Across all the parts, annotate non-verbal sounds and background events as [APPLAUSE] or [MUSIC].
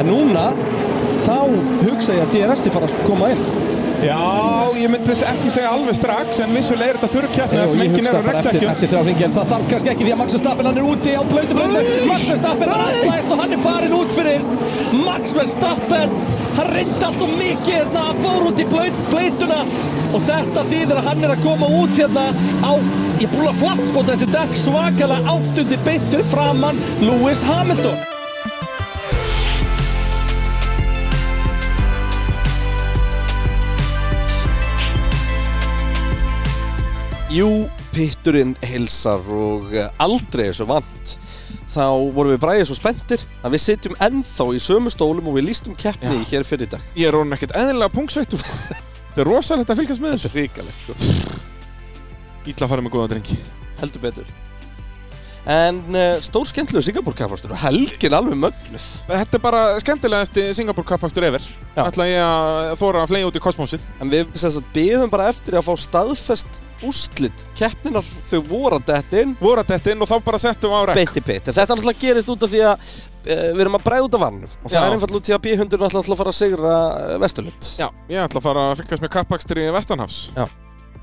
en núna þá hugsa ég að DRS-i fara að koma inn Já, ég myndi ekki segja alveg strax en vissulega er þetta þurrkjætni þar og sem ég enginn er hugsa á bara eftir, reglakjum eftir þrjá hringi en það þarf kannski ekki því að Max Verstappen hann er úti á blöndu blöndu Max Verstappen hann aðlæðist og hann er farin út fyrir Max Verstappen hann reyndi allt og mikið hérna hann fór út í blönd, blönduna og þetta þýðir að hann er að koma út hérna á ég er búin að flatspóta þessi dag svakalega áttundi beittur framann Lewis Hamilton Jú, pitturinn heilsar og eh, aldrei þessu vant þá vorum við bræðið svo spenntir að við sitjum ennþá í sömu stólum og við lístum keppni hér fyrir í dag Ég er orðin ekkert eðlilega [LAUGHS] pungsveittur Þetta er rosalegt að fylgjast með þessu Ríkalegt sko Ítla að fara með góða drengi Heldur betur En uh, stór skemmtilegur Singapur kappastur og helgin alveg mögnuð Þetta er bara skemmtilegasti Singapore kappakstur ever Já. Ætla ég að þóra að flega út í kosmósið En við sem sagt, beðum bara eftir að fá staðfest úrslit keppninar þau voru að detta inn Voru að þetta inn og þá bara settum á rekk Beinti beitt, en þetta náttúrulega gerist út af því að e, við erum að bræða út af vannum og það Já. er einfallega út því að B100 er náttúrulega að fara að sigra eh, Vesturlund Já, ég ætla að fara að fylgjast með kappakstri Vestanhafs Já.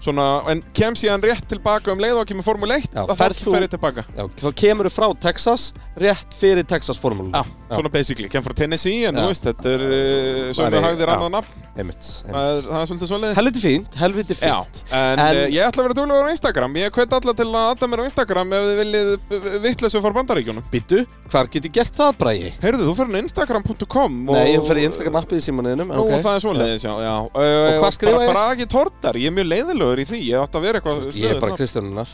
Svona, en kemst ég hann rétt tilbaka um leið og ekki með Formule 1 Já, að ferð þá þú- fer ég tilbaka Já, þá kemur frá Texas rétt fyrir Texas formúlun Já, svona basically, kem frá Tennessee en Já. þú veist, þetta er uh, Maður svona er- hagðir já. annað nafn Einmitt, það er, einmitt. það er svolítið svoleiðis Helviti fínt, Já, helviti fínt en, En- en ég ætla að vera duglegur á Instagram Ég hvet alla til að adda mér á Instagram ef þið viljið vittleysu fór bandaríkjónum Býtu, hvar get ég gert það, Bræi? Heyrðu, þú fyrir á Instagram.com Nei, ég fer í Instagram appið í símanuðinum Nú, það er svoleiðis, já, já Eh, Og hvað skrifa ég? Bara bragi tortar, ég er mjög leiðilegur í því Ég átt að vera eitthvað Ég er stöðugt bara þar. Kristjánunar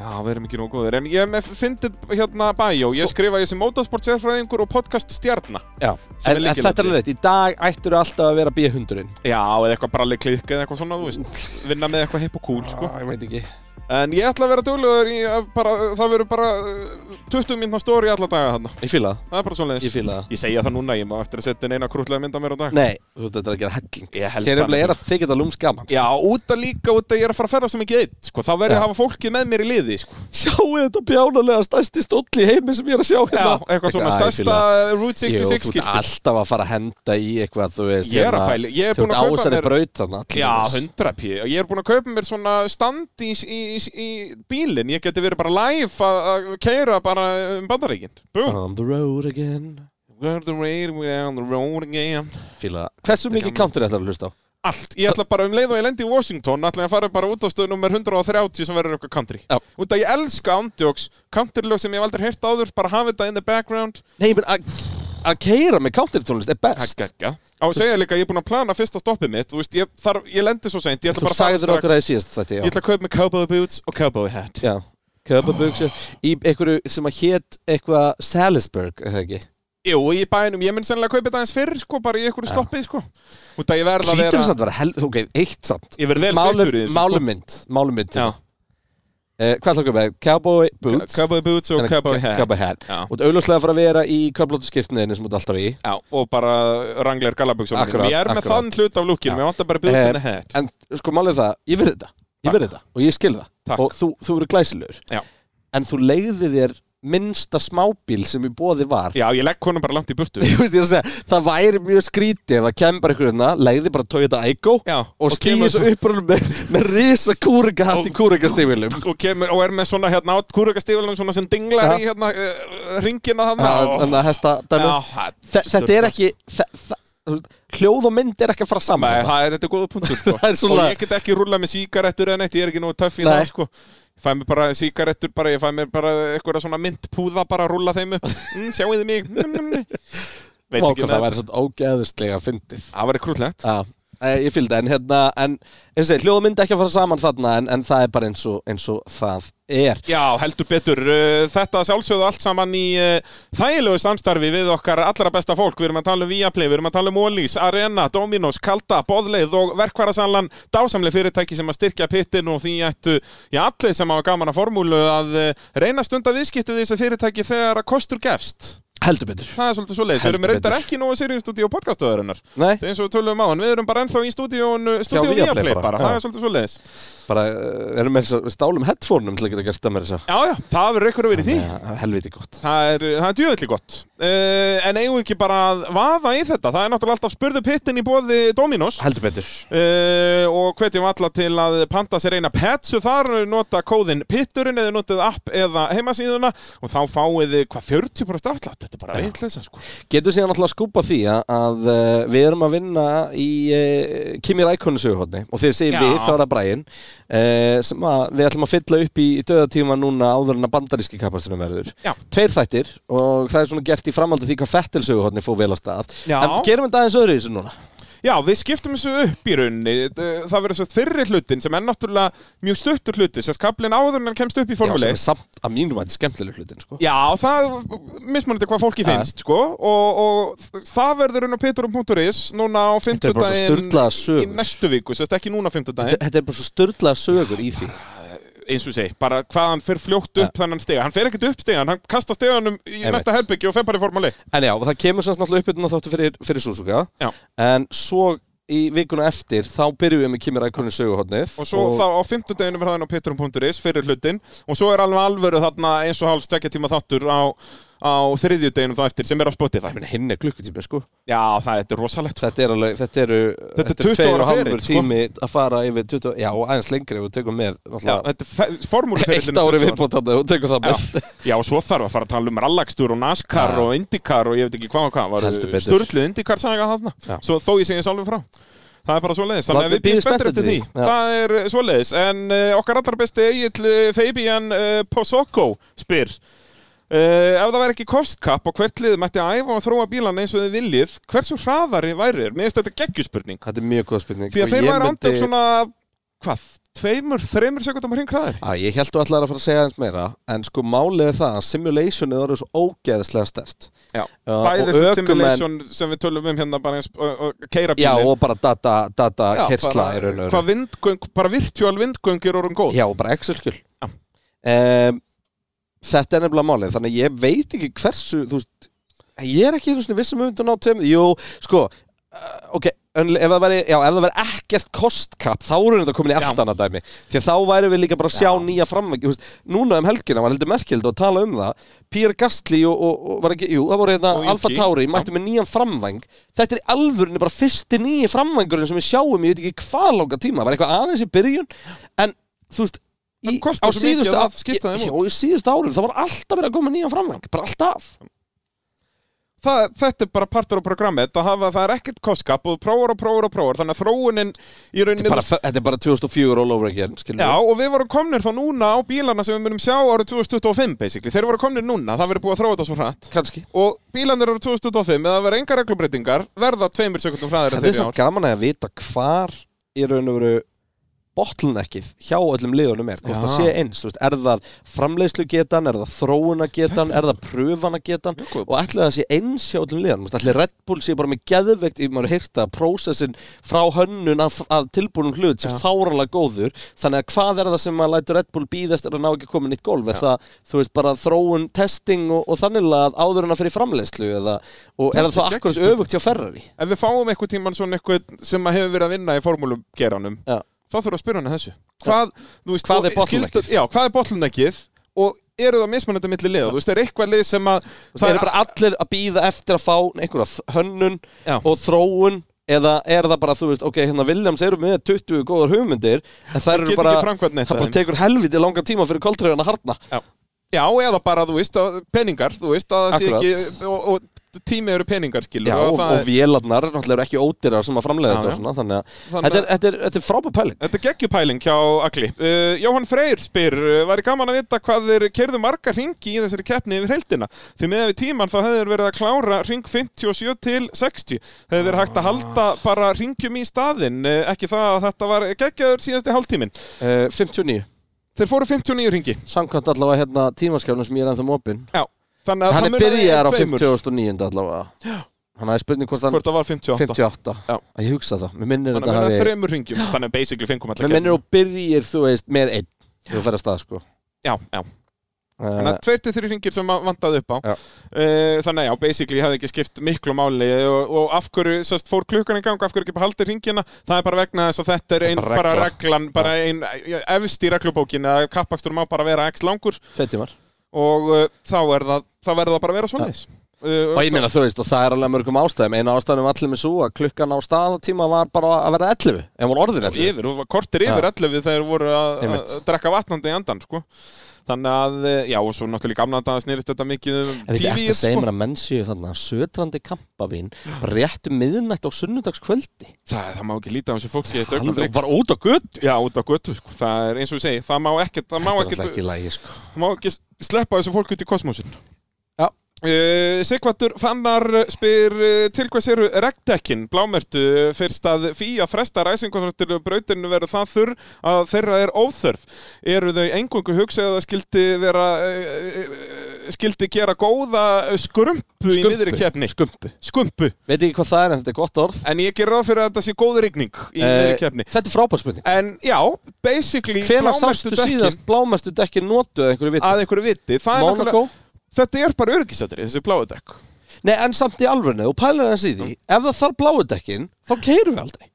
Já, við erum ekki nóg góðir En ég fyndi hérna bæjó Ég skrifa ég sem motorsport sérfræðingur og podcast stjarna Já, Sem er en, en lykilatriði. þetta er alveg rétt, í dag ættur alltaf að vera B100-in Já, eða eitthvað bralli klikk eða eitthvað svona, þú veist Vinna með eitthvað hipp og cool, sko Ah, Ég veit ekki En ég ætla að vera duglegur í að bara, það verður bara uh, 20 mínútna stóri alla daga þarna Ég fíla það, Það er bara svoleiðis ég fíla það Ég segja það núna, ég má eftir að setja inn eina krútlega mynd af mér á dag Nei, þú veist þetta er að gera helling Ég held Þeir það nefnilega er að þykja þetta lúms gaman Já, út að líka, út að ég er að fara að ferða sem ekki eitt sko. Þá verður ég Já. að hafa fólkið með mér í liði sko. Sjáu þetta bjánulega stærsti stóll í heimi sem ég er að sjá hérna. Já, eitthvað svona Æ, ég stærsta fíla það. Route Jú, þú 66 ert skilti alltaf að fara að henda í eitthvað, þú veist Ég er að hérna, pæli, ég er Þú búinn ert að kaupa ásæri mér braut þarna allir Já, þess. 100 pí Ég er búinn að kaupa mér svona stand í, í, í, í bílinn Ég geti verið bara live að- að keira bara um bandaríkin Boom On the road again We're the rain, we're on the road again Fíla það Hversu mikið counter ætlar að hlusta á? Allt, ég ætla bara um leið og ég lendi í Washington ætla ég að fara bara út á stöðu nummer 130 sem verður eitthvað country Já. Út að ég elska andjóks, country-lög sem ég hef aldrei heyrt áður bara hafa þetta in the background Nei, menn að að keira með counter tónlist er best Hækka Á að segja líka, ég er búinn að plana fyrsta stoppið mitt Þú veist, ég, þar, ég lendi svo seint, ég ætla Þú bara að fara sagðir okkur strax að það síðast þetta, Ég ætla að kaupa með cowboy boots og cowboy hat já Já, köpabugsu Í einhverju sem að hét eitthvað Salisburg, er það ekki? Jú, og í bænum, ég mun sennilega að kaupa þetta eins fyrr sko, bara í einhverju stoppi, sko Út að ég verð að Hlýtur vera þess að vera hel... Ok, eitt samt Ég verð vel sveittur í Málum- þessu sko. Málumynd Málumynd Já, Eh, Hvað ætlar okkur með? Cowboy boots cowboy boots og Þannig- cowboy hat Cowboy hat Já. Og auðvitað að fara að vera í köflótuskirtniðinu sem þú ert alltaf í Já, og bara ranglegar galaböksum Ég er Akkurát, með akkurát. þann hlut af lúkinu, Já. ég vantar bara boots Eh, and a hat En sko málið er það, ég verði þetta Ég verði þetta og ég skil það Takk. Og þú, þú eru glæsilegur Já. En þú leiði þér minnsta smábíl sem í bóði var Já, ég legg honum bara langt í burtu [LAUGHS] Ég veist, ég er að segja, það væri mjög skrítið ef það kemur bara einhverjum hérna, leiði bara Toyota Aygo Já, og og kemur stýði svo svo- upprúnum með, með risa kúrika hatt í Og- kúrikastífilum og, kemur, og er með svona hérna átt kúrökkastífælum svona sem dinglar Já. í hérna uh, ringina þarna Þannig að hesta dæmi Þe- Þetta er ekki þe- þa- þú veist, Hljóð og mynd er ekki að fara saman hérna. Nei, þarna. það er þetta er góða punktur sko. [LAUGHS] Það er svona- og ég get ekki rúla með síkarettur en eitt, ég er ekki nógu töff í Nei. það sko. ég fæ mér bara síkarettur bara, ég fæ mér bara eitthvað svona myndpúða bara að rúla þeim upp mm, sjáu þið mig mm, mm, mm. veit Vá, ekki hvað það með væri svona ógeðuslega fyndið það væri krúllegt Já, eh, ég fylgði, en hérna, en eins og hljóða myndi ekki að fara saman þarna, en, en það er bara eins og, eins og það er. Já, heldur betur. Uh, Þetta sjálfsögðu allt saman í uh, þægilegu samstarfi við okkar allra besta fólk. Við erum að tala um Viaplay, við erum að tala um Ólís, Arena, Dominos, Kalda, Bodleið og verkvarasanlan dásamleg fyrirtæki sem að styrkja pittin og því ættu, já, allir sem hafa gaman að formúlu að uh, reyna að stunda viðskiptu við þessu fyrirtæki þegar að kostur gefst. Heldur betur Það er svolítið svo leið, við erum Heldur reyndar betur. ekki nógu seriðinstúdíu og podcastöðurinnar Nei, Það er eins og við töluðum á hann, við erum bara ennþá í stúdíun Stúdíu Viaplay Viaplay bara, bara, já. það er svolítið svo leiðis bara uh, erum með þess að stálum headphoneum til að geta gert það með þess að Já, já, það verður ykkur að vera í því Ja, Helviti gott Það er, það er djöðli gott uh, En eigum við ekki bara að vaða í þetta Það er náttúrulega alltaf spurðu pittin í bóði Dominos Heldur betur Uh, og hvetjum alla til að panta sér eina petsu þar, nota kóðin pitturinn eða notið app eða heimasíðuna og þá fáið þið hvað 40% afslátt, þetta er bara veitleisa sko. Getur síðan alltaf að skúpa því að, að eh, við erum að vinna í uh, Kimi Rækonu söguhotni og þegar segir Já. við þá er það Bræin uh, sem að við ætlum að fylla upp í, í döðatíma núna áður en að bandaríski kapastunum verður Já. Tveir þættir og það er svona gert í framhaldi af því hvað Fettil söguhotni fór vel á stað Já. En gerum við þetta aðeins öðru í þessu núna Já, við skiptum þessu upp í rauninni Uh, það verður svo fyrri hlutin sem er náttúrulega mjög stuttur hluti, sérst kaplinn áður en hann kemst upp í Já, formule sem er samt að mínum að þetta er skemmtileg hlutin sko. Já, það mismunandi hvað fólki Ja. finnst sko, og, og það verður inn á pitturum.is núna á er bara svo fimmtudaginn sturlaðar sögur. í næstu viku, sérst ekki núna á fimmtudaginn Þetta þetta er bara svo störðlega sögur í því eins og segi, bara hvað hann fyrir fljótt upp þannan stega, hann fyrir ekkert upp stegan, hann kasta steganum í Einmitt. næsta herbyggju og fer bara í formali En já, það kemur semst náttúrulega uppbytun á þáttu fyrir, fyrir Suzuka Já. En svo í vikuna eftir þá byrjum við með Kimi Rækonin söguhotnið og svo þá á fimmtudeginu verða hann á pitturum.is fyrir hlutin og svo er alveg alvöru þarna eins og hálf stekja tíma þáttur á, á þriðjudeginu þá eftir sem er á Spotify Ég meina, hinn er klukkutími sko Já, það þetta er rosalegt Þetta er alveg, þetta eru Þetta er 20 tveir ára og hálfur ferill, sko. tími að fara yfir 20, Já, og aðeins lengri ef við tökum með Já, náttúrulega, þetta er um formúlferðin Eitt ári viðbótt þarna og tökum það Já, með [LAUGHS] já, og svo þarf að fara að tala um rallakstur og NASCAR Já. og IndyCar og ég veit ekki hvað og hvað var Heldur betur. Sturluð IndyCar saga þarna Já. Svo þó ég segi sálfum frá Það er bara svo leiðis, þannig að Við við býðum bíðum spenntir spenntir eftir því, eftir því. Já. Það er svo leiðis, en uh, okkar allar besti Egil uh, Fabian uh, Posoko spyr Uh, ef það væri ekki kostkapp og hvert lið mætti að æfa og þróa bílan eins og þið viljið hversu hraðari væri þér? Mér finnst þetta geggjuspurning Þetta er mjög góð spurning því og að þeir ég væri myndi- andum svona hvað, tveimur, þreimur sekundum hring hraðari Að ég held þú allar að fara að segja aðeins meira en sko málið er það að simulationið orðið svo ógeðslega stert Já. uh, Bæði og þessi ökumenn simulation sem við tölum um hérna bara eins og, og keira Já, bílinn. og bara data, data Já, kersla bara- í raun og Hvað vindgöng, bara virtual vindgöng er orðin góð Já, og bara Excel-skjöl Já. um, Þetta er nefnilega málið Þannig að ég veit ekki hversu þú veist, Ég er ekki einu sinni viss um að ná tveim Jú, sko uh, Ok, en, ef það væri, já, ef það væri ekkert kostkapp þá erum þetta komin í Já. allt annað dæmi því að þá væri við líka bara að sjá Já. nýja framvæg núna um helgina var heldur merkild og tala um það Pír Gastli og, og, og var ekki, jú, það voru Og hérna Yuki. Alfa Tauri mættu með nýjan framvæng þetta er í alvörinu bara fyrsti nýji framvængurinn sem við sjáum, ég veit ekki hvað langa tíma var eitthvað aðeins í byrjun en þú veist Hann kostar svo mikið að það skipta þeim já, og í síðustu árum það var alltaf verið að koma nýjan framvæng bara alltaf það, Þetta er bara partur á programmi Þetta hafa, það er ekkert kostkap og þú prófar og prófar og prófar Þannig að þróunin í þetta rauninni er bara, þetta er bara 2004 all over again skilur Já, við. og við vorum komnir þá núna á bílana sem við munum sjá árið 2025 basically. Þeir voru komnir núna, það verið búið að þróa þetta svo hratt kannski Og bílanir árið 2025, eða það verið engar reglubreitingar verða tveimur sekundum hraðir en þetta þeir í er svo ár gaman að vita hvar í raun og veru bottleneckið hjá öllum liðunum er hvort Já. það sé eins, þú veist, er það framleiðslu getan, er það þróuna getan er það pröfana getan Mjög góð. og ætlaði það sé eins hjá öllum liðunum Þú veist, ætlaði Red Bull sé bara með geðveikt ef maður heyrta að prósessin frá hönnun að, að tilbúnum hlut sé Já. fáralega góður þannig að hvað er það sem maður lætur Red Bull býð eftir að ná ekki að koma nýtt golf er það, þú veist, bara þróun, testing og, og þannig að áður en að fyrir framleiðslu eða, og er Þetta það þá er akkurat geggjuð öfugt hjá Ferrari Ef við fáum einhvern tímann svona eitthvað sem að hefur verið að vinna í formúlugeranum Já. þá þurfum við að spyrja hana þessu Hvað, þú veist, Hvað og er bottleneckið? skyldu- Já, hvað er bottleneckið og eru það mismunandi milli liða, þú veist, er eitthvað lið sem að Það eru bara allir að býða eftir að fá einhverja þ- hönnun Já. og þróun eða er það bara, þú veist, ok, hérna Williams eru með 20 góðar hugmyndir en það eru getur bara, ekki framkvæmt neitt það af bara þeim. tekur helviti langan tíma fyrir koltrefin að harna Já, eða bara, þú veist, að peningar þú veist, að það sé Akkurat. ekki og, og tími eru peningar, skilur Já, og og, það og er- vélarnar náttúrulega eru ekki ódýrar sem að framlega Já, þetta og já. svona, þannig að Þannig þetta er, þetta er, þetta er frábæð pæling Þetta er geggjupæling hjá Agli uh, Jóhann Freyr spyr, uh, væri gaman að vita hvað þeir kerðu marga ringi í þessari keppni yfir heildina því meðan við tíman þá hefur verið að klára ring 57 til 60 hefur verið hægt að halda bara ringjum í staðinn uh, ekki það að þetta var geggjaður síðasti hálftímin uh, 59, Þeir fóru 59 ringi samkvæmt allavega hérna tímaskjálnum sem ég er ennþá mópin Já, þannig að Hann er munaði byrjar á tveimur, 59 allavega Þannig að ég spurning hvort hann hvort það var 58 58 Já. Að ég hugsa það, mér minnir Þannig að þetta munaði hafi þremur ringjum þannig að basically fengum allar Mér minnir þú byrjir, þú veist, með einn Þú fer að stað, sko Já, já Þannig að tveir til þrjú ringir sem maður vantaði upp á Já. uh, Þannig að já, basically hefði ekki skipt miklu máli og, og af hverju, sérst, fór klukkan í gang af hverju ekki bara haldið ringina, það er bara vegna þess að þetta er ein, Bara bara, regla. reglan bara ein, ja, efst í reglubókin að kappakstur má bara vera x langur Tveit tímar og uh, þá er það þá verður það bara að vera svoleiðis uh, Og ég meina þú veist, og það er alveg mörgum ástæðum Einu ástæðum allir með svo að klukkan á staðatíma var bara að vera 11 En voru orðin 11 yfir, og kortir yfir Já. 11 þegar voru að Einmitt. að drekka vatnandi í andan sko. þannig að, eh, já, og svo náttúrulega gamla daga snýrist þetta mikið um En þetta TV eftir að segja mér að menn séu þarna södrandi kampavín bara rétt um miðnætt á sunnudagskvöldi það, það má ekki líta á þessu fólki eitt Alveg augnablik bara út á gutt Já, út á götu, sko. það er eins og ég segi, það má ekkert, það má Þetta er ekkert, alltaf ekki lægi sko það má ekki sleppa þessu fólk út í kosmosin. Já. Uh, Sigvartur Fannar spyr uh, til hvers eru regndekkin blámertu uh, fyrst að fýja fresta ræsingafrættir og brautinu verður það þurr að þeirra er óþörf eru þau engungu hugsað að það skildi vera uh, uh, skildi gera góða eh, skrumpu, í miðri keppni Skumpu skumpu, Veit ekki hvað það er en þetta er gott orð en ég ger ráð fyrir að þetta sé góð rigning í miðri Eh, keppni Þetta er frábær spurning en já, basically Hvenær blámertu sástu dekkin- síðast blámertu dekkin notu eða einhverju viti? að einhverju viti það er Monaco? náttúrulega, þetta er bara örgisatrið þessi bláu dekk Nei, en samt í alvörinu, þú pælar hans í því Ef það þarf bláu dekkin, þá keirum við aldrei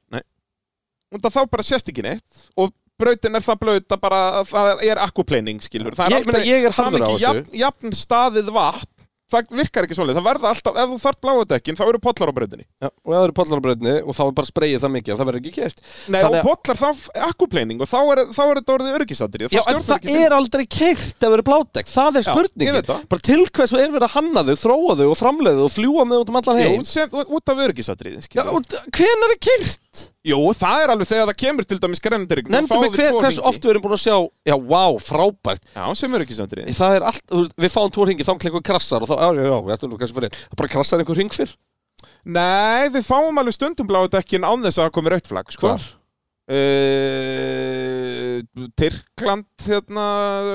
og það þá bara sést ekki neitt og brautin er það blöta bara að það er akkupleining skilur það er Ég meina, ég er það er harður á ekki þessu. jafn, jafn staðið vatn það virkar ekki svolítið, það verða alltaf ef þú þarf bláu dekkin þá eru pollar á brautinni Já, og ef það eru pollarbröðni og þá er bara spreyið það mikið að það verður ekki keirt Nei, Þannig og pollar þá f- akkupleining og þá er, þá er þetta orðið örgisatrið Já, en það er aldrei keirt ef það eru bládekk, það er Já, ég veit spurningin það. Bara til hvers er verið að hanna þau, þróa þau og framleiða þau og fljúa með út um allan heim Jú, sem, út af örgisatrið Já, og hvenær er keirt? Jú, það er alveg þegar það kemur til dæmis grendirign Nefndu mig hver, hvers oft við erum búin að sjá Já, vá, frábært Já, sem örgisatrið Það er allt, þú veist, við fáum tvo ringi, þá einhver krassar og þá, já, já, já, þetta er nú kannski fyrir Það bara krassar einhver ring fyrr Nei, við fáum alveg stundum bláu dekkin án þess að það komi rautt flagg sko. Hvar? Uh, Tyrkland hérna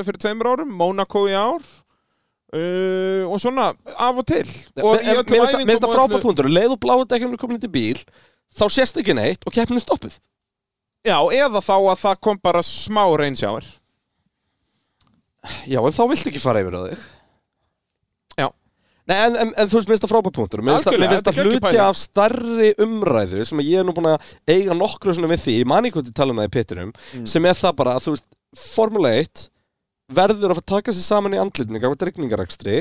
fyrir tveimur árum Monaco í ár uh, og svona af og til og En- en Mér finnst það- mér finnst það og frábært punktur Leðu bládekkum er komin inn til bíl Þá sést ekki neitt og keppnin er stoppuð Já, eða þá að það kom bara smá reynsjáir Já, en þá viltu ekki fara yfir á þig Já. Nei, en, en, en þú veist, mér finnst það frábæpunktur Mér finnst það- Algjörlega, mér finnst það þetta er hluti geggjupæling. af starri umræðu sem að ég er nú búin að eiga nokkru svona við því ég man ekki hvað til tala um það í pittinum sem er það bara að þú veist, Formule 1 verður að fara að taka sér saman í andlutning á regningarakstri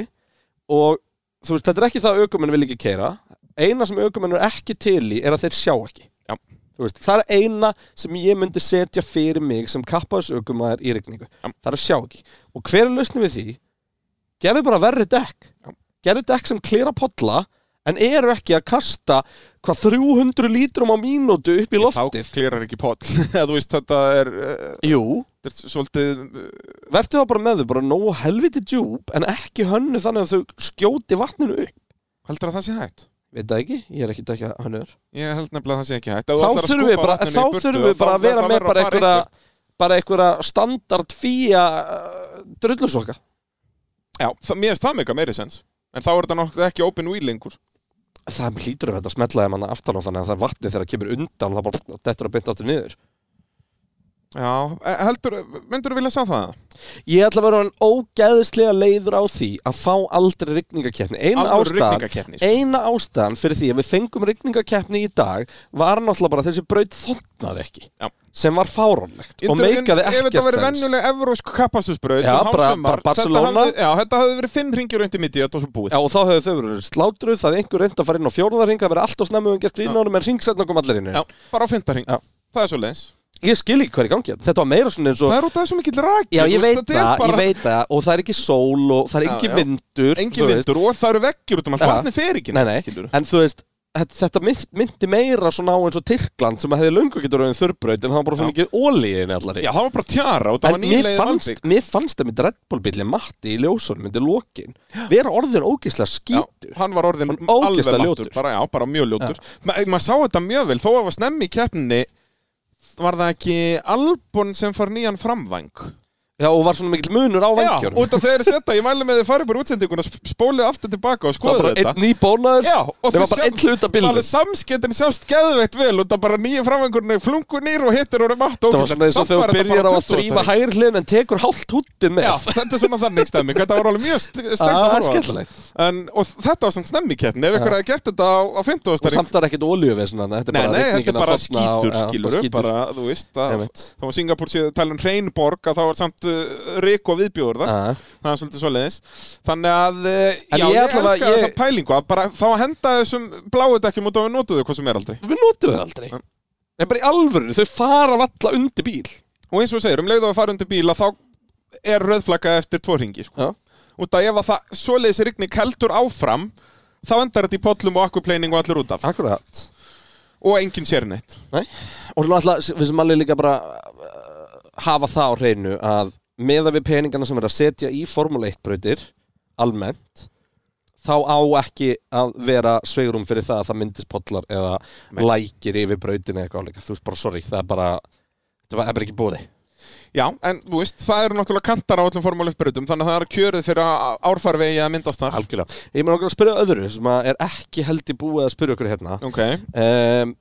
og þú veist, þetta er ekki það að aukumenn vil ekki keira eina sem aukumenn er ekki til í er að þeir sjá ekki Já. Þú veist, það er eina sem ég myndi setja fyrir mig sem kappaðsaukumæður í regningu Já. það er að sjá ekki og hver er lausnum við því? gerðu bara verri dekk Já. gerðu dekk sem klera podla en eru ekki að kasta hvað 300 lítrum á mínútu upp í Þá loftið klýrar ekki poll [LAUGHS] Eða þú veist, þetta er, uh, Jú, er svolítið uh, verðu það bara með þau bara nógu helviti djúb en ekki hönnu þannig að þau skjóti vatninu upp heldur að það sé hægt veit það ekki, ég er ekki að dekja hönnur Ég held nefnilega að það sé ekki hægt Ef þú þá ætlar að þurfum skúpa við bara, vatninu í þá burtu, þurfum við þá- bara að þá- vera þá með verður bara að fara einhverja eitthvert. bara einhverja standard fía uh, drullusokka Já, það, mér finnst það mega meiri sens En þá er þetta nokkuð ekki open wheel lengur það hlýtur að þetta smetlaði manna aftan á þannig að það er vatni þegar það kemur undan það bara dettur að bynda áttur niður Já, eh, heldur, myndur þú vilja sá það? ég ætla að vera hann ógæðislega leiður á því að fá aldrei rigningakeppni eina Alvöru ástæðan rigningakeppni, sko. eina ástæðan fyrir því að við fengum rigningakeppni í dag var náttúrulega bara þessi braut þotnaði ekki Já. sem var fárónlegt og meikaði Ef þetta ekkert verið sens venjuleg evrósk kapastusbraut Já, um bara- hásumar, bara Barcelona. þetta hafði, Já, þetta hafði verið fimm ringjur reyndi mitt í þetta og svo búið Já, og þá hefur þau verið slátruð, það hefði einhver reynd að fara inn á fjórðarring, það verið allt á snemmu um gert grín á honum, en ringsetna kom allir inn. í hann. bara á fymta ring Já. Það er svo leins um Ég skil ekki hvað er í gangi, hérna. þetta var meira svona eins og... Það er út af þessu mikill raki Já, ég þú veit veist, þetta það, er bara ég veit það, og það er ekki sól og það er Já, engin já. vindur. Engin þú veist. vindur og það eru veggjur út um allt Já. Vatni fer ekki Nei, neitt, nei, skilurðu. en þú veist, þetta, þetta mynd, myndi meira svona á eins og Tyrkland sem að hefði löngu getur auðvitað þurrbraut, en það var bara svona mikið ólíðin allari. Já, það var bara tjara og það En var mér nýlega fannst, mér fannst að mitt Red Bull bíli matti í ljósunum undir lokin vera orðin ógeðslega skítur. hann var orðin Hann ógeðslega alveg ljótur. láttur, bara, já, bara mjög ljótur Ma, maður sá þetta mjög vel, þó að það var snemmi í keppninni var það ekki Albon sem far nýjan framvæng Já, og var svona mikil munur á Já, vangjörnum út af þegar setja, ég mælu með þið farið bara útsendinguna, sp- spólið aftur tilbaka og Það var skoðu bara þetta. einn nýbónaður Já, og Það var bara einn hluta bílnum Alveg samskettin sjást geðveikt vel og það bara nýju framvangurinn er flungu nýr og hittir um og matt Það var svona eins og þegar þú byrjar á að þrýfa hægri hliðin en tekur hálft húttið með Já, þetta er svona þannig stemming, þetta var alveg mjög st- stengt [LAUGHS] Ah, að horfa á. skemmtilegt. en, Og þetta var svona stemmikeppni, ef ykkur hefði gert þetta á, á 50 Og samt var ekkert olíuvesin þarna, Þetta er Nei, bara nei, þetta rigningin er að bara falla á- skítur, já, skilur upp bara, þú veist, að, Einmitt. þá var Singapur séð tala um reynborg að þá var samt uh, rik og viðbjóður þar, Ah. það er svolítið svoleiðis þannig að, uh, En já, ég ég, ætla að- elska ég- þessa pælingu að bara þá að henda þessum bláu dekkjum út og við notuðu hvað sem er aldrei Við notum það aldrei Nei. Það er bara í alvöru, þau fara valla undir bíl og eins og við segir, um leið og við fara undir bíla þá er rauðflagga eftir tvo ringi sko. Já. út að ef að það svoleiðis rigning heldur áfram þá endar þetta í pollum og akkupleining og allir út af Akkurat og enginn sér neitt Nei. Og náttúrulega, við sem alveg líka bara uh, hafa það á hreinu að meða við peningana sem er að setja í Formule 1 brautir almennt þá á ekki að vera sveigrum fyrir það að það myndist pollar eða Nei. lækir yfir brautin eða eitthvað álíka. Þú veist bara, sorry, það er bara það er bara ekki búði. Já, en þú veist, það eru náttúrulega kantar á öllum formálufbrutum þannig að það er kjörið fyrir að árfarvegi að myndast þar Algjörlega. Ég mér okkur að spyrja öðru sem að er ekki held í búið að spyrja okkur hérna. Ok Um,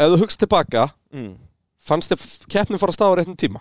ef þú hugst tilbaka mm. fannst þér keppnin fara að staða á réttum tíma?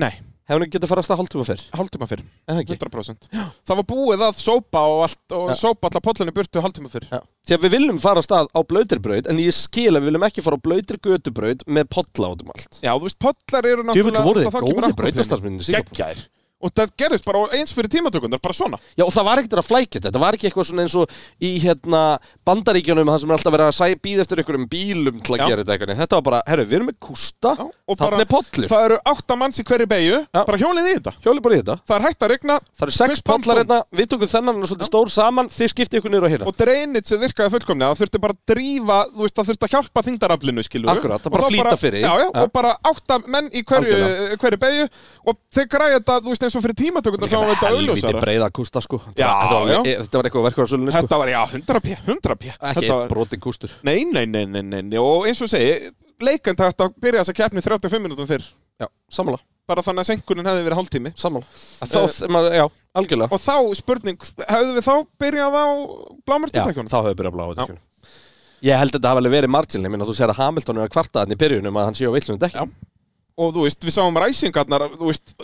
Nei, Hefur hann ekki getað fara að staða hálftíma fyrr? hálftíma fyrr, Eða ekki? 100% Það var búið að sópa og, allt, og Já. sópa allar pollunni burtu hálftíma fyrr Því að við viljum fara á stað á blöytirbraut en ég skil að við viljum ekki fara á blöytirgötubraut með podla út um allt. Já, þú veist, pollar eru Djúvill náttúrulega þá voru þeir kemur góði akkúrat brautastarsminnir hérna. Geggjaðir Og það gerðist bara eins fyrir tímatökundar, bara svona Já og það var ekkert að flækja þetta, þetta var ekki eitthvað svona eins og í hérna bandaríkjunum þar sem er alltaf verið að sæ, býða eftir einhverjum bílum til að Já. gera þetta eitthvað. Þetta var bara, herru, við erum með kústa, Já, og bara- þarna er podlur. Það eru átta manns í hverju beigju, Já. bara hjólið í þetta Hjóli bara í þetta. Það er hægt að regna Það eru sex Fyrst band podlar band. hérna, við tókum þennan og svolítið stór saman, þið skiptið ykkur niður á hérna. og dreinit sem virkaði fullkomni það þurfti bara að drífa, þú veist, það þurfti að hjálpa þingdaraflinu, skilur Akkurat, það bara flýta fyrir. já, já, Ja. og bara átta menn í hverju, Algjörlega. hverju beigju og þeir græja þetta, þú veist, eins og fyrir tímatökundar þá var þetta helviti auðljósara breiða kústa sko. Já, þetta, var, já. alveg- þetta var eitthvað verkvarsölunni sko. Þetta var, já, 100 p, 100 p Ekki Þetta var- brotin kústur. Nei, nei, nei, nei, nei, nei, og eins og ég segi leikandi hægt að byrja þessa keppni 35 minútum fyrr Já, sammála, bara þannig að senkunin hefði verið hálftími sammála. Þá, maður- já, algjörlega. og þá spurning, hefðu við þá byrjað á Já, blámertjútækjunum? þá hefur byrjað að bláa dekkjunum. Ég held að þetta hafi alveg verið marginlega, minna þú sér að Hamilton er að kvarta þannig í byrjunum að hann sé á villum dekki. Já. og þú veist, við sáum ræsingarnar þú veist,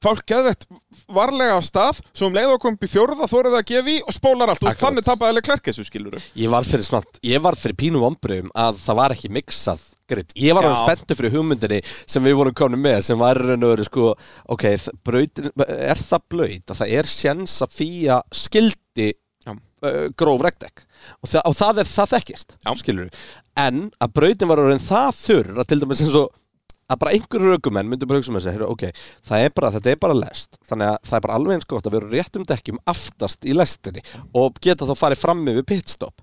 fólk geðvett varlega af stað, svo um leið og kom upp í fjórða þórið að gefa í og spólar allt Þú veist, Akkurat. þannig tapaðileg klerkessu skilur Ég var fyrir snart, ég var fyrir pínu vombriðum að það var ekki miksað gritt. Ég var Já. alveg spenntu fyrir hugmyndinni sem við vorum komin með, sem var í raun og verið sko, ok, þ- brautin, er það blöyt að það er sjens að fýja skildi Já. uh, gróf regdekk og, það- og það, er, það þekkist, Já. skilur En að brautin var orðin það þurr að til dæmis eins og að bara einhverju raukumenn myndu bara hugsa með þessi, ok, það er bara, þetta er bara lest, þannig að það er bara alveg eins gott að vera á réttum dekkjum aftast í lestinni og geta þá farið fram yfir pitstop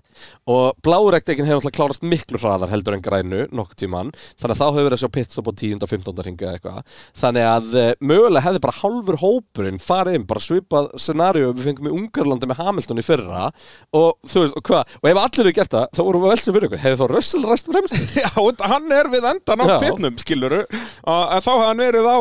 og bláurektekin hefur alltaf klárast miklu hraðar heldur en grænu nokkuð tíman, þannig að þá hefur verið að sjá pitstop á 10. og 15. ringa eða eitthvað þannig að eh, mögulega hefði bara hálfur hópurinn farið inn, bara svipað scenaríu við fengum í Ungarlandi með Hamilton í fyrra og þú veist, og hvað, og ef allir hefur gert það, þá vorum við veltið fyrir ykkur, hefði þá Russell ræst um [LAUGHS] fremst Já, og hann er við endan Já. á pittnum skilur að að eh, þá hafði hann verið á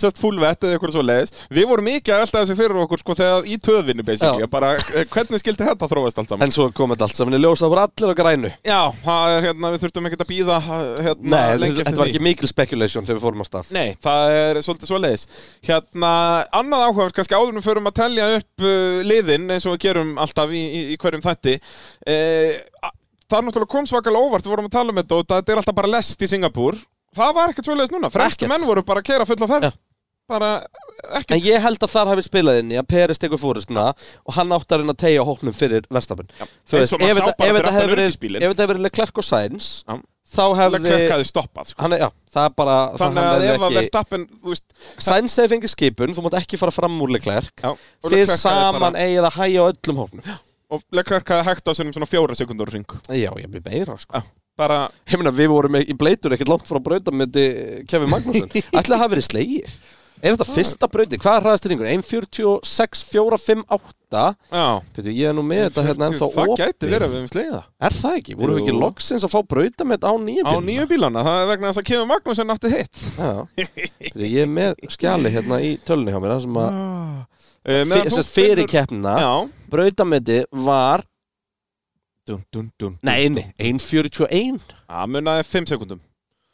sérst fúlvett eða eitthvað svo leiðis við vorum mikið að velta þessu fyrir okkur sko þegar í töfinu basically, Já. bara eh, hvernig skildi þetta þróast allt saman En svo kom þetta allt saman í ljós, það voru allir á grænu Já, það er hérna, við þurftum ekkert að býða hérna, Nei, lengi þetta eftir þetta var því. ekki mikil speculation þegar við fórum á stað Nei, það er svolítið svoleiðis Hérna, annað áhugavert kannski áður en við förum að telja upp uh, liðin eins og við gerum alltaf í, í, í hverjum þætti uh, Það er náttúrulega kom svakalega óvart, við vorum að tala um þetta og þetta er alltaf bara lest í Singapúr Það var ekkert svoleiðis núna, fremstu Ekkert. menn voru bara að keira fulla ferð Já. Bara En ekkert ég held að þar hafi spilað inn í að Peris tekur fórustuna og hann átt að reyna að tegja hóknum fyrir verstafinn Þú Eins veist, og ef maður sá þetta bara ef fyrir þetta aftan hefði verið öryggisbílinn. ef þetta hefði verið Leclerc og Sainz Já. þá hefði Leclerc hafði stoppað sko. hann, er- já, það er bara Þannig hann að hefði ef að Verstappen, þú veist Sainz hefði fengið skipun, þú mátt ekki fara fram úr Leclerc já, og Þið Leclerc hafði saman bara- eigið að hæja á öllum hóknum Og Leclerc hafði hægt á sérum svona fjóra sekundur ring Já, ég blir beira sko Bara, [LAUGHS] Ég meina, við vorum í bleitur ekkert langt frá brautamöndi Kevin Magnússon Ætli að hafa verið slegið Er þetta fyrsta brauti? Hvað er hraðastýringur? 1.46, 4.58 Já, Pítu, ég er nú með þetta hérna ennþá það gæti opið. verið að við hefum slegið það Er það ekki? Vorum við Jú. ekki loksins að fá brautamett á nýju Á nýju bílana, það er vegna þess að Kevin Magnússon átti hitt Já. Pítu, ég er með skjali hérna í tölunni hjá mér þar sem að Eh, meðan þú þess að fyrir finnur- keppnina Já brautametti var Dun, dun, dun nei, nei, 1.41 Það munaði 5 sekundum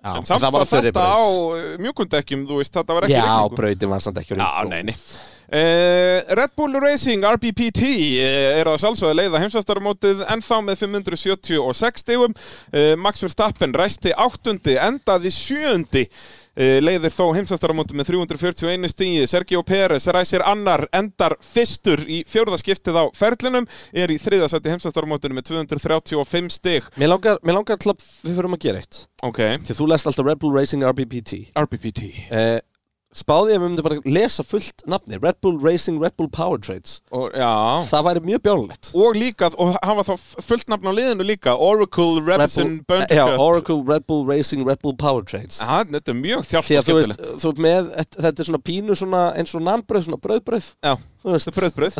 Já, En samt það var á þeirri þetta á braut. mjúkundekkjum, þú veist, þetta var ekki sko. Já, rigningu. brautin var samt ekki á Já, rigningu. nei, nei. Uh, Red Bull Racing RBPT uh, er að sjálfsögðu að leiða heimsvæstaramótið ennþá með 576 stigum. Uh, Max Verstappen ræsti áttundi, endaði sjöundi, uh, leiðir þó heimsvæstaramótið með 341 stigi. Sergio Pérez ræsir annar, endar fyrstur í fjórðaskiptið á ferlinum, er í þriðasætti heimsvæstaramótinu með 235 stig. Mér langar, mér langar til að við förum að gera eitt Ok, Því þú lest alltaf Red Bull Racing RBPT RBPT. eh, Spáði ég að við myndum bara lesa fullt nafni Red Bull Racing, Red Bull Power Trades Og, já. Það væri mjög bjánulegt og líka, og hafa þá fullt nafn á liðinu líka, Oracle, Rebson, Já, Böndkjöp Oracle, Red Bull Racing, Red Bull Power Trades Aha, þetta er mjög þjált Því og að þú veist, skemmtilegt þú ert með, þetta þetta er svona pínu svona, eins og nambröð, svona bröðbröð Já, Þú veist, þetta er bröðbröð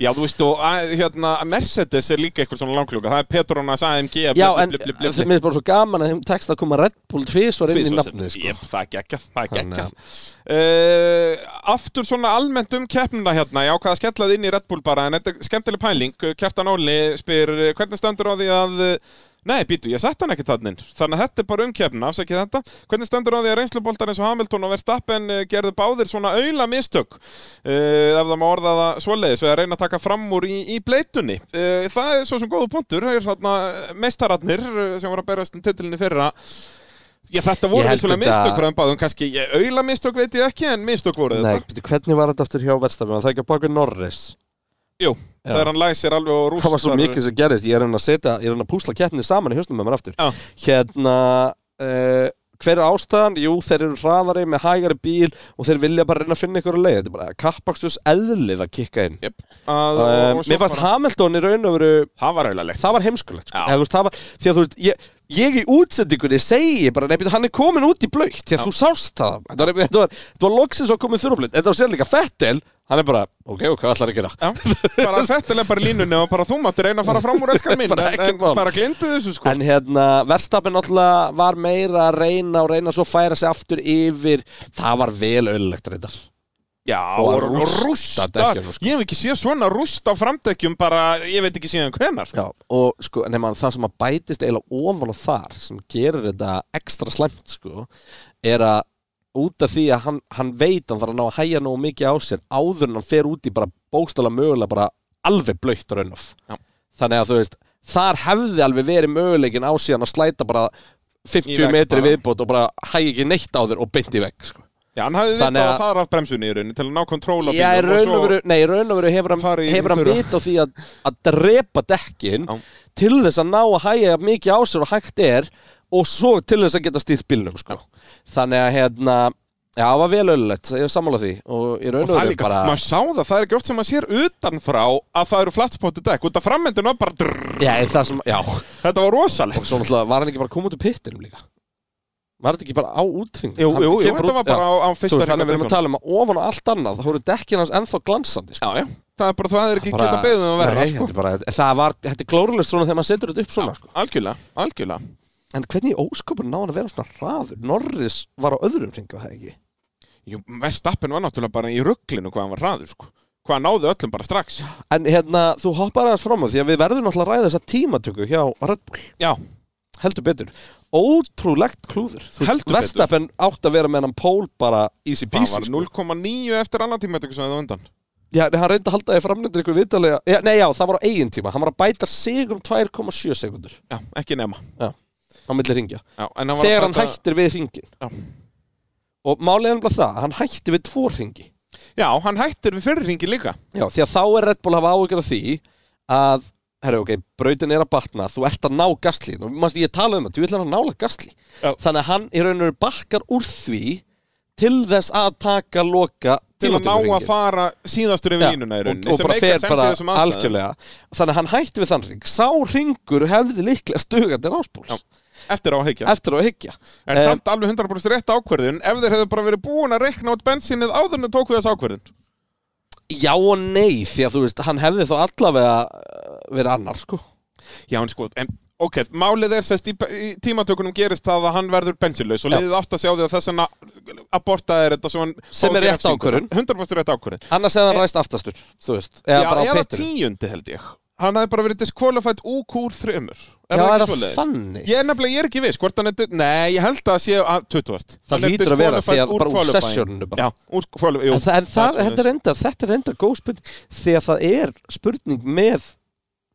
Já, þú veist, og að, hérna, Mercedes er líka eitthvað svona langklúka Það er Petronas AMG Já, en mér finnst bara svo gaman að þeim tekst að koma Red Bull tvísvar inn í nafnið sko. Jep, það er geggjað, það er Þannig að- geggjað uh, Aftur svona almennt um keppnuna hérna Ég ákvað að skella það inn í Red Bull bara En þetta er skemmtileg pæling Kjartan Óli spyr eh, hvernig stendur á því að eh, Nei, býtu, ég sett hann ekki þannig Þannig að þetta er bara um keppnuna, afsækið þetta Hvernig stendur á því að reynsluboltar eins og Hamilton og Verstappen eh, gerðu báðir svona auðla mistök uh, Ef það má orða það svoleiðis Við að reyna að taka fram úr í, í bleitunni uh, Það er svo sem góðu punktur Það er svona meistararnir eh, sem voru að berast um titilinni fyrra Já, þetta Ég voru held vissulega þetta- mistök frá þeim báðum, kannski ég, auðla mistök veit ég ekki, en mistök voru Nei, þetta. betur, hvernig var þetta aftur hjá Verstafjörn? Það er ekki að baka Norris Jú, Já. þegar hann læsir alveg og rúst. Það var svo mikið sem gerist, ég er hann að setja Ég er hann að púsla keppnið saman í hausnum með mér aftur Já. Hérna uh, Hver er ástæðan? Jú, þeir eru hraðari með hægari bíl og þeir vilja bara reyna að finna ykkur að leið Þetta er bara kappaksturs eðlið að kikka inn Jep. Að, Um, og, og Mér fannst Hamilton í raun og veru Það var auðla leitt. það var heimskulegt sko. Já. Eða, þú veist, það var, því að þú veist ég, ég í útsendingunni segi bara nefnir hann er komin út í blöitt því að Já. þú sást það þetta var, þetta var, þetta var loksins að komið þurrumlitt þetta var sér líka Fettel hann er bara ok, ok, hvað ætlar að gera Já, bara settilega bara í línunni og bara þú mátti reyna að fara fram úr elskar minn, [LAUGHS] Bara en, ekkert en mál. bara glindu þessu sko. En hérna, verðstapin náttúrulega var meira að reyna og reyna svo að færa sig aftur yfir Það var vel öllulegt reyndar Já, og og að rústa rústa. dekkjunum, sko. Ég hef ekki séð svona rústa á framdekkjum bara, ég veit ekki síðan hvenar. Sko. Já, og sko, nema það sem að bætist eiginlega ofan á þar sem gerir þetta ekstra slæmt sko, er að út af því að hann, hann veit að hann þarf að ná að hæja nógu mikið á sér áður en hann fer út í bara bókstala mögulega bara alveg blöytt raunof Já. þannig að þú veist, þar hefði alveg verið möguleikin á síðan að slæta bara Í 50 vegg metri bara. viðbót og bara hæja ekki neitt á þér og beint í vegg sko. Já, hann hafði Þannig þetta að að- fara af bremsunni í rauninni til að ná kontróla Já, í raun og veru, nei, í raun og veru hefur hann, Fara í hefur hann fyrra. vit á því að, að drepa dekkin Já. til þess að ná að hæja jafn mikið á sér og hægt er og svo til þess að geta stýrt bílnum, sko. Þannig að, hérna, já, það var vel öllulegt, ég er sammála því og í raun Og og það er veru líka, bara... maður sá það, það er ekki oft sem maður sér utanfrá að það eru flatspottu dekk, út af frammyndinu var bara drrrr, Já, en það sem, já, og þetta var rosalegt. svo náttúrulega var hann ekki bara að koma út úr pittinum líka. Var þetta ekki bara á útring? Jú, jú, jú, þetta var bara á, á Þú fyrsta veist, þannig að við erum að hringadekkunum. tala um að ofan á allt annað, þá voru dekkin hans ennþá glansandi, sko. Já, já, það er bara það er ekki bara, geta beðið um að vera Nei, sko. þetta er bara, það var, þetta er glórulegt svona þegar maður setur þetta upp svona, sko. Algjörlega, algjörlega En hvernig í ósköpun náði hann að vera svona hraður? Norris var á öðrum ringu, það ekki? Jú, Verstappen var náttúrulega bara í rugglinu hvað hann var hraður sko. Hvað hann náði öllum bara strax En hérna, þú hoppar aðeins fram á því að við verðum alltaf að ræða þessa tímatöku hjá Red Bull. Já, Heldur betur. Ótrúlegt klúður. Þú veist, Heldur betur. Verstappen átt að vera með hann pól bara easy það peasy. sko. var 0,9 eftir annan tíma sem það undan Já, en hann reyndi að halda því framlendur ykkur viðtalega. Já, nei, já, það var á eigin tíma. Hann var að bæta sig um 2,7 sekundur Já, ekki nema á milli ringja. já, en var að Þegar hann taka- hættir við ringin. Já. Og málið er bara það, að hann hætti við tvo ringi. Já, hann hættir við fyrir ringin líka Já, því að þá er Red Bull að hafa áhyggjur af því að, herru, ok, brautin er að batna, þú ert að ná gaslín og mannst ég talaði um það, þú ætlar að nála gasli Já. þannig að hann í raun og veru bakkar úr því til þess að taka loka Til að ná að tímatökuhringinn. fara síðastur yfir Já, línuna í og, rauninni og sem bara make fer sense í bara þessum aðstæðum. algjörlega þannig að hann hætti við þann ring sá ringur hefði líklega stugandi ráspúls eftir á að hyggja eftir á að hyggja En Eh, samt alveg 100% rétt ákverðun ef þeir hefðu bara verið búin að rekna át bensinnið áður en þeir tók við þess ákverðun Eh, Já og nei, því að þú veist, hann hefði þá allavega eh, verið annar, sko Já, en sko, en ok, málið er sérst í, í tímatökunum gerist það að hann verður bensinlaus og Já. liðið átt að sjá því að þess að abortað er þetta svo hann Sem er fái rétt refsingu. ákvörðun. 100% rétt ákverðun Annars hefði hann ræst aftastur, þú veist Eða Eh, Já, bara á eða pitinu tíundi held ég Hann hefði bara verið diskvalifætt úk úr þrjumur Já, er ekki það svoleiðis? þannig? Ég er nefnilega, ég er ekki viss hvort hann er di- Nei, ég held að það sé að 20. Það Hann er hlýtur að vera því disqualified að bara úr qualifying. sessioninu bara. Já, úr qualifying, jú En, það, en það, er þetta, er enda, þetta er enda góð spurning því að það er spurning með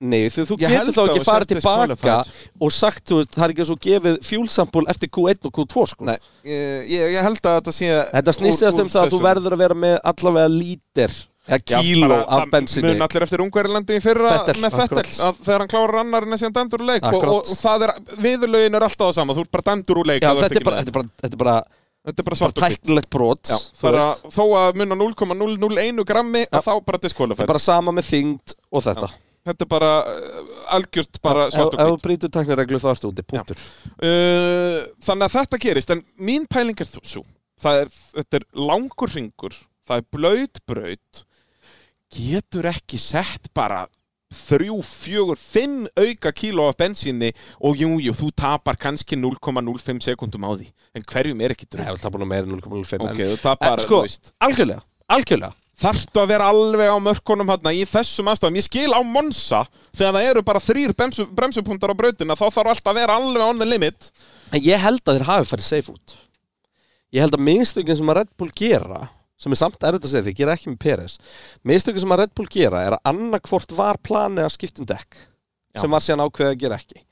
nei, því þú Ég held getur þá að ekki þú farið sért tilbaka disqualified. og sagt, þú veist, það er ekki svo gefið fjúlsampul eftir Q1 og Q2 sko. Nei, ég, ég- ég held að þetta sé þetta snýstast um það að þú verður að vera með allavega lítir eða kíló af bensinni Mun allir eftir Ungverjalandi í fyrra Fettel, með Fettel akkurat. að Þegar hann klárar annar en þessi hann dæmdur úr leik og, Akkurat. og það er, viðurlögin er alltaf það sama Þú ert bara dæmdur úr leik Já, ef þú ert þetta, er ekki bara, með. þetta, er bara, þetta er bara, þetta er bara bara svart og hvitt. tæknilegt brot Já, þú bara, veist. Þó að muna 0,001 grammi að þá bara þetta diskvalifætt er bara sama með þyngd og þetta Þetta er bara uh, algjört bara ef svart og ef þú hvitt brýtur tæknireglu þá ertu úti, punktur uh, Þannig að þetta gerist En mín pæling er þú svo Það er, þetta er langur ringur Það er blöyt braut Getur ekki sett bara þrjú, fjögur, fimm auka kíló af bensíni og jú, jú, þú tapar kannski 0,05 sekundum á því en hverjum er ekki Nei, drög það tapar nú meira en 0,05 en- ok, þú tapar, en, sko, þú veist algjörlega, algjörlega þarftu að vera alveg á mörkunum hérna í þessum aðstæðum. Ég skil á Monsa þegar það eru bara þrýr bremsu, bremsupunktar á brautina þá þarf allt að vera alveg on the limit. En ég held að þeir hafi farið safe út Ég held að minnstökin sem að Red Bull gera sem er samt erfitt að segja því, ég gera ekki með Peres minnstökin sem að Red Bull gera er að annarkvort var planið að skipta um dekk Já. sem var síðan ákveðið að gera ekki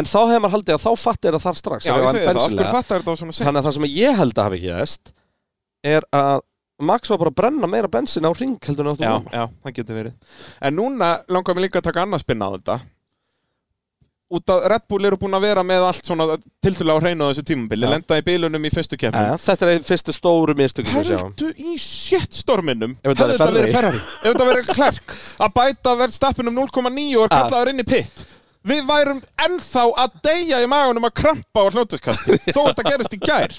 En þá hefði maður haldið að þá fatti þeirra þar strax Já, ef ég var segi það. Af bensinlega. hverju fattar þetta á svona seg? Þannig að það sem ég held að hafi gerst er að Max var bara að brenna meira bensin á ring heldur en áttu Já, vona. já, það getur verið. En núna langar mér líka að taka annað spinna á þetta. Út að Red Bull eru búin að vera með allt svona tiltulega á hreinu á þessu tímabili, Já. lenda í bilunum í fyrstu keppnum. Jæja, Þetta er einn fyrstu stóru mistökin sem við sjáum. Hældu í shitstorminum Ef þetta verið Ferrari. Ferrari Ef þetta verið [LAUGHS] Klerk Að bæta verðstappin um 0,9 og er Ah. kallaður inn í pitt Við værum ennþá að deyja í magunum að krampa á hljótuskasti [LAUGHS] Þó þetta gerist í gær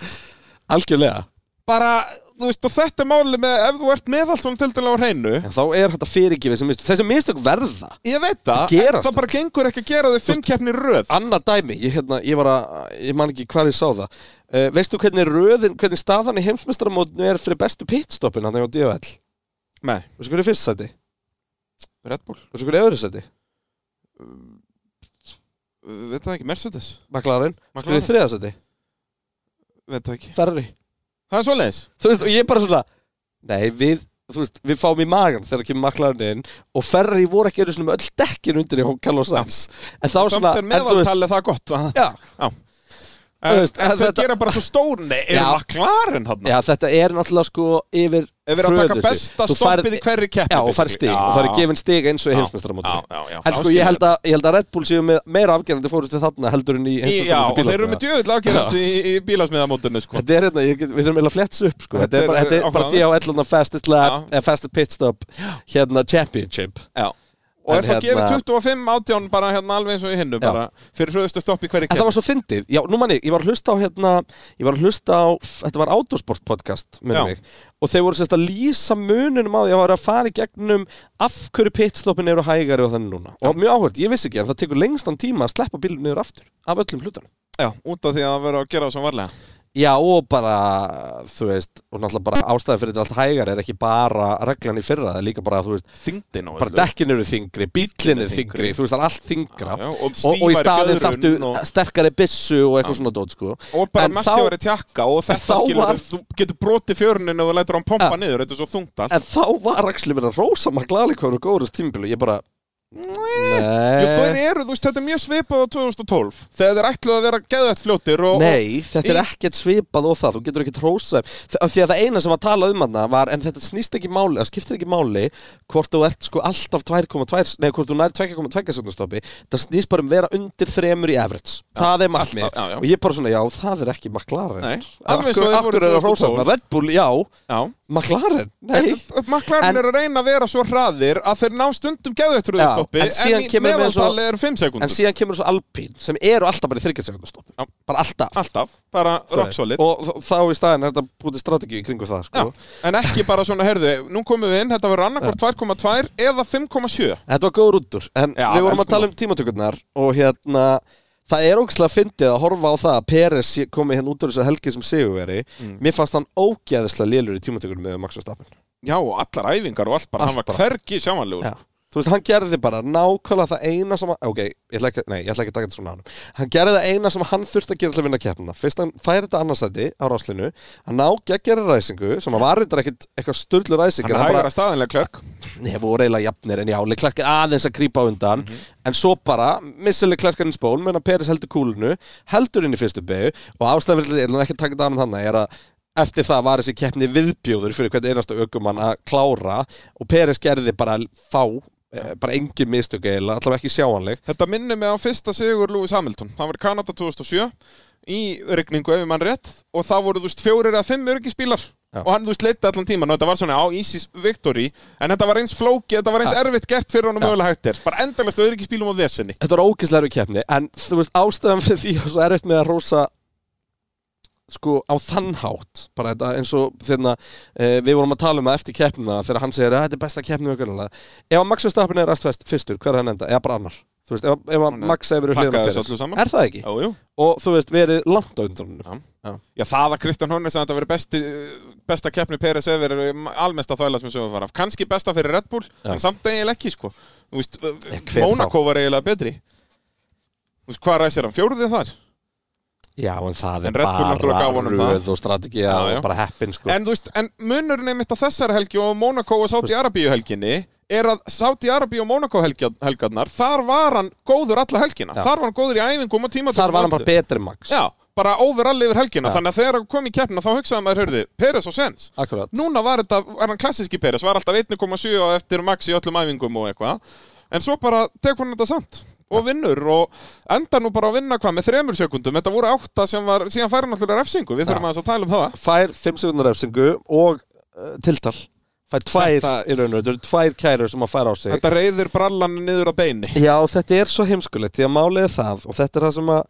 Algjörlega Bara, þú veist, og þetta er máli með Ef þú ert með allt svona tildulega á hreinu En þá er þetta fyrirgifir sem mistök Þessi mistök verða Ég veit það, Það en gerast það bara gengur ekki að gera þau fimm keppni í röð Annað dæmi, ég, hérna, ég var að, ég man ekki hvað ég sá það uh, Veistu hvernig röðin, hvernig staðan í heimsmestramótinu er fyrir bestu pitstoppin hann á DFL? Nei, Veistu hverju fyrst sæti? Red Bull, Veistu hverju öðru sæti? Uh, veit það ekki, Mercedes McLaren Veistu McLaren. hverju þriða sæti? Veit það ekki Ferrari Það er svoleiðis Þú veist, og ég er bara svona Nei, við, þú veist, við fáum í magan þegar kemur McLaren inn og Ferrari voru ekki einu svona með öll dekkin undir í Hokkall og Sams En þá Samt svona, er en þú veist meðaltalið það gott Já, En, Þú veist, en en þau þetta- gera bara svo stórni Er Já. McLaren hann? já, þetta er náttúrulega sko yfir Ef við erum að taka hröðustu. besta Þú færð- stoppið í hverri keppni Já, og fær stig, og það er gefin stig eins og í Já, já, heimsmestramótinu já, já. En Þá sko skil ég ég. held, að, ég held að Red Bull séu með meira afgerandi fórustu þarna heldur en í Já, og heimsmestramótinu þeir eru með djöfull afgerandi í, í bílasmiðamótinu sko. Þetta er hérna, ég, get- við þurfum eiginlega að fletsa upp sko. Þetta Þetta er bara, er þetta er bara áhugavert. DHL -una fastest, lap, Já. eh, fastest pit stop hérna championship Og er En það gefið hérna- 25 átján bara hérna alveg eins og í hinnu bara fyrir hröðustu stopp í hverri En það keppni var svo fyndið, já, nú manni, ég var að hlusta á hérna, ég var að hlusta á, þetta var Autosport podcast, Já. minnum mig, og þeir voru sérst að lýsa mununum á því að vera að fara í gegnum af hverju pitstoppin eru hægari og þannig núna. Og mjög áhört, ég vissi ekki, en það tekur lengstan tíma að sleppa bílun niður aftur, af öllum hlutunum. Já, út af því að það verður að gera það svo varlega Já, og bara, þú veist, og náttúrulega bara ástæði fyrir þetta allt hægari er ekki bara reglan í fyrra, það er líka bara, þú veist, Þingdin og bara dekkin eru þingri, bílin eru þingri, þú veist, það er allt þingra. Já, já, og og, og í stífari staðin fjöðrun þarftu og- sterkari byssu og eitthvað svona dót, sko. Og bara En massífari tjakka og þetta þá skilur var- þú getur brotið fjörnin og þú lætur hann pompa Ja. niður, þetta er svo þungt allt En þá var Axli verið að rósa maglali hvað eru góður tímabili Ég bara Jú, þeir Nei, eru, þú veist, þetta er mjög svipað á 2012 þegar þeir ætluðu að vera geðvægt fljótir og, og Nei, þetta er ekkert svipað og það Þú getur ekkert rósa Þ- af Því að það eina sem var talað um hana var En þetta snýst ekki máli, það skiptir ekki máli Hvort þú ert sko alltaf 2,2 Nei, hvort þú nær 2,2 sekundastoppi Það snýst bara um vera undir þremur í average Það er markmið alltaf, já, já. Og ég bara svona, já, það er ekki McLaren Nei, alveg Akkur, eins og þeir voru akkur er að rósa 2012. hana Red Bull, já, Já. eh, McLaren Nei, Maklarinn En- er að reyna að vera svo hraðir að þeir ná stundum geðvættur úr Já, þessu sekundustoppi en síðan í kemur við með svo- meðaltal er 5 En sekundur síðan kemur þessu Alpín sem eru alltaf bara í þryggjarsekundastoppi Já. Bara alltaf, Alltaf, bara þú rock veist. solid Og þ- þá í staðin er þetta bútið strategíu í kringu það Já, sko. en ekki bara svona, herðu, nú komum við inn, þetta verður annarkvort 2,2 eða 5,7 Þetta var góður útdur En Já, við vorum elskum að tala um tímatökurnar Og hérna Það er ógislega fyndið að horfa á það að Peres komi hérna út úr þessu helgi sem sigurveri Mm. Mér fannst hann ógeðislega lélur í tímatökunum með Max Verstappen Já, og allar æfingar og allt bara, Allt hann var bara. hvergi sjáanlegur Þú veist, hann gerði bara nákvæmlega það eina sem hann, ok, ég ætla ekki, nei, ég ætla ekki að taka þetta svona á hann Hann gerði það eina sem hann þurfti að gera til að vinna keppnina Fyrst hann færi þetta annarsæti á ráslinu Hann ná geggjari ræsingu, sem hann var reyndar ekkit eitthvað sturlu ræsing Hann en er hann bara- hægra staðanlega klörk Nei, voru eiginlega jafnir en já, Leclerc er aðeins að grípa á undan en svo bara, missa Leclerc inn í spól meðan að Peres heldur kúlunu, heldur inn í fyrstu begu og ástæðan fyrir því, ég ætlum ekki að taka þetta annað þannig er að eftir það var þessi keppni viðbjóður fyrir hvert einasta aukumann að klára og Peres gerði bara fá eh, bara engin mistök eiginlega, allavega ekki sjáanleg Þetta minnir mig á fyrsta sigur Lewis Hamilton Hann var í Kanada 2007 í rigningu ef ég mann rétt og það voru þú veist fjórir eða fimm örgisbílar Já. og hann þú veist leiti allan tíman og þetta var svona á Easy Victory en þetta var eins flóki, þetta var eins erfitt gert fyrir honum Já. mögulega hægt er bara endalast örgisbílum á vesenni Þetta var ógeðslega erfið keppni En þú veist, ástæðan fyrir því og svo erfitt með að rosa sko á þann hátt bara þetta eins og þeirna e, við vorum að tala um það eftir keppnina þegar hann segir að þetta er besta keppni okkurlega ef að Max Verstappen er rastfest fyrstur, hver er hann enda? eða bara annar, þú veist, ef, ef að Hann er- Max hefur verið hliðan á Pakkaði þessu Peres, allu saman er það ekki? Jú, jú. og þú veist, verið langt á undan honum. Já. Já, það að Kristján Hornes að þetta veri besti, besta keppni Peres efer almesta þvæla sem sögum fara af. Kanski besta fyrir Red Bull, Já. en samt eiginlega ekki, sko. Þú veist, hver Monaco var eiginlega betri. Þú veist, hvað ræsir hann? Fjóruðið þar? já, en það En er Red Bull náttúrulega gaf bara honum það. röð og strategið Já, já. og bara heppin sko. En þú veist, en munurinn einmitt á þessari helgi og Monaco og Sáti Arabíu helginni er að Sáti Arabíu og Monaco helgja- helgarnar, þar var hann góður alla helgina. Já. Þar var hann góður í æfingum og tímatökum. þar var hann og öllu. bara betri en Max Já, bara overall yfir helgina. Já. Þannig að þegar hann kom í keppna þá hugsaði maður, hörðu, Peres og Sens. akkurat Núna var þetta, var hann klassíski Peres, var alltaf 1,7 á eftir Max í öllum æfingum og eitthvað. En svo bara tekur hann þetta samt og vinnur og endar nú bara að vinna hvað með þremur sekundum. Þetta voru átta sem var, síðan færi náttúrulega refsingu, við þurfum Já. aðeins að tala um það. fær 5 sekundar refsingu og uh, tiltal fær tvær, Þetta- í raun og veru, tvær kærur sem að fær á sig Þetta reyðir brallan niður á beini. já, þetta er svo heimskulegt því að málið er það og þetta er það sem að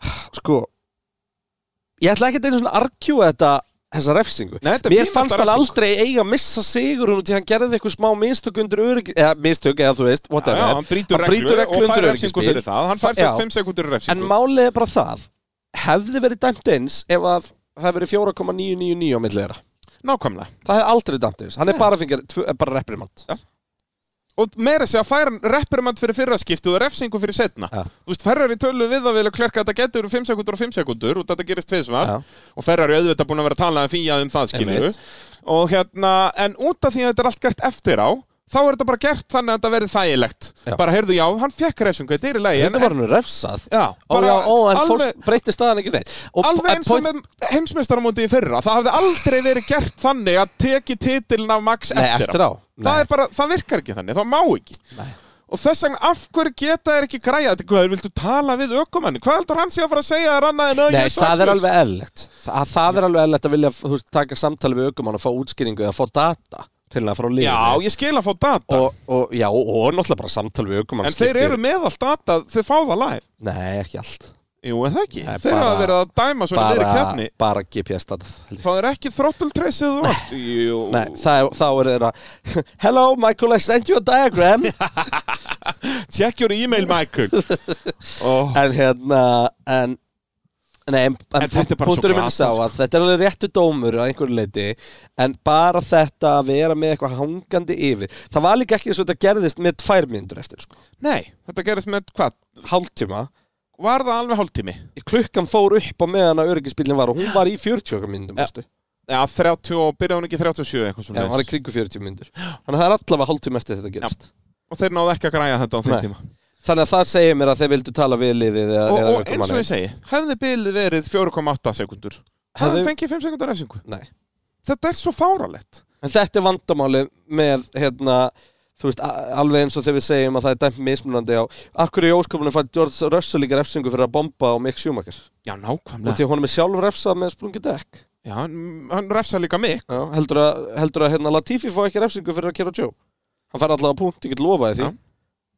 [SIGHS] sko ég ætla ekki að einu svona argjúa þetta þessa refsingu Nei, þetta er Mér fínasta fannst hann refsing. aldrei eiga að missa sigur hún því hann gerði eitthvað smá mistök undir örygg eða mistök eða þú veist, Já, whatever já, hann brýtur Hann brýtur reglu reglu og fær undir refsingu öryggisbíl. fyrir það. Hann fær Já. sér 5 sekundur En refsingu. málið er bara það hefði verið dæmt eins ef að það hefði verið 4,999 á milli þeirra Nákvæmlega. Það hefði aldrei dæmt eins, hann er bara, fengið, eh, tvö- bara reprimand Og meira sér að færa reprimand fyrir fyrraskipti og refsingu fyrir setna. Já. Þú veist, Ferrari tölu við að vilja klerka að þetta getur 5 sekundur og 5 sekundur og þetta gerist tvisvar. Já. Og Ferrari auðvitað búin að vera að tala um fíja um það, skilur Einmitt. Og hérna, en út af því að þetta er allt gert eftir á, þá er þetta bara gert þannig að þetta verði þægilegt. Já. Bara, heyrðu, já, hann fekk refsingu, þetta er í lagi. en- Þetta var hann refsað Já, Ó, já, ó, en alveg- alveg, fólk breytti staðan ekki neitt og, Alveg eins og point- með heimsmeistaramóti í fyrra Það hafði aldrei verið gert þannig að teki titilin af Max Nei, eftir á Það, er bara, það virkar ekki þannig, það má ekki Nei. Og þess vegna, af hverju geta þær ekki græja þetta? Hvað, viltu tala við ökumenni? Hvað heldur hann sé að fara að segja þér annað en "Ö, ég Nei, það er saklaus?" alveg eðlilegt það, það er alveg eðlilegt að vilja þú veist, taka samtali við ökumann og fá útskýringu eða fá data hreinlega frá liðinu Já, ég skil að fá data og, og, já, og og náttúrulega bara samtali við ökumann En þeir eru með allt data, þeir fá það live Nei, ekki allt Jú, en það ekki, Nei, þeir bara- hafa verið að dæma svona bara, niður í bara, kefni bara GPS datað held ég. Fá þeir ekki þrottultreysið og [LAUGHS] allt Jú, Nei, það, er- þá er þeirra [LAUGHS] Hello Michael, I sent you a diagram check your email, [LAUGHS] Michael oh. En hérna En, nei, en, En þetta er bara svo punkturinn minn glatað, sá sko. að Þetta er alveg réttu dómur að einhverju leiti En bara þetta að vera með eitthvað hangandi yfir Það var líka ekki eins og þetta gerðist með tvær myndur eftir sko. Nei, þetta gerist með hvað? Hálftíma Var það alveg hálftími? Klukkan fór upp á meðan að öryggisbílinn var Og hún var í 40 myndum Ja, veistu? Já, 30, og byrjaði hún ekki 37 eitthvað Já, svona hún var í kringu 40 myndur Þannig að það er allavega hálftíma eftir þetta gerist Og þeir náðu ekki að græja þetta á þeim Nei. tíma Þannig að það segir mér að þeir vildu tala við liðið eða, og, eða og eins og ég segi, hefði bilið verið 4,8 sekundur Það Hefði- fengið 5 sekundar refsingu Nei Þetta er svo fáralegt En þetta er vandamálið með hérna, þú veist, a- alveg eins og þegar við segjum að það er dæmt mismunandi á Akkur í ósköpunum fær George Russell líka refsingu fyrir að bomba á Mick Schumacher Já, og nákvæmlega því að honum er sjálf refsað með sprungið dekk Já, hann hann refsa líka mig Já, heldur að, heldur að hérna, Latifi fá ekki refsingu fyrir að kera Joe Hann fær allavega punkt, ég get lofaði því Já.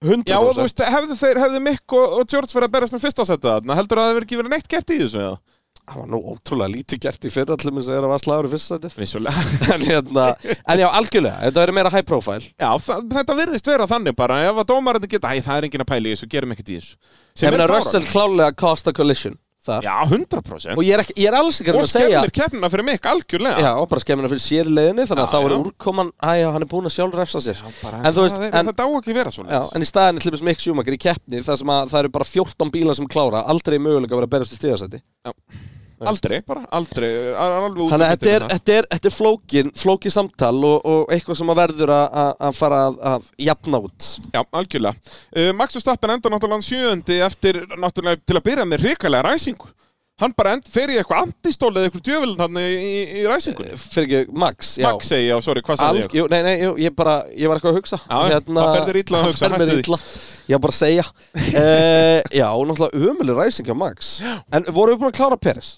100% Já, og þú veist, hefðu, þeir, hefðu Mick og, og George verið að berast um fyrsta setja þarna, heldur það að það hefur ekki verið neitt gert í þessu eða? það var nú ótrúlega lítið gert í fyrra til þess að það var slagur í fyrsta sætið [LAUGHS] Vissulega. en, hérna, en já, algjörlega, þetta verið meira high profile [LAUGHS] Já, það, þetta virðist vera þannig bara, ef að dómarinn geta, æ, það er enginn að pæla í þessu, gerum ekkert í þessu. Sem ég er meina Hérna, Russell fáránlegt. klálega cost a collision þar Já, 100%. og ég er, ekki, ég er alls ekki að Og, og reyna að segja skemmir keppnina fyrir Mick algjörlega. já, og bara skemmina fyrir sér í leiðinni þannig að Já, þá er já. úrkoman, aðja, hann er búin að sjálf refsa sér bara, en þú veist, það, er, en, þetta á ekki að vera svona. já, en í staðinni til þess Mick Schumacher í keppni þar sem að það eru bara 14 bílar sem klára aldrei mögulega að vera að berast í stíðasæti Aldrei, bara, aldrei, al- alveg út. Þannig í að þetta er, myndina. þetta er, þetta er flókin, flókin samtal og, og eitthvað sem að verður að, að, að fara að, að jafna út. Já, algjörlega. Uh, Max Verstappen enda náttúrulega sjöndi eftir, náttúrulega, til að byrja með hrikalega ræsingu. Hann bara end, fer í eitthvað antistól eða eitthvað djövelin hann í, í, í ræsingunni. Fyrir ekki, Max, Eh, já. Max segi, já, sorry, hvað sagði Alg, ég? jú, nei, nei, jú, ég bara, ég var eitthvað að hugsa Hérna, Já, það fer þér illa að það hugsa, fer hættu mér því. illa. Ég var bara að [LAUGHS] segja uh, Já, og náttúrulega ömuleg ræsing á Max En voru við búin að klára Peres?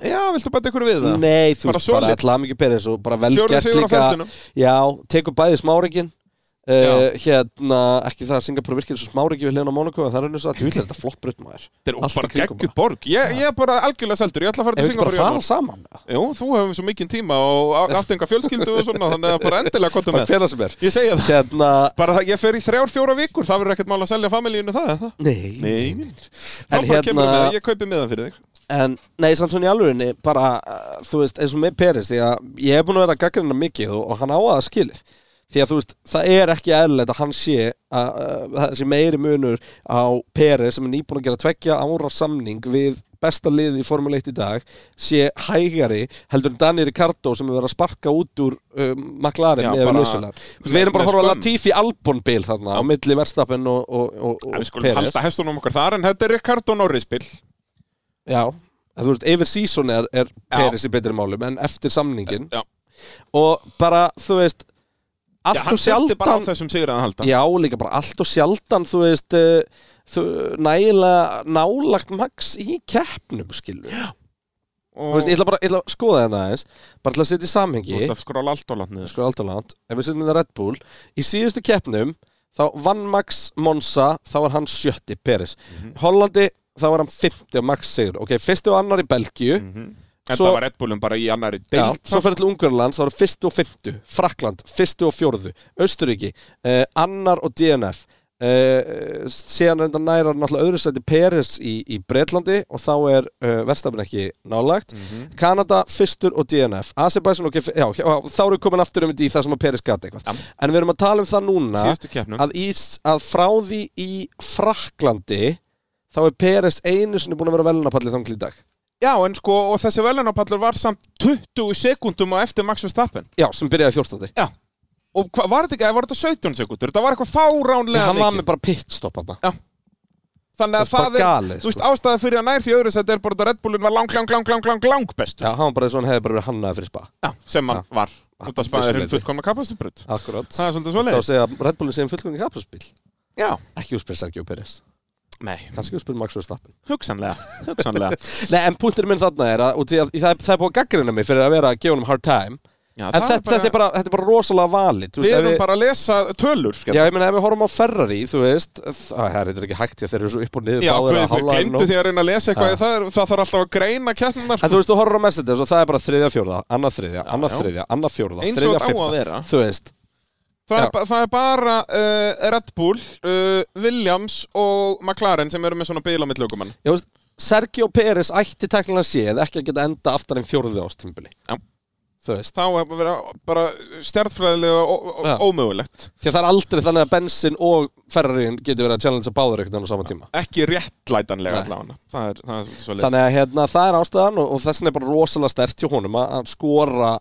Já, viltu bæta ykkur við það? Nei, Bara þú veist bara solid. allavega mikið Peres og bara vel Fjórða gert sigur á líka ferlinum. Já, tekur bæði smáringin uh, Já. Hérna, ekki það að Singapur virkir svo smáringi við hliðan á Monaco en það er nýst að tjúlega þetta flott brutt maður Þetta er Allt í bara kringum geggjur borg. Ég, ég er bara algjörlega seldur. Ég ætla að fara Ef til við ekki Singapur bara í janúar. fara saman Jú, þú hefum svo mikinn tíma og á- allt enga fjölskyldu og svona, þannig að bara endilega kontum með. Bara hver það sem er Ég segja það. Hérna, Bara það, ég fer í þrjár, fjóra vikur, það verður ekkert mál að selja familíinu það, eða það? nei, Nei. Þá En bara hérna- kemur með, ég kaupi miðan fyrir þig. En, nei, samt svona í alvörinni, bara, uh, þú veist, eins og með Peris, því að ég hef búin að vera að gaggrina mikið og, og hann á að skilið. Því að, þú veist, það er ekki eðlilegt að hann sé, að, uh, það sé meiri munur á Peris sem er nýbúin að gera tveggja ára samning við besta liðið í Formule 1 í dag, sé hægari heldur en Dani Ricardo sem er verið að sparka út úr um, McLaren Já, eða bara- lausunar. Við erum bara að með horfa á skömm. Latifi Albon-bil þarna á milli Verstappen og, og, og, En við og skulum Peres. halda hestunum okkar þar, en þetta er Ricardo Norris-bil. Já, að þú veist, yfir season er, er Já. Eh, Peris í betri málum en eftir samningin Já. og bara, þú veist allt Já, hann og seldi bara á sjaldan þessum sigur að halda. Já, líka bara allt og sjaldan þú veist, eh, þú, nægilega nálagt max í keppnum skilur, Já. þú Og veist, ég ætla bara ég ætla að skoða þetta aðeins, bara til að setja í þú samhengi ert að skróla allt og langt niður. sko alltaf langt, ef við setjum þetta Red Bull í síðustu keppnum, þá vann Max Monza, þá var hann sjötti Peris, Mhm. Hollandi, þá var hann 50 og Max sigur, ok, fyrstu og annar í Mhm. Belgíu Þetta Mhm. Svo- var Red Bullum bara í annari Já, deild. svo fyrir til Ungarlands, þá eru fyrstu og fymtu Frakland, fyrstu og fjórðu Östuríki, eh, annar og DNF eh, síðan reynda nærar náttúrulega öðru sæti Peres í, í Breitlandi og þá er eh, verstafin ekki nálagt Mhm. Kanada, fyrstur og DNF Azerbaijan, ok, f- já, já, þá erum við komin aftur um þetta í það sem að Peres gæti eitthvað Já. en við erum að tala um það núna Síðustu keppnum. að, í, að frá því í Fraklandi þá er Peres einu sinni búin að vera velunapallið þanglið í dag Já, en sko, og þessi velunarpallur var samt 20 sekundum á eftir Max Verstappen. Já, sem byrjaði 14. Já Og hva, var þetta ekki, var þetta 17 sekundur? Þetta var eitthvað fáránlega Hann var mikið með bara pitstop hann Þannig að Það er það bara er, galið, þú veist, sko. ástæða fyrir að nær því öðru Þetta er bara að Red Bullin var lang, lang, lang, lang, lang, lang bestu Já, hann var bara eins og hann hefði bara verið hannaði fyrir spa Já, sem hann var Út að vissu spæða hérna leyti. fullkomna kapasitbrut Akkurat Það er svona svo Þá leið segja að Red Bullin segja um fullkomni kapasbíl Já, Ekki úspyrir Sergio Pérez nei, Kannski úspyrir Max Verstappen [LAUGHS] hugsanlega, hugsanlega Nei, en punkturinn minn þarna er að, og því að það, er- það er búið að gaggrina mig fyrir að vera að gefa honum hard time Já, En þetta, þetta, er bara, þetta er bara rosalega valið þú Við ef erum bara að lesa tölur, Já, skemmt ég meina ef við horfum á Ferrari, þú veist Það það er þetta ekki hægt, því að þeir eru svo upp og niður Já, báðir við að hálfa þeim glemdu nóg. því að reyna að lesa eitthvað Já. í Það, er- það þarf alltaf að greina sko. kjarnar En þú veist, þú horfur á Mercedes og það er bara þriðja fjórða, annað þriðja, annað já. þriðja, annað fjórða, Eins og þriðja þetta á að fimmta. vera. Þú veist, Það er, Já. ba- það er bara uh, Red Bull, uh, Williams og McLaren sem eru með svona bíl á mitt lögumann Ég veist, Sergio Pérez ætti teknilega séð ekki að geta enda aftar en fjórðu ástumbili Já. Þú veist, þá er bara, bara stjartfræðilega ó- ó- Já. ómögulegt því að það er aldrei þannig að bensin og ferrariðin getur verið að challenge báður einhvern veginn á sama tíma ekki réttlætanlega Nei. allavega það er, það er svo leys Þannig að hérna, það er ástæðan og, og þessin er bara rosalega stert hjá honum að, að skora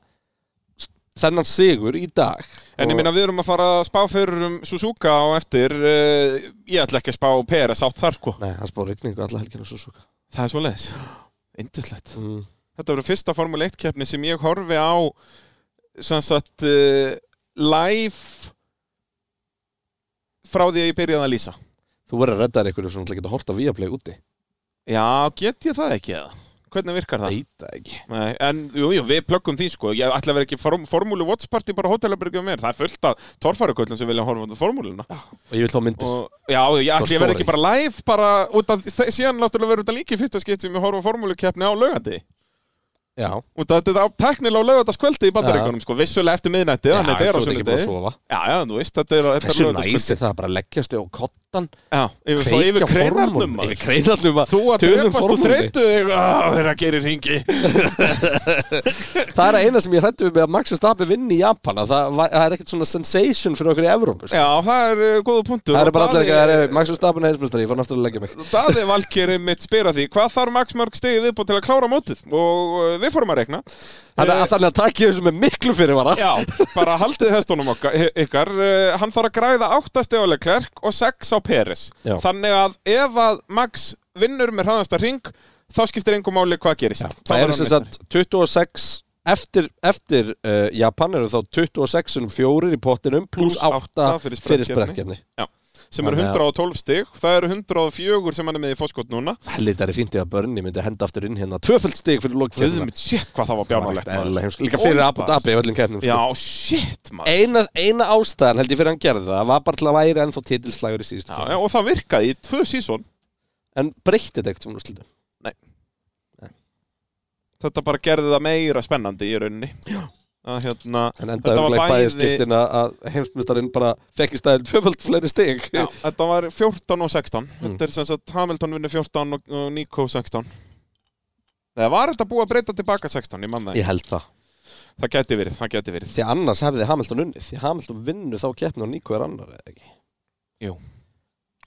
s- þennan sigur í dag en ég Og- minna við erum að fara að spá fyrir um Suzuka á eftir uh, ég ætla ekki að spá Peres átt þar sko Nei, hann spáði rigningu alla helginu svo svo það er svo leys indislegt mm. þetta verður fyrsta Formule 1 keppni sem ég horfi á sem sagt uh, live frá því að ég byrjaði að lýsa Þú verður að redda þér einhverju svona til að geta horta viaplay úti já, get ég það ekki eða? Hvernig virkar það? veit það ekki Nei, en jú, jú, við plöggum því sko Ég ætla að vera ekki form, formúlu Watch Party bara hótelabyrgjum mér Það er fullt af torfæruköllum sem vilja horfa á formúluna og ég vil þá myndir og, Já, ég ætla ég verði story. ekki bara live bara út af, þe- síðan náttúrulega verður þetta líki fyrsta skipt sem ég horfa á formúlukeppni á laugandi já, Út af þetta á teknilega á laugardaskvöldi í bandaríkunum sko, vissulega eftir miðnætti þannig að þetta er á þú ert ekki búin að sunnudegi. sofa Já, já, þú veist, þetta er á þetta er hversu laugardagskvöld. næs er það bara að leggjast á kottan Já, yfir, þá yfir kreinarnum maður. yfir kreinarnum Þú að tölum drefast og formúlunni. þreytu þig ah, Þeirra gerir [LAUGHS] hingi það er að eina sem ég hrættu við með að Max Verstappen vinni í Japan að það, var- það er ekkert svona sensation fyrir okkur í Evrópu sko. Já, það er uh, góða punktu það er bara allir ekki, það er Max Verstappen heimsmestari, ég fann aftur að leggja mig Daði Valkeri mitt spyr að því Hvað þarf Max Mörg stegi viðbúið til að klára mótið Og uh, við fórum að rekna þannig að- þannig að takk ég þessu með miklu fyrirvara Eh, Já, bara haldið hestunum okkar, ykkar uh, Hann þarf að græða 8 steguleg klerk og 6 á Peres Já. Þannig að ef að Max vinnur með hraðasta ring Þá skiptir engum máli hvað gerist Já, það eru sem sagt 26 eftir, eftir uh, Japan eru þá 26 sinum fjórir í pottinum pluss Plús 8 átta fyrir fyrir sprettkeppni. sprekkefni Sem eru Þannig að- 112 stig Það eru 104 sem hann er með í fóskot núna Hellitar er fínt ef að börni myndi henda aftur inn hérna tvöföld stig fyrir Guðum lokkefni mitt, shit, hvað það var bjánalegt líka fyrir Abu Dhabi í öllum keppnum sko. Já, shit, maður eina, eina ástæðan held ég fyrir að hann gerði það var bara til að væri ennþá titilslægur í síðustu Já, keppni. já, og það virkaði í tvö sísón en breytti þetta ekkert um úrslitum Þetta bara gerði það meira spennandi í rauninni Já að, hérna, en enda Þetta var örugglega í bæði bæði- skiptin að- að heimsmyndstarinn bara fekk í staðin tvöföld fleiri stig já, Þetta var 14 og 16 Mm. Þetta er sem sagt Hamilton vinnur 14 og, og Nico 16 Þegar var þetta búið að breyta tilbaka 16 Ég mann það, ég held það yeah. það geti verið Það geti verið því annars hefði Hamilton unnið því Hamilton vinnur þá keppni og Nico er annar eða ekki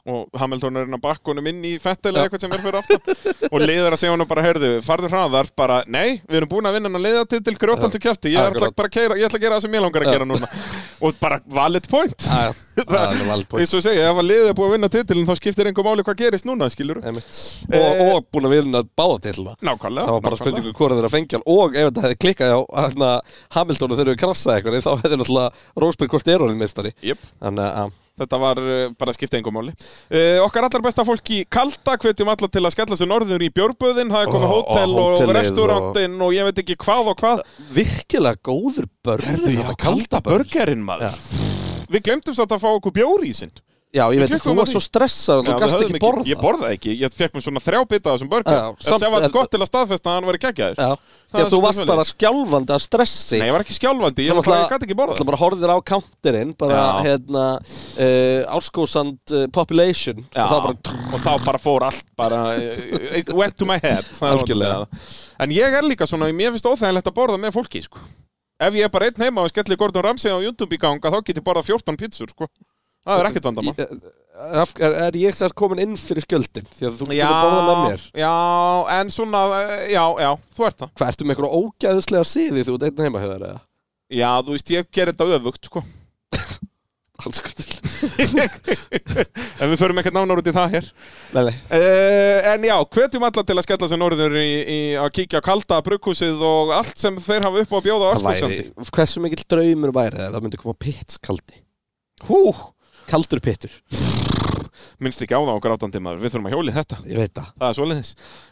Og Hamilton er inn að bakka honum inn í fettel Já. eða eitthvað sem er fyrir aftan [LAUGHS] Og leiðar að segja honum bara, heyrðu, farðu hraðar Bara, nei, við erum búin að vinna hann að leiða til til grjótaldu kæfti Ég ætla Akkurat. bara að keira, ég ætla að gera það sem ég langar að Já. gera núna Og bara valid point [LAUGHS] það er valpoint eins og segja, ef að liðið er búið að vinna titilin þá skiptir einhver máli hvað gerist núna, skilur Einmitt. Eh, og, og búin að vinna báða til það Nákvæmlega það var bara nákvæmlega. spurningu hvora þeirra fengi hann og ef þetta hefði klikkað á hérna, Hamilton og þeir eru krassað eitthvað þá hefði náttúrulega Rósberg hvort er orðin meistari Jöp, þannig að þetta var uh, bara að skipta einhver máli uh, Okkar allar besta fólk í Kalda hvetjum alla til að skella sig norður í Björböðin Það er komið Ó, og hótel og, og hótelið restaurantinn og... ég veit ekki hvað og hvað virkilega góður börn þetta hérna kalda börn. burgerinn maður Við glemtum satt að fá okkur bjór í sinn já ég veit Við að þú klukkum á var því. svo stressað og þú gast ekki borða Ég borðaði ekki, ég fekk mér svona þrjá bita af þessum burger Já, samt- Það var en- gott til að staðfesta að hann væri geggjaður Já, því Það er að þú svolítið varst bara skjálfandi af stressi Nei, ég var ekki skjálfandi, ég, Þú var bara, ég náttúrulega- gæti ekki borðað Þú bara horfðir á counterinn bara Já. hérna uh, áskósand uh, population Já, og það bara og þá bara fór allt bara, it went to my head það er gott að segja Algjörlega. það. en ég er líka svona, mér finnst óþægilegt að borða með fólki sko. ef ég er bara einn heima og skelli Gordon Ramsay á YouTube í ganga, þá get ég borðað 14 pizzur sko. það er ekkert vandamál Ég- eh, af- er, er ég þess komin inn fyrir skjöldin því að þú getur að borða með mér já, en svona eh, já, já, þú ert það hvað ertu með eitthvað ógæðislega siði þú ert einn heima hefur eða já, þú veist, ég ger þetta öfugt sko. alls sko til en við förum ekkert nánar út í það hér nei, nei. Uh, en já, hvetjum alla til að skella sér norður í, í að kíkja á kalda brugghúsið og allt sem þeir hafa upp á að bjóða á það Árskóðsandi. væri hversu mikill draumur væri það það myndi koma pits kaldi Hú, kaldur pittur minnst ekki á það á grátandi maður, við þurfum að hjóli þetta. ég veit það Það er svoleiðis.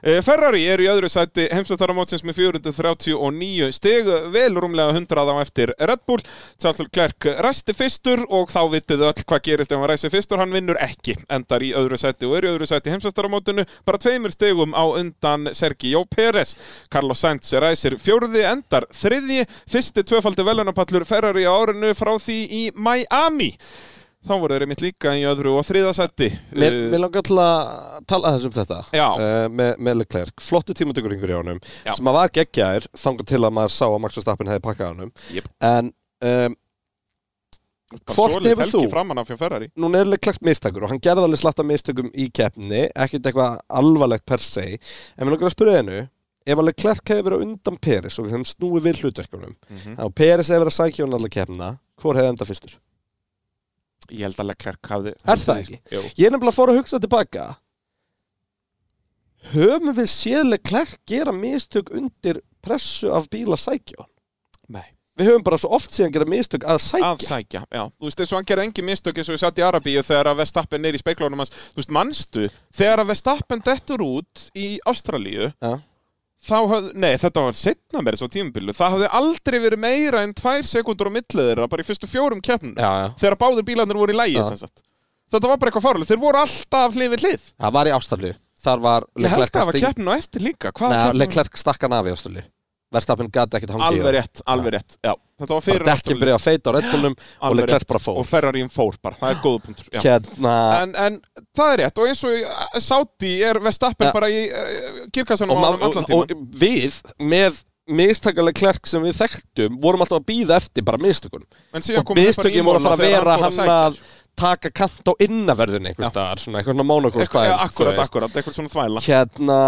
Eh, Ferrari eru í öðru sæti heimsvættaramótsins með 439 stig, vel rúmlega 100 á eftir Red Bull. Charles Leclerc ræsti fyrstur og þá vitið öll hvað gerist ef hann ræsti fyrstur, hann vinnur ekki. Endar í öðru sæti og eru í öðru sæti heimsvættaramótinu, bara tveimur stigum á undan Sergio Pérez. Carlos Sainz ræsir fjórði, endar þriðji, fyrsti tvöfaldi velunarpallur Ferrari á árinu frá því í Miami. Þá voru þeir mitt líka í öðru og þriða sæti. Mér, Eh, mér langar alltaf að tala aðeins um þetta Já. Eh, með, með Leclerc, flottu tímatökuringur í honum Já. sem að var geggjær þangað til að maður sá að Max Verstappen hefði pakkað honum Jep. en um, hvort Svolít hefur þú Eh, helgi framan af hjá Ferrari núna er Leclerc mistakur og hann gerði alveg slatta mistökum í keppni ekkert eitthvað alvarlegt per se en við langar að spyrja hennu ef að Leclerc hefði verið á undan Peris og við höfum snúið við hlutverkunum Mhm. þá Peris hefði verið að sækja hún allar keppna hvor hefði enda fyrstur? Ég held að Leclerc hafði Er það ekki? Jú. Ég er nefnilega að fóra að hugsa tilbaka Höfum við séðlega klærk gera mistök undir pressu af bíla sækja hann? Nei. Við höfum bara svo oft síðan gera mistök að sækja Að sækja, já Þú veist, eins og hann gerði engin mistök eins og ég satt í Arabíu þegar að Vestappen er í speiklónum hans Þú veist, manstu, þegar að Vestappen dettur út í Ástralíu Já. þá höfðu, nei þetta var setna meira svo tímubilu, það hafði aldrei verið meira en tvær sekundur á millið þeirra bara í fyrstu fjórum keppnum Já, já. þegar báðir bílarnir voru í lægi Já. sem sagt. þetta var bara eitthvað fárlega, þeir voru alltaf hlið við hlið Það var í ástaflu Þar var ég held að Leclerc það að var stig- keppnin og eftir líka Hvaða Nei, keppnin- Leclerc stakkan af í ástaflu Verstappen gæti ekkit hangið alveg rétt, alveg rétt já. þetta var fyrir Dekkin byrjaði að feita á Red Bullnum og Alveg Leclerc rétt. bara fór og Ferrarín fór bara, það er góða punktur já. Hérna en, en það er rétt og eins og í eh, Saudi er Vestappen Ja. bara í uh, kirkassanum á og, ma- honum og, allan og tíman við með mistakalega klerk sem við þekktum vorum alltaf að býða eftir bara mistökunum En síðan og komu þeir bara í mistökin voru að málana fara að þegar vera hann fór að hann sækja að taka kant á innaverðun einhvers Já. staðar, svona eitthvað svona mónokól Eitthvað- ja, akkurat, akkurat, eitthvað svona þvæla hérna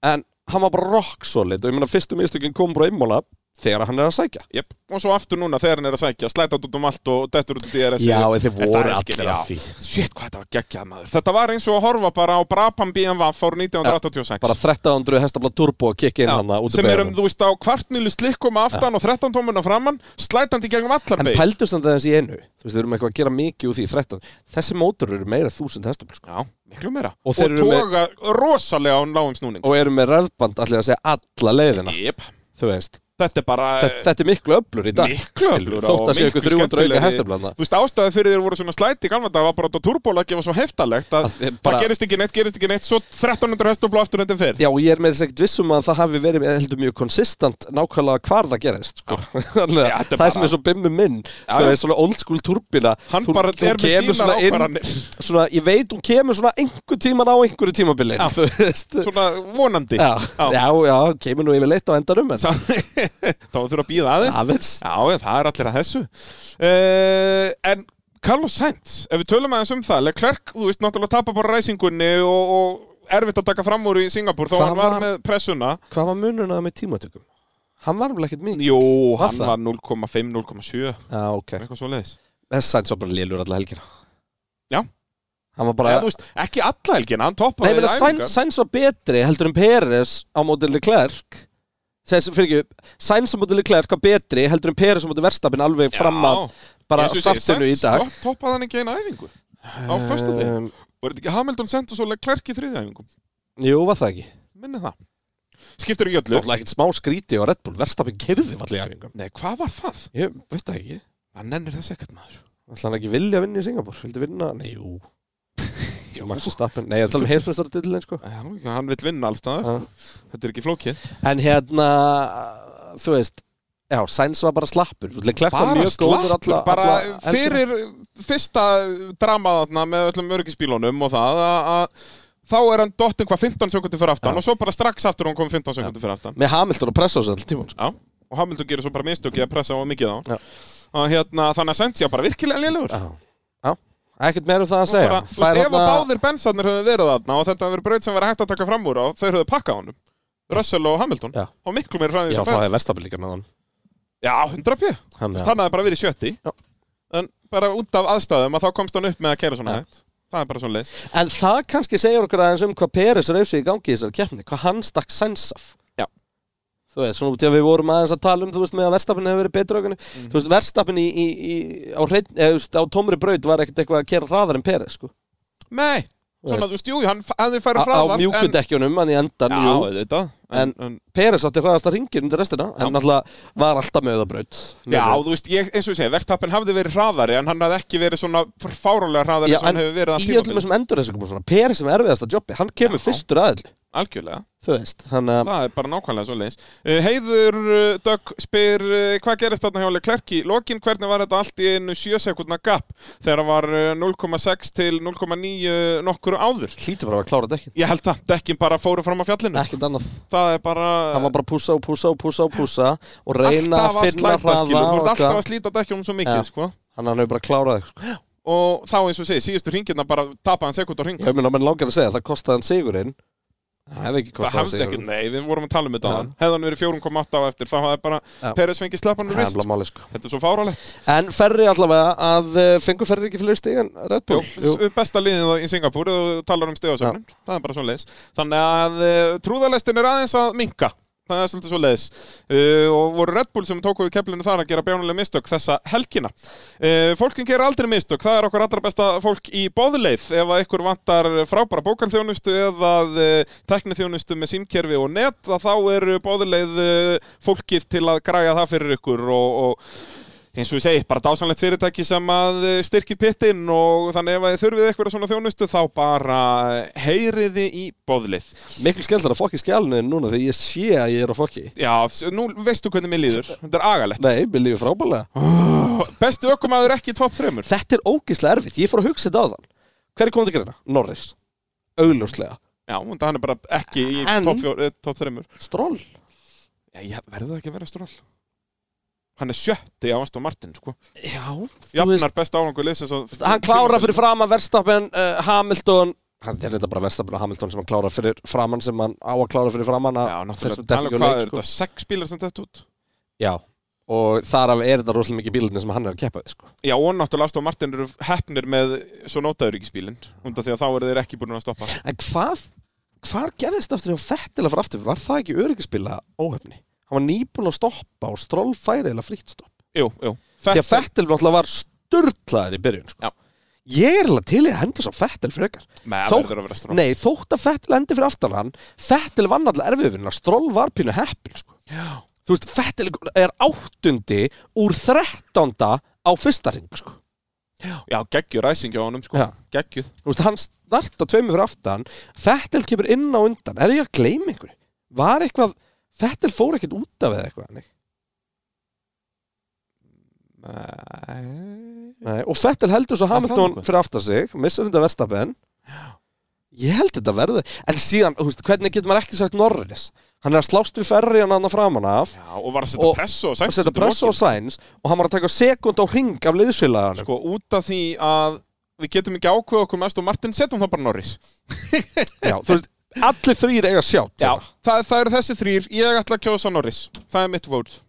en hann var bara rock solid og ég meina fyrstu mistökin kom bara einmála þegar hann er að sækja Jep. og svo aftur núna þegar hann er að sækja slætat út um allt og dettur út um DRS en þeir það er skil- já. Shit, hvað þetta var geggjað maður Þetta var eins og að horfa bara á Brabham BMW árið 1986 bara 1300 hestafla turbo að kikki inn Já, hann út sem í er um, berum þú veist, á kvartnýlu slikkum að aftan og 13 tómuna framann, slætandi í gegnum allar en beig. pældur samt aðeins í einu þú veist, við erum eitthvað að gera mikið úr því 13 þessi mótor eru meira 1000 hestafla sko. Já, miklu meira. Og Og, þeir eru með- toga rosalega á lágum snúning. og eru með rafband allir að segja alla leiðina Jep. þú veist, Þetta er bara... þetta, þetta er miklu öflur í dag Eh, Miklu skilur, öflugra þótt og að sé ykkur miklu 300 auka skemmtilegri. hestaflana Þú veist, ástæði fyrir þeir voru svona slæti í galvanda var bara að turbólagi var svo heftalegt að, Að þeir bara- það gerist ekki neitt, gerist ekki neitt, svo 1300 hestofla aftur enn þeim fyrr. Já, og ég er með þess ekkert vissum að það hafi verið ég heldur mjög konsistant nákvæmlega hvar það gerist sko. [LAUGHS] Þannig að Já, þetta er það er sem bara- er svo bimmi minn þegar er svona old school turbina Hann bara er með sínar ákvarðanir. svona, Ég veit hún kemur svona einhver tíman á einhverju tímabili Já. þú veist. Svona vonandi. já, já, já, kemur nú yfir leitt á endanum en Sá- [LAUGHS] Þá þurfa að býða aðeins. aðeins Já, en það er allir að þessu uh, En Carlos Sainz Ef við tölum aðeins um það Leclerc, þú veist, náttúrulega tapar bara ræsingunni og, og erfitt að taka fram úr í Singapur þó Það hann var, var- með pressuna Hvað var mununa með tímatökum? Hann var vel ekkert mikið Jú, Var hann það? var 0,5, 0,7 Já, ok eitthvað svo leiðis Þess sæns var bara lélur alla helgina Já. Hann var bara Eða, þú veist, ekki alla helgina, hann Nei, toppaði menn að Sainz, æfingar. Sainz var betri heldur en Peres á mótið Leclerc Þess, fyrir ekki, Sainz á mótið Leclerc var betri heldur en Peres á mótið Verstapin alveg fram að bara Eins og ég segi, startinu í Sainz dag topp- Toppaði hann ekki eina æfingu á föstu dag um, Var þetta ekki Hamilton sendt og svo Leclerc í þriðja æfingu Jú, var það ekki Minni það Skiptir ekki öllu Lóðlega ekkert smá skríti á Red Bull Verstapin kerði allir í æfingum Nei, hvað var það? Ég veit það ekki Hann nennir þess ekkert maður Ætla hann ekki vilja að vinna í Singapur Vildi vinna? Nei, [LAUGHS] jú Max Verstappen Nei, ég ætla um heimsmeistar dillin sko Já, hann vil vinna allstaðar Já. Þetta er ekki flókið. En hérna, þú veist Já, Sainz var bara slappur Leclerc var Bara mjög góður slappur, alla- bara alla helgina. fyrir fyrsta dramaðarna með öllum örgisbílunum og það að, að þá er hann dottinn hvað 15 sekundi fyrir aftan Já. og svo bara strax aftur hún kom 15 sekundi fyrir aftan. með Hamilton og pressa á sig allir tíman sko. Já, og Hamilton gerir svo bara mistöki að pressa á mikið á. Já. hann. Og hérna, þannig að Sainz ég bara virkilega lélugur. já, já, ekkert meira um það að segja Bara, þú veist, ef að báðir bensarnir höfðu verið þarna og þetta verið braut sem verið hægt að taka fram úr á, þau höfðu pakkað honum. Russell og Hamilton. Já. Og miklu meira fræðið sem já, það Benz. er verstafil líka með hann Já, 100 pjö. hann Þú er veist, hann hafði bara verið sjötti Já. en bara út af aðstæðum að þá komst hann upp með að kæra svona Já. hægt það er bara svona leis en það kannski segir okkur aðeins um hvað Peres reyfsi í gangi í þessari keppni hvað hann stakk Sainz af Já. þú veist, svona út í að við vorum aðeins að tala um þú veist, með að verstafin hefur verið betra augunni Mhm. þú veist, verstafin í, í, í, á, hreinn- eða, þú veist, á tómri braut var ekkert eitthvað að kera hraðar en Peres sko. nei, svona þú veist, jú, hann f- hefði á, færið frá á mjúkudekkjunum hann í endan, já, jú þetta en, en, Peres átti hraðasta ringir undir restina en náttúrulega var alltaf með það braut já, þú veist, ég, eins og ég segi, Verstappen hafði verið hraðari en hann hafði ekki verið svona fárálega hraðari sem hann hefur verið í allt öllum tíma þessum endurreysingum og svona Peri sem er erfiðasta jobbi, hann kemur Já. fyrstur aðall algjörlega, þú veist, þannig að það er bara nákvæmlega svona leis Heiður uh, Dögg spyr uh, hvað gerist þarna hjálega klerki lokin, hvernig var þetta allt í einu 7 sekundna gap þegar var uh, 0,6 til 0,9 nokkuru áður hlýtur bara að klára dekkin Ég held það, dekkin bara fóru fram á fjallinu ekkert annað, Það er bara, hann var bara að púsa og púsa og púsa og púsa og reyna alltaf að að finna slæta skilur Þú ert hraða alltaf að slíta dekkinum svo mikið Já. sko. hann hann hefur bara klárað eitthvað sko. Og þá eins og segi, síðustu ringirna bara tapaði hann sekund á ring ég meina, menn langar að segja, það kostaði hann sigurinn það hefði ekki Það kostaði hann hafði ekki, sigurinn nei, við vorum að tala um þetta Já. áðan. Hefði hann verið 4,8 á eftir, þá hafði bara Já. Peres fengið slappan úr Það er rist alveg máli, sko. Þetta er svo fárálegt en ferri allavega að eh, fengu ferri ekki fyrir stígan Red Bull Jú, s- Besta liðið það í Singapúr, þú talar um stegasögnum Það er bara svo leis Þannig að eh, trúðalestin er aðeins að minka það er svolítið svo leiðis uh, og voru Red Bull sem tóku við keflinu þar að gera bjánulega mistök þessa helgina uh, fólkin gerir aldrei mistök, það er okkur allra besta fólk í boðleið ef að ykkur vantar frábæra bókalþjónustu eða uh, tekniþjónustu með símkerfi og net að þá er boðleið uh, fólkið til að græja það fyrir ykkur og, og eins og ég segi, bara dásanlegt fyrirtæki sem að eh, styrkir pittinn og þannig ef að þið þurfið eitthvað svona þjónustu þá bara eh, heyriði í boðlið. Miklu skelltar að fokki skjálnu en núna þegar ég sé að ég er að fokki Já, s- nú veistu hvernig mér líður, þetta er agalegt. Nei, mér líður frábælega Bestu ökkumæður ekki í topp fremur. Þetta er ógeðslega erfitt, ég fór að hugsa þetta á þann Hver er komið til greina? Norris Augljóslega Já, en það hann er bara ekki í En- topp fjó- eh, topp fremur. Stroll Já, ég verður það ekki að vera stról. Hann er sjötti á Aston Martin, sko. Já, þú veist Jafnar besta árangur leysins. Hann klára fyrir framan Verstappen, uh, Hamilton Hann er þetta bara Verstappen og Hamilton sem hann klára fyrir framan sem hann á að klára fyrir framan að- Já, náttúrulega, þessum dettur tala ekki um úr hvað leik, er sko. þetta, sex bílar sem þetta út? Já, og þar af er þetta rosalega mikið bílarnir sem hann er að keppa við, sko. Já, og náttúrulega Aston Martin eru hefnir með svo nótaður ekki spílinn, undan því að þá eru þeir ekki búin að stoppa. En hvað, hvað gerðist aftur hjá Fettil að fara aftur? Var það ekki öryggispila óhefni? Hann var nýbúin að stoppa og stról færi eða frítt sko. stopp. Jú, jú. Því að Fettil náttúrulega var sturdlaður í byrjun, sko. Já. Ég er alveg til í að henda svo Fettil frekar. Nei, það Þó- verður að vera strá. Nei, þótt að Fettil endi fyrir aftan hann, Fettil vann alltaf erfiðvinna, stról var pínu heppin, sko. Já. Þú veist, Fettil er áttundi úr þrettánda á fyrsta ring, sko. Já, geggjur ræsing á honum, sko. Já. Geggjuð. Þú veist, hann starta tveimur fyrir aftan Fettel kemur inn á undan Er ég að gleyma einhverju? Var eitthvað Fettel fór ekkert út af eða eitthvað nei. Nei. Nei, Og Fettel heldur svo Hann fann Hamilton eitthvað. fyrir aftan sig Missar þetta Vestapen Ég held þetta verði En síðan, þú veist, hvernig getur maður ekki sagt Norris? Hann er að slást við ferri hann annað framan af Já, og var að setja Og- pressu á að Sainz setja undir pressa á lokin. Sainz og hann var að taka sekund á hring af liðsfélaganum Sko, út af því að við getum ekki ákveða okkur með Aston Martin, setjum það bara Norris. Já, þú veist, allir þrýr eiga sjátt hérna. Já. Það, það eru þessi þrýr, ég ætla að kjósa Norris. Það er mitt vót.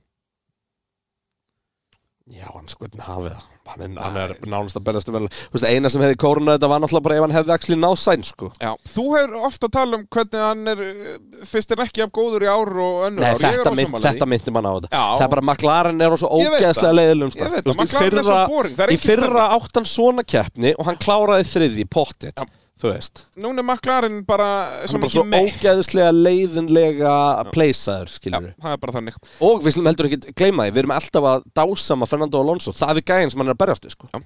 Já, hann sko hvernig hafið það. Hann er, hann er nánast að berjast um vel. Þú veist, eina sem hefði kóruna þetta var náttúrulega bara ef hann hefði axli náð sæn, sko. Já, þú hefur ofta að tala um hvernig hann er, uh, fyrst er ekki af góður í ár og önnur Nei, ár. Ég er þetta, mynd, ósammála því. þetta myndi mann á þetta. Já. Það er bara, McLaren er á svo Ég veit ógeðslega það. leiðilegum Ég stað. veit Þú það, veist, í McLaren er svo fyrra- boring, það er Í engin fyrra átt hann svona keppni og hann kláraði þriði pottit. Já. Þú veist. Núna er McLaren bara Hann svo er bara mikið svo með ógeðslega leiðinlega pleysaður, Já, skilur við. það er bara þannig Og við slum heldur ekki gleyma því, við erum alltaf að dásama Fernando Alonso, það er gæðin sem hann er að berjast við, sko. Já.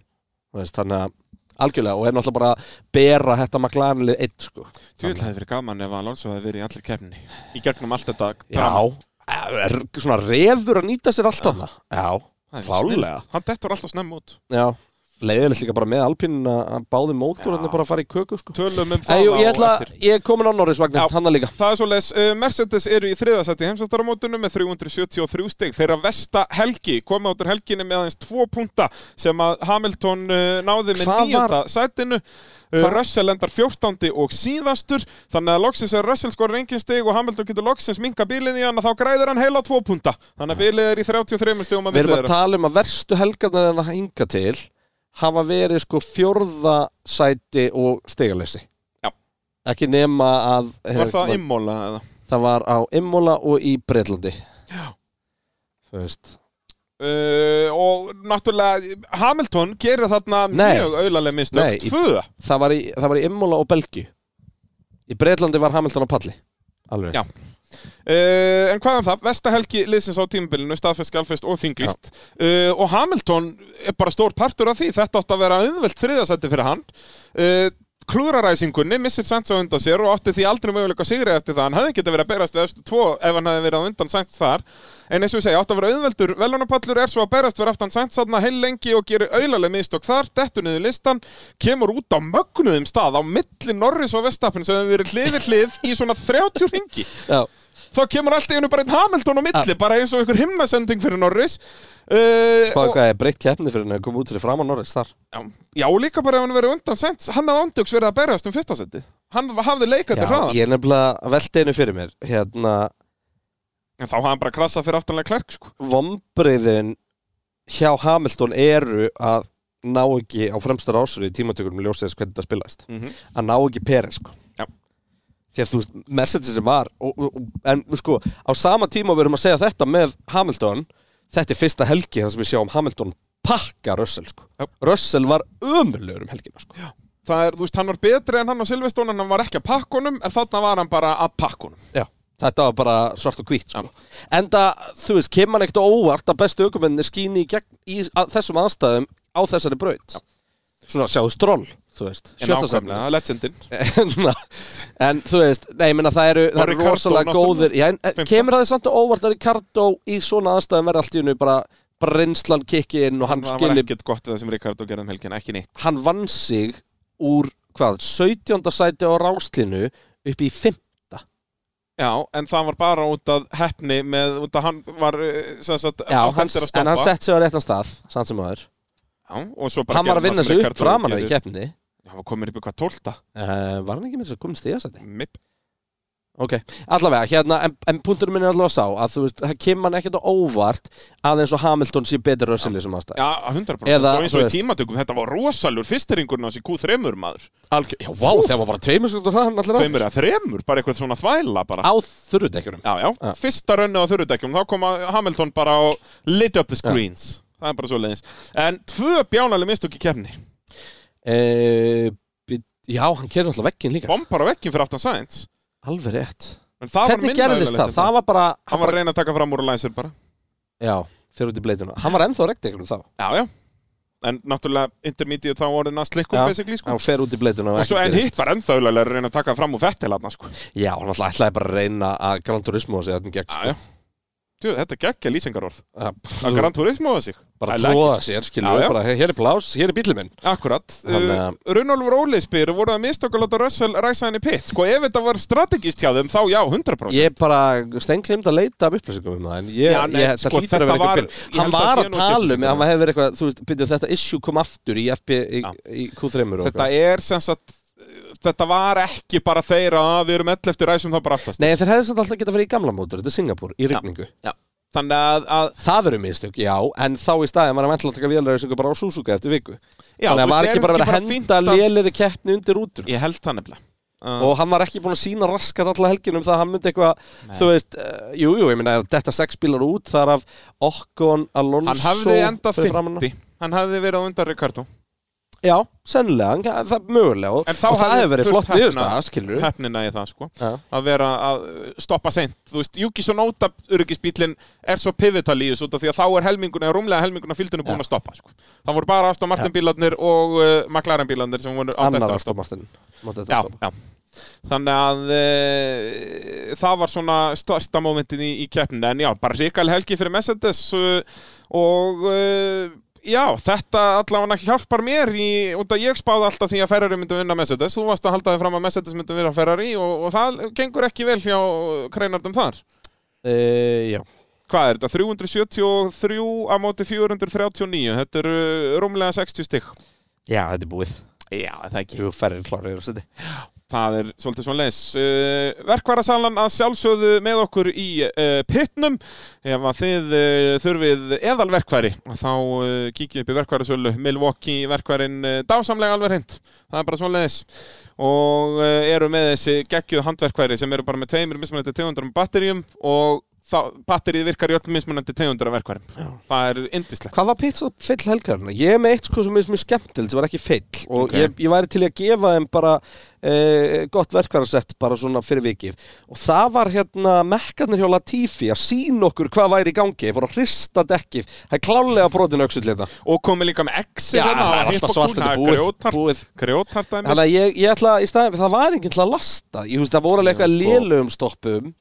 Þú veist, þannig að algjörlega og er náttúrulega bara að bera þetta McLarenlið eitt, sko. Þú vil hefði verið gaman ef Alonso hefði verið í allir kefni Í gegnum allt þetta drama. Já, er, Eh, svona refur að nýta sér alltaf það. Já, Það er klálega. snillt. Hann dettur alltaf snemm út já. Leiðilegt líka bara með Alpín að báði mótorinn Já. bara að fara í köku, sko. Tölum um Ei, það jú, á ég, ætla, eftir ég er komin á Norris Vagnar, Já. hann líka. Það er svo les, uh, Mercedes eru í þriðasætti heimsastaramótinu með 373 stig þeirra Vesta Helgi koma út úr helginni með aðeins tvo punta sem að Hamilton uh, náði með Hvað var- nýjönda sætinu uh, Hvað- Russell endar 14. og síðastur þannig að loksins er Russell skorur engin stig og Hamilton getur loksins minka bílinn í hann þá græðir hann heila tvo punta þannig að bílið er í 33 stigum að Við erum að millið tala um að verstu helgarnar en að hinga til hafa verið sko fjórða sæti og stigalessi. Já. Ekki nema að... hérna, Var það immóla eða? það var á Immola og í Breitlandi. Já. Þú veist. Uh, og náttúrulega Hamilton gerir þarna Nei. mjög auðarlega Nei, mistök í- tvö Það var í, það var í Immola og Belgíu. Í Breitlandi var Hamilton á palli. Alveg. Já. Uh, en hvað um það, Vestahelgi liðsins á tímabilinu, staðfest, galfest og þinglist uh, og Hamilton er bara stór partur af því, þetta átt að vera auðvelt þriðasætti fyrir hann uh, klúraræsingunni, missir Sainz á undan sér og átti því aldrei möguleika sigri eftir það hann hefði geta verið að berast við efstu tvo ef hann hefði verið á undan Sainz þar en eins og ég segi, átt að vera auðveldur, velunapallur er svo að berast við aftan Sainz þarna heil lengi og gerir auðarlega mistök þar, dettur niður listan kemur út á mögnuðum stað á milli Norris og Vestapin sem hefur verið hlifir hlið í svona 30 ringi Já. þá kemur allt í einu bara einn Hamilton á milli, bara eins og einhver himnasending fyrir Norris uh, Spáðu og, hvað er breytt keppni fyrir hann að koma út fyrir fram á Norris þar. já, já, líka bara ef hann verið undan sent hann hafði ándöks verið að berjast um fyrsta seti hann hafði leikandi hraðan ég er nefnilega að velta einu fyrir mér. Hérna, en þá hafði hann bara krassað fyrir aftanlega klerk sko. vombriðin hjá Hamilton eru að ná ekki á fremstur ásöru í tímatökunum ljósið þess hvernig þetta spilaðist. Mhm. Að ná ekki Peres, sko. Já. því að þú veist, Mercedesin var og, og, og- en sko, á sama tíma við erum að segja þetta með Hamilton þetta er fyrsta helgi þar sem við sjáum Hamilton pakka Russell sko Já. Russell var ömurlegur um helgina sko já, Það er, þú veist, hann var betri en hann á Silveston en hann var ekki að pakkunum, en þarna var hann bara að pakkunum. þetta var bara svart og hvít sko. enda, þú veist, kemur hann ekkert á óvart að bestu aukumenninni skýni í, gegn, í að, þessum aðstæðum á þessari braut svona sjáðu stról, þú veist sjötta sætinu. legendin. [LAUGHS] en, en þú veist, nei, ég meina það eru, það eru Ricardo rosalega náttúrulega. góðir já, en, en Fimmtán. kemur það þér samt og óvart að Ricardo í svona aðstæðum verði allt í hennu bara bara reynslan kikki inn og hann Það var skilji ekkert gott við það sem Ricardo gerði um helgin, ekki neitt. hann vann sig úr hvað, 17. sæti á ráslinu upp í 5 Já, en það var bara út af hefni með, út af hann var, eh, sem sagt, já, átti hann, eftir að en stoppa. hann sett sig á réttan stað samt sem aður, Já, og svo bara hann var að gerði vinna það sem sig upp Ricardo framan á í gerir. keppni Hann var komin upp í hvað tólta. uh, var hann ekki með þess að komin stíðasæti Mip. Ok, allavega, hérna, en, en punkturinn minn er allavega sá að þú veist, það kemur hann ekkert á óvart aðeins og Hamilton sé betur Russell í þessum aðstæðum Já, 100%. Eða, og eins þú og í veist- tímatökum, þetta var rosalur fyrsteringurinn á þessi Q3-mur maður. Algjör, já, vá, það var bara tveimur sekundur hraðan allir Tveimur eða þremur, bara eitthvað svona þvæla bara. Á þurrudekjunum Já, já, Já. fyrsta rönni á þurrudekjum þá kom Hamilton bara og lit Ah. up the screens það er bara svo leiðis en tvö bjánali mistök í kefni e, Já, hann kerði alltaf veggin líka bombar á vekkin fyrir aftan Sainz Alveg rétt en það Hvernig var minna gerðist það? eðlilegt en Það var bara, hann var að reyna að taka fram úr og læsir bara Já, fyrir út í bleituna Hann var ennþá á regndegjunum þá já, já en náttúrulega intermediate þá orðin að slikku Já. basically sko Hann fer út í bleituna og svo en hitt var ennþá auðvitað að reyna að taka fram úr fettil aðna sko Já, hann alltaf ætlaði bara að reyna að Gran Turismo sig þarna í gegn já, já sko. Tjú, þetta geggja lýsingarorð Að- að Gran Turismo að sig Bara I like tróða sér, skilur Já, já. við bara, Hér er plás, hér er bílum minn Akkurat, Þannig uh, að- Runolfur Óli spyr voru það mistök að láta Russell ræsa henni pitt sko ef þetta var strategist hjá þeim þá já, 100% Ég er bara stenglimd að leita af upplýsingum um það en ég, Já, nei, ég, sko, það hlýtur þetta að vera eitthvað var- byrjun. ég Hann held að var sé að nú ekki tala um, upplýsingar. hann hefði verið eitthvað, þú veist, byrjuð þetta issue kom aftur í, FB, í, Já. í Q3 og Þetta er sem sagt Þetta var ekki bara þeir að "Ah, við erum ell eftir ræsum þá bara aftast Nei, en þeir hefði samt alltaf getað verið í gamla mótur, þetta er Singapur, í rigningu. Þannig að, að Það eru mistök, já, en þá í staðin var hann ætla að taka vélræðisingu bara á Suzuka eftir viku. já, Þannig þú að var veist, ekki er bara verið að fínt henda lélir keppni undir útur. Ég held það nefnilega uh, Og hann var ekki búin að sína raskat alla helginum það að hann myndi eitthvað, þú veist, uh, jú, jú, ég meina, ef þetta sex bílar út þar af Okkon, Alonso, Hann hafði enda fyrir framan hann. 50 Hann hafði verið á undan Ricardo Já, sennilega, hann- það það er mögulega og, En þá og það hafði hefur verið þurft flott hefna- niðurstaða, skilur við Hefnina í það sko Já. Að vera að uh, stoppa seint Þú veist, Júkis og Nóta öryggisbílinn er svo pivotal í þessu út af Því að þá er helminguna, rúmlega helminguna fylgdunum búin að stoppa sko. Það voru bara Aston Martin bílarnir og uh, McLaren bílarnir sem voru átt Annar eftir að Aston stoppa Martin mátti þetta já, stoppa. já. Þannig að e, það var svona stærsta momentin í, í keppninu en já, bara ríkal helgi fyrir Mercedes uh, og e, já, þetta allavega hjálpar mér í, út að ég spáði alltaf því að Ferrari myndi vinna Mercedes, þú varst að halda þig fram að Mercedes myndi vinna Ferrari og, og það gengur ekki vel hjá kreinardum þar Eh, Já, Hvað er þetta? 373 á móti 439, þetta eru uh, rúmlega 60 stygg já, þetta er búið Já, það ekki Jú, ferrið klárið og seti Það er svolítið svona leis. Uh, verkvarasalan að sjálfsögðu með okkur í uh, pittnum. Ef að þið uh, þurfið eðalverkværi, þá uh, kíkið upp í verkværasölu. Milwaukee verkværin uh, dásamlega alveg hreint. Það er bara svona leis. Og uh, eru með þessi geggjuð handverkværi sem eru bara með tveimur mismunandi tegundur um batteríum og þá, batterið virkar í öll mismunandi tegundur af verkværim. Það er indislegt. Hvað var pitt svo feill helgarna? Ég er með eitt sko sem er mjög skemmtilegt sem var ekki feill og Ok. ég, ég væri til í að gefa þeim bara e, gott verkvarasett bara svona fyrir vikið og það var hérna mekkarnir hjá Latifi að sína okkur hvað væri í gangi, ég voru að hrista dekkið það er klálega brotin auksull hérna Og komið líka með hérna exi Já, það er alltaf svart, þetta er búið- búið. Grjóthart dæmi. Þannig að ég, ég ætla, í staðin, það var enginn til að lasta Ég veist, það voru alveg eitthvað Já, sko. lélugum stoppum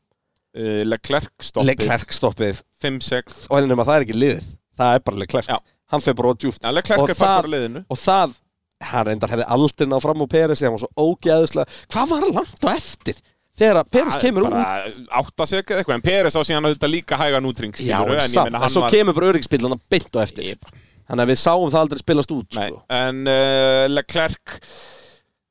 Uh, Leclerc stoppið. Leclerc stoppið 5-6 Og ennum að það er ekki liðið Það er bara Leclerc Já. Hann fer bara ódjúft Já, Leclerc Og er bara það- úr liðinu Og það, hann reyndar hefði aldrei náð fram úr Peres Þegar hann var svo ógeðislega Hvað var hann langt og eftir? Þegar að Peres kemur úr bara átta sig eitthvað en Peres á síðan auðvitað líka hægan útring Já, en samt, en svo kemur bara öryggisbílan að beint og eftir Þannig að við sáum það aldrei spilast út Nei, sko. en uh, Leclerc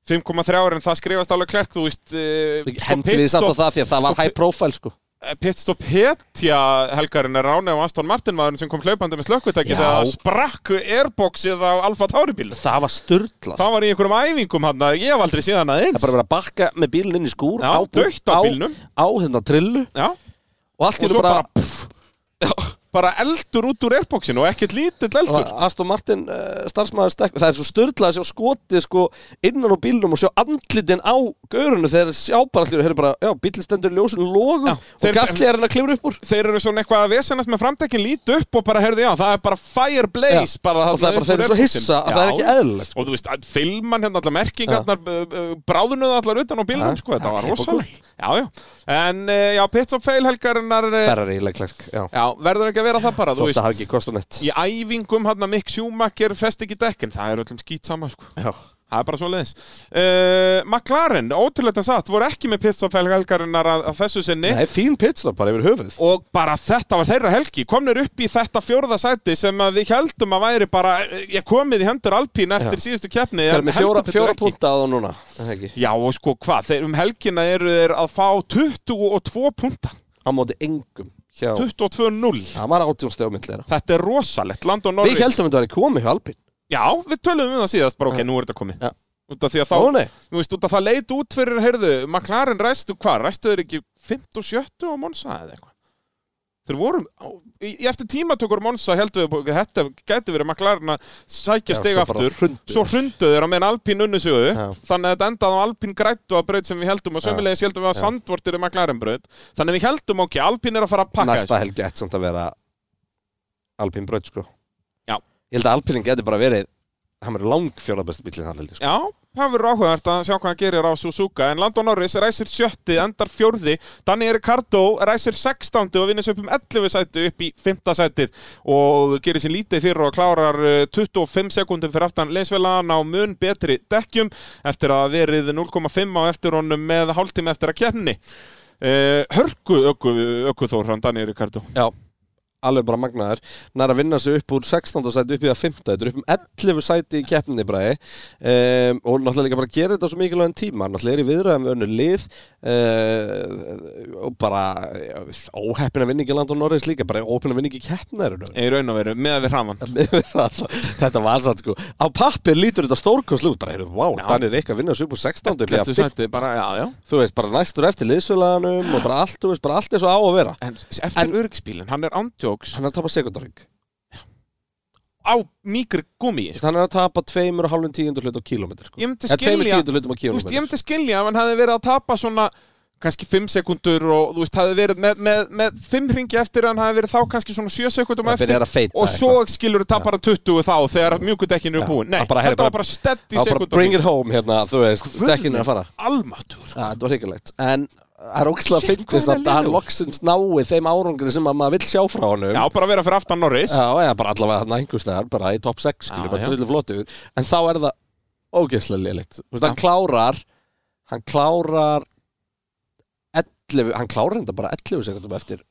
5,3 ára en það skrifast á Leclerc þú veist uh, Hendriði samt á það því að það var high profile sko. sko, eh, pitstop hetja helgarinn er rána á Aston Martin maðurinn sem kom hlaupandi með slökkvitæki Já. þegar sprakku airboxið á Alfa Tauri bíl Það var störtlað það var í einhverjum æfingum hann ég hef aldrei síðan að Það er eins bara verið að bakka með bílinn inn í skúr Já, dautt á bílnum. á, á hérna trillu Já, Og allt og í einu svo bara, bara, pff, bara eldur út úr airboxinu og ekkert lítill eldur bara Aston Martin uh, starfsmæður stekk Það er svo störtlað að sjá skotið sko innan á bílnum og sjá andlitin á gaurunu þegar þeir sjá bara allir og hefur bara, já, bílinn stendur í ljósum logum Já, þeir- og gasli er hann að klifra upp úr Þeir eru svona eitthvað að vesenast með framdekkin lít upp og bara herði já, það er bara fire blaze bara Og það er þarna bara þeir upp úr airboxinu. eru svo hissa að það Já. er ekki eðlilegt sko. Og þú veist, að filman hérna allar merkingarnar, ja. bráðunuð allar utan á bílnum, Já. sko, þetta Já, var klipp og rosalegt. Já, já. En, eh, já, pits og fail helgarinnar, eh, Ferrari, Leclerc, já já, verður ekki að vera það bara, þú Þótt að veist. hafa ekki kostað neitt Í æfingum hann Mick Schumacher fest ekki dekkin, það er öllum skýt sama, sko. Já. Það er bara svo leiðis. Uh, McLaren, ótrúlega satt, voru ekki með pits og fail helgarinnar að, að þessu sinni. Það er fín pitstop bara yfir höfuð og bara þetta var þeirra helgi komnir upp í þetta fjórða sæti sem að við heldum að væri bara ég komið í hendur Alpín eftir síðustu keppni Það er en með heldur fjóra, betur fjóra ekki. púnta á það núna Er það ekki? Já og sko hvað, þeir um helgina eru þeir að fá 22 punta Á móti engum hjá 22-0 Það var átjónsteg á myndleira Þetta er rosalegt, land og Við Norris heldum að þetta var í komi hjá Alpin Já, við tölum um það síðast, bara ok, Já. nú er þetta komið Já. Út af því að Ó þá, nei þú veist, út af það leit út fyrir, heyrðu, McLaren ræstu hvað, ræstu þeir ekki 50 og 70 á Monsa eða eitthvað Þeir voru, á- í, í eftir tímatökur Monsa heldum við, að þetta gæti verið McLaren að sækja Já, steg svo bara aftur hrundu. Svo hrundu þeir á meðan Alpín unnu sig Já. upp Þannig að þetta endaði á Alpín grættu að braut sem við heldum og sömulegis heldum við að Já. sandvortir er McLaren braut Þannig að við heldum ok, Alpín er að fara að pakka Næsta helgi ætti samt að vera Alpin braut sko Já. Ég held að Alpinin geti bara verið Hann verið lang fjóra besti bílinn hann heldur sko Já, það verður áhugavert að sjá hvað hann gerir á Suzuka en Landon Norris ræsir sjötti, endar fjórði Danny Ricardo ræsir sextándi og vinnur sér upp um 11 sæti upp í 5. sætið og gerir sér lítið fyrir og klárar eh, 25 sekundum fyrir aftan leysfélagan á mun betri dekkjum eftir að hafa verið 0,5 á eftir honum með hálftíma eftir að kemni uh, Hörku öku, öku þór hann Danny Ricardo Já Alveg bara magnaður Nær að vinna sig upp úr 16. sæti upp í það 5. Þetta er upp um 11 sæti í keppninni bræði um, Og náttúrulega líka bara að gera þetta á svo mikilvægum tíma Náttúrulega er í viðræðum við önnu lið uh, Og bara óheppina vinningi land og Norris líka Bara óheppina vinningi keppnir í raun og veru með við hraman [LAUGHS] Þetta var satt sko Á pappir lítur þetta stórkoslu út Bara heyrðu, vá, Já. Danir Rikka vinna sig upp úr 16. upp í að Lestu 5. sætið bara, já, já Þú veist, bara næstur eftir liðsfélaganum Og bara allt, þú veist, bara allt er svo á að vera En eftir öryggsbílinn, hann er ándjóks Hann er að tapa sekundaring á mýkri gummi sko. Hann er að tapa tveimur og hálfum tíundur hlut á kílómetri sko. Ég myndi Eða tveimur skilja- tíundur hlutum á Þú veist, kílómetri sko. ég myndi skilja ef hann hefði verið að tapa svona kannski 5 sekundur og þú veist, hefði verið með, með, með 5 ringi eftir hann hefði verið þá kannski svona 7 sekundum Það eftir byrjar að feita og svo skilur þú tapar hann 20 þá þegar mjúkudekkinu Já. er búin Nei, Það bara, heyrðu, þetta var bara- bara stedd í Sko, Það var bara bring it home hérna, þú veist, dekkin er að fara Almatur Já, þetta var hrikalegt En það er ógstilega að Shit, hvað fyndist hann er að hann lélegur. loksins nái þeim árangri sem að maður vill sjá frá honum Já, bara vera fyrir aftan Norris Já, eða bara allavega hann einhverstaðar, bara í top 6 skilur, Já, bara já. drullu flottur En þá er það ógeðslega lélitt Þú veist, hann klárar Hann klárar 11, hann klárar þetta bara 11 sekundum eftir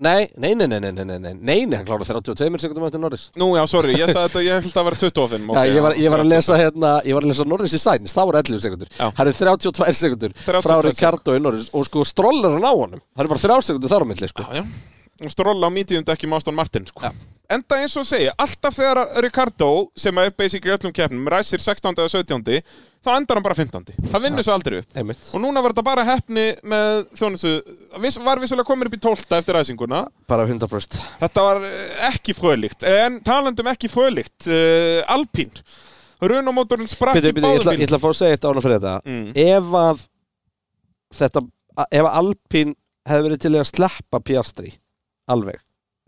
Nei, nei, nei, nei, nei, nei, nei, nei, nei, nei, hann klárar 32 sekundum eftir Norris Nú, já, sorry, ég sagði þetta, ég held að vera 25 ok, Já, ég var, ég var að 30. lesa hérna, ég var að lesa Norris í Sainz, þá voru 11 sekundur Já. Það eru 32 sekundur 32 frá Ricardo í Norris og sko strollar hann á honum Það eru bara 3 sekundur þar á milli sko Já, já. Og stróla á medium dekkjum Aston Martin, sko. Enda eins og segja, alltaf þegar Ricardo, sem er basic í öllum keppnum, ræsir 16. eða 17. þá endar hann bara 15. Það vinnur svo aldrei upp. Einmitt. Og núna var þetta bara heppni með þjónustu, viss, var vissulega komin upp í 12. eftir ræsinguna. Bara 100% Þetta var eh, ekki fröðlíkt, en talandum ekki fröðlíkt, uh, Alpín. Runamótorinn sprakk Bíddu, bíddu, í ég ætla, báðum ég bíl. ætla að fá að segja eitt ána fyrir þetta Mm. Ef að þetta, a- ef að Alpín hefði verið til í að sleppa Piastri alveg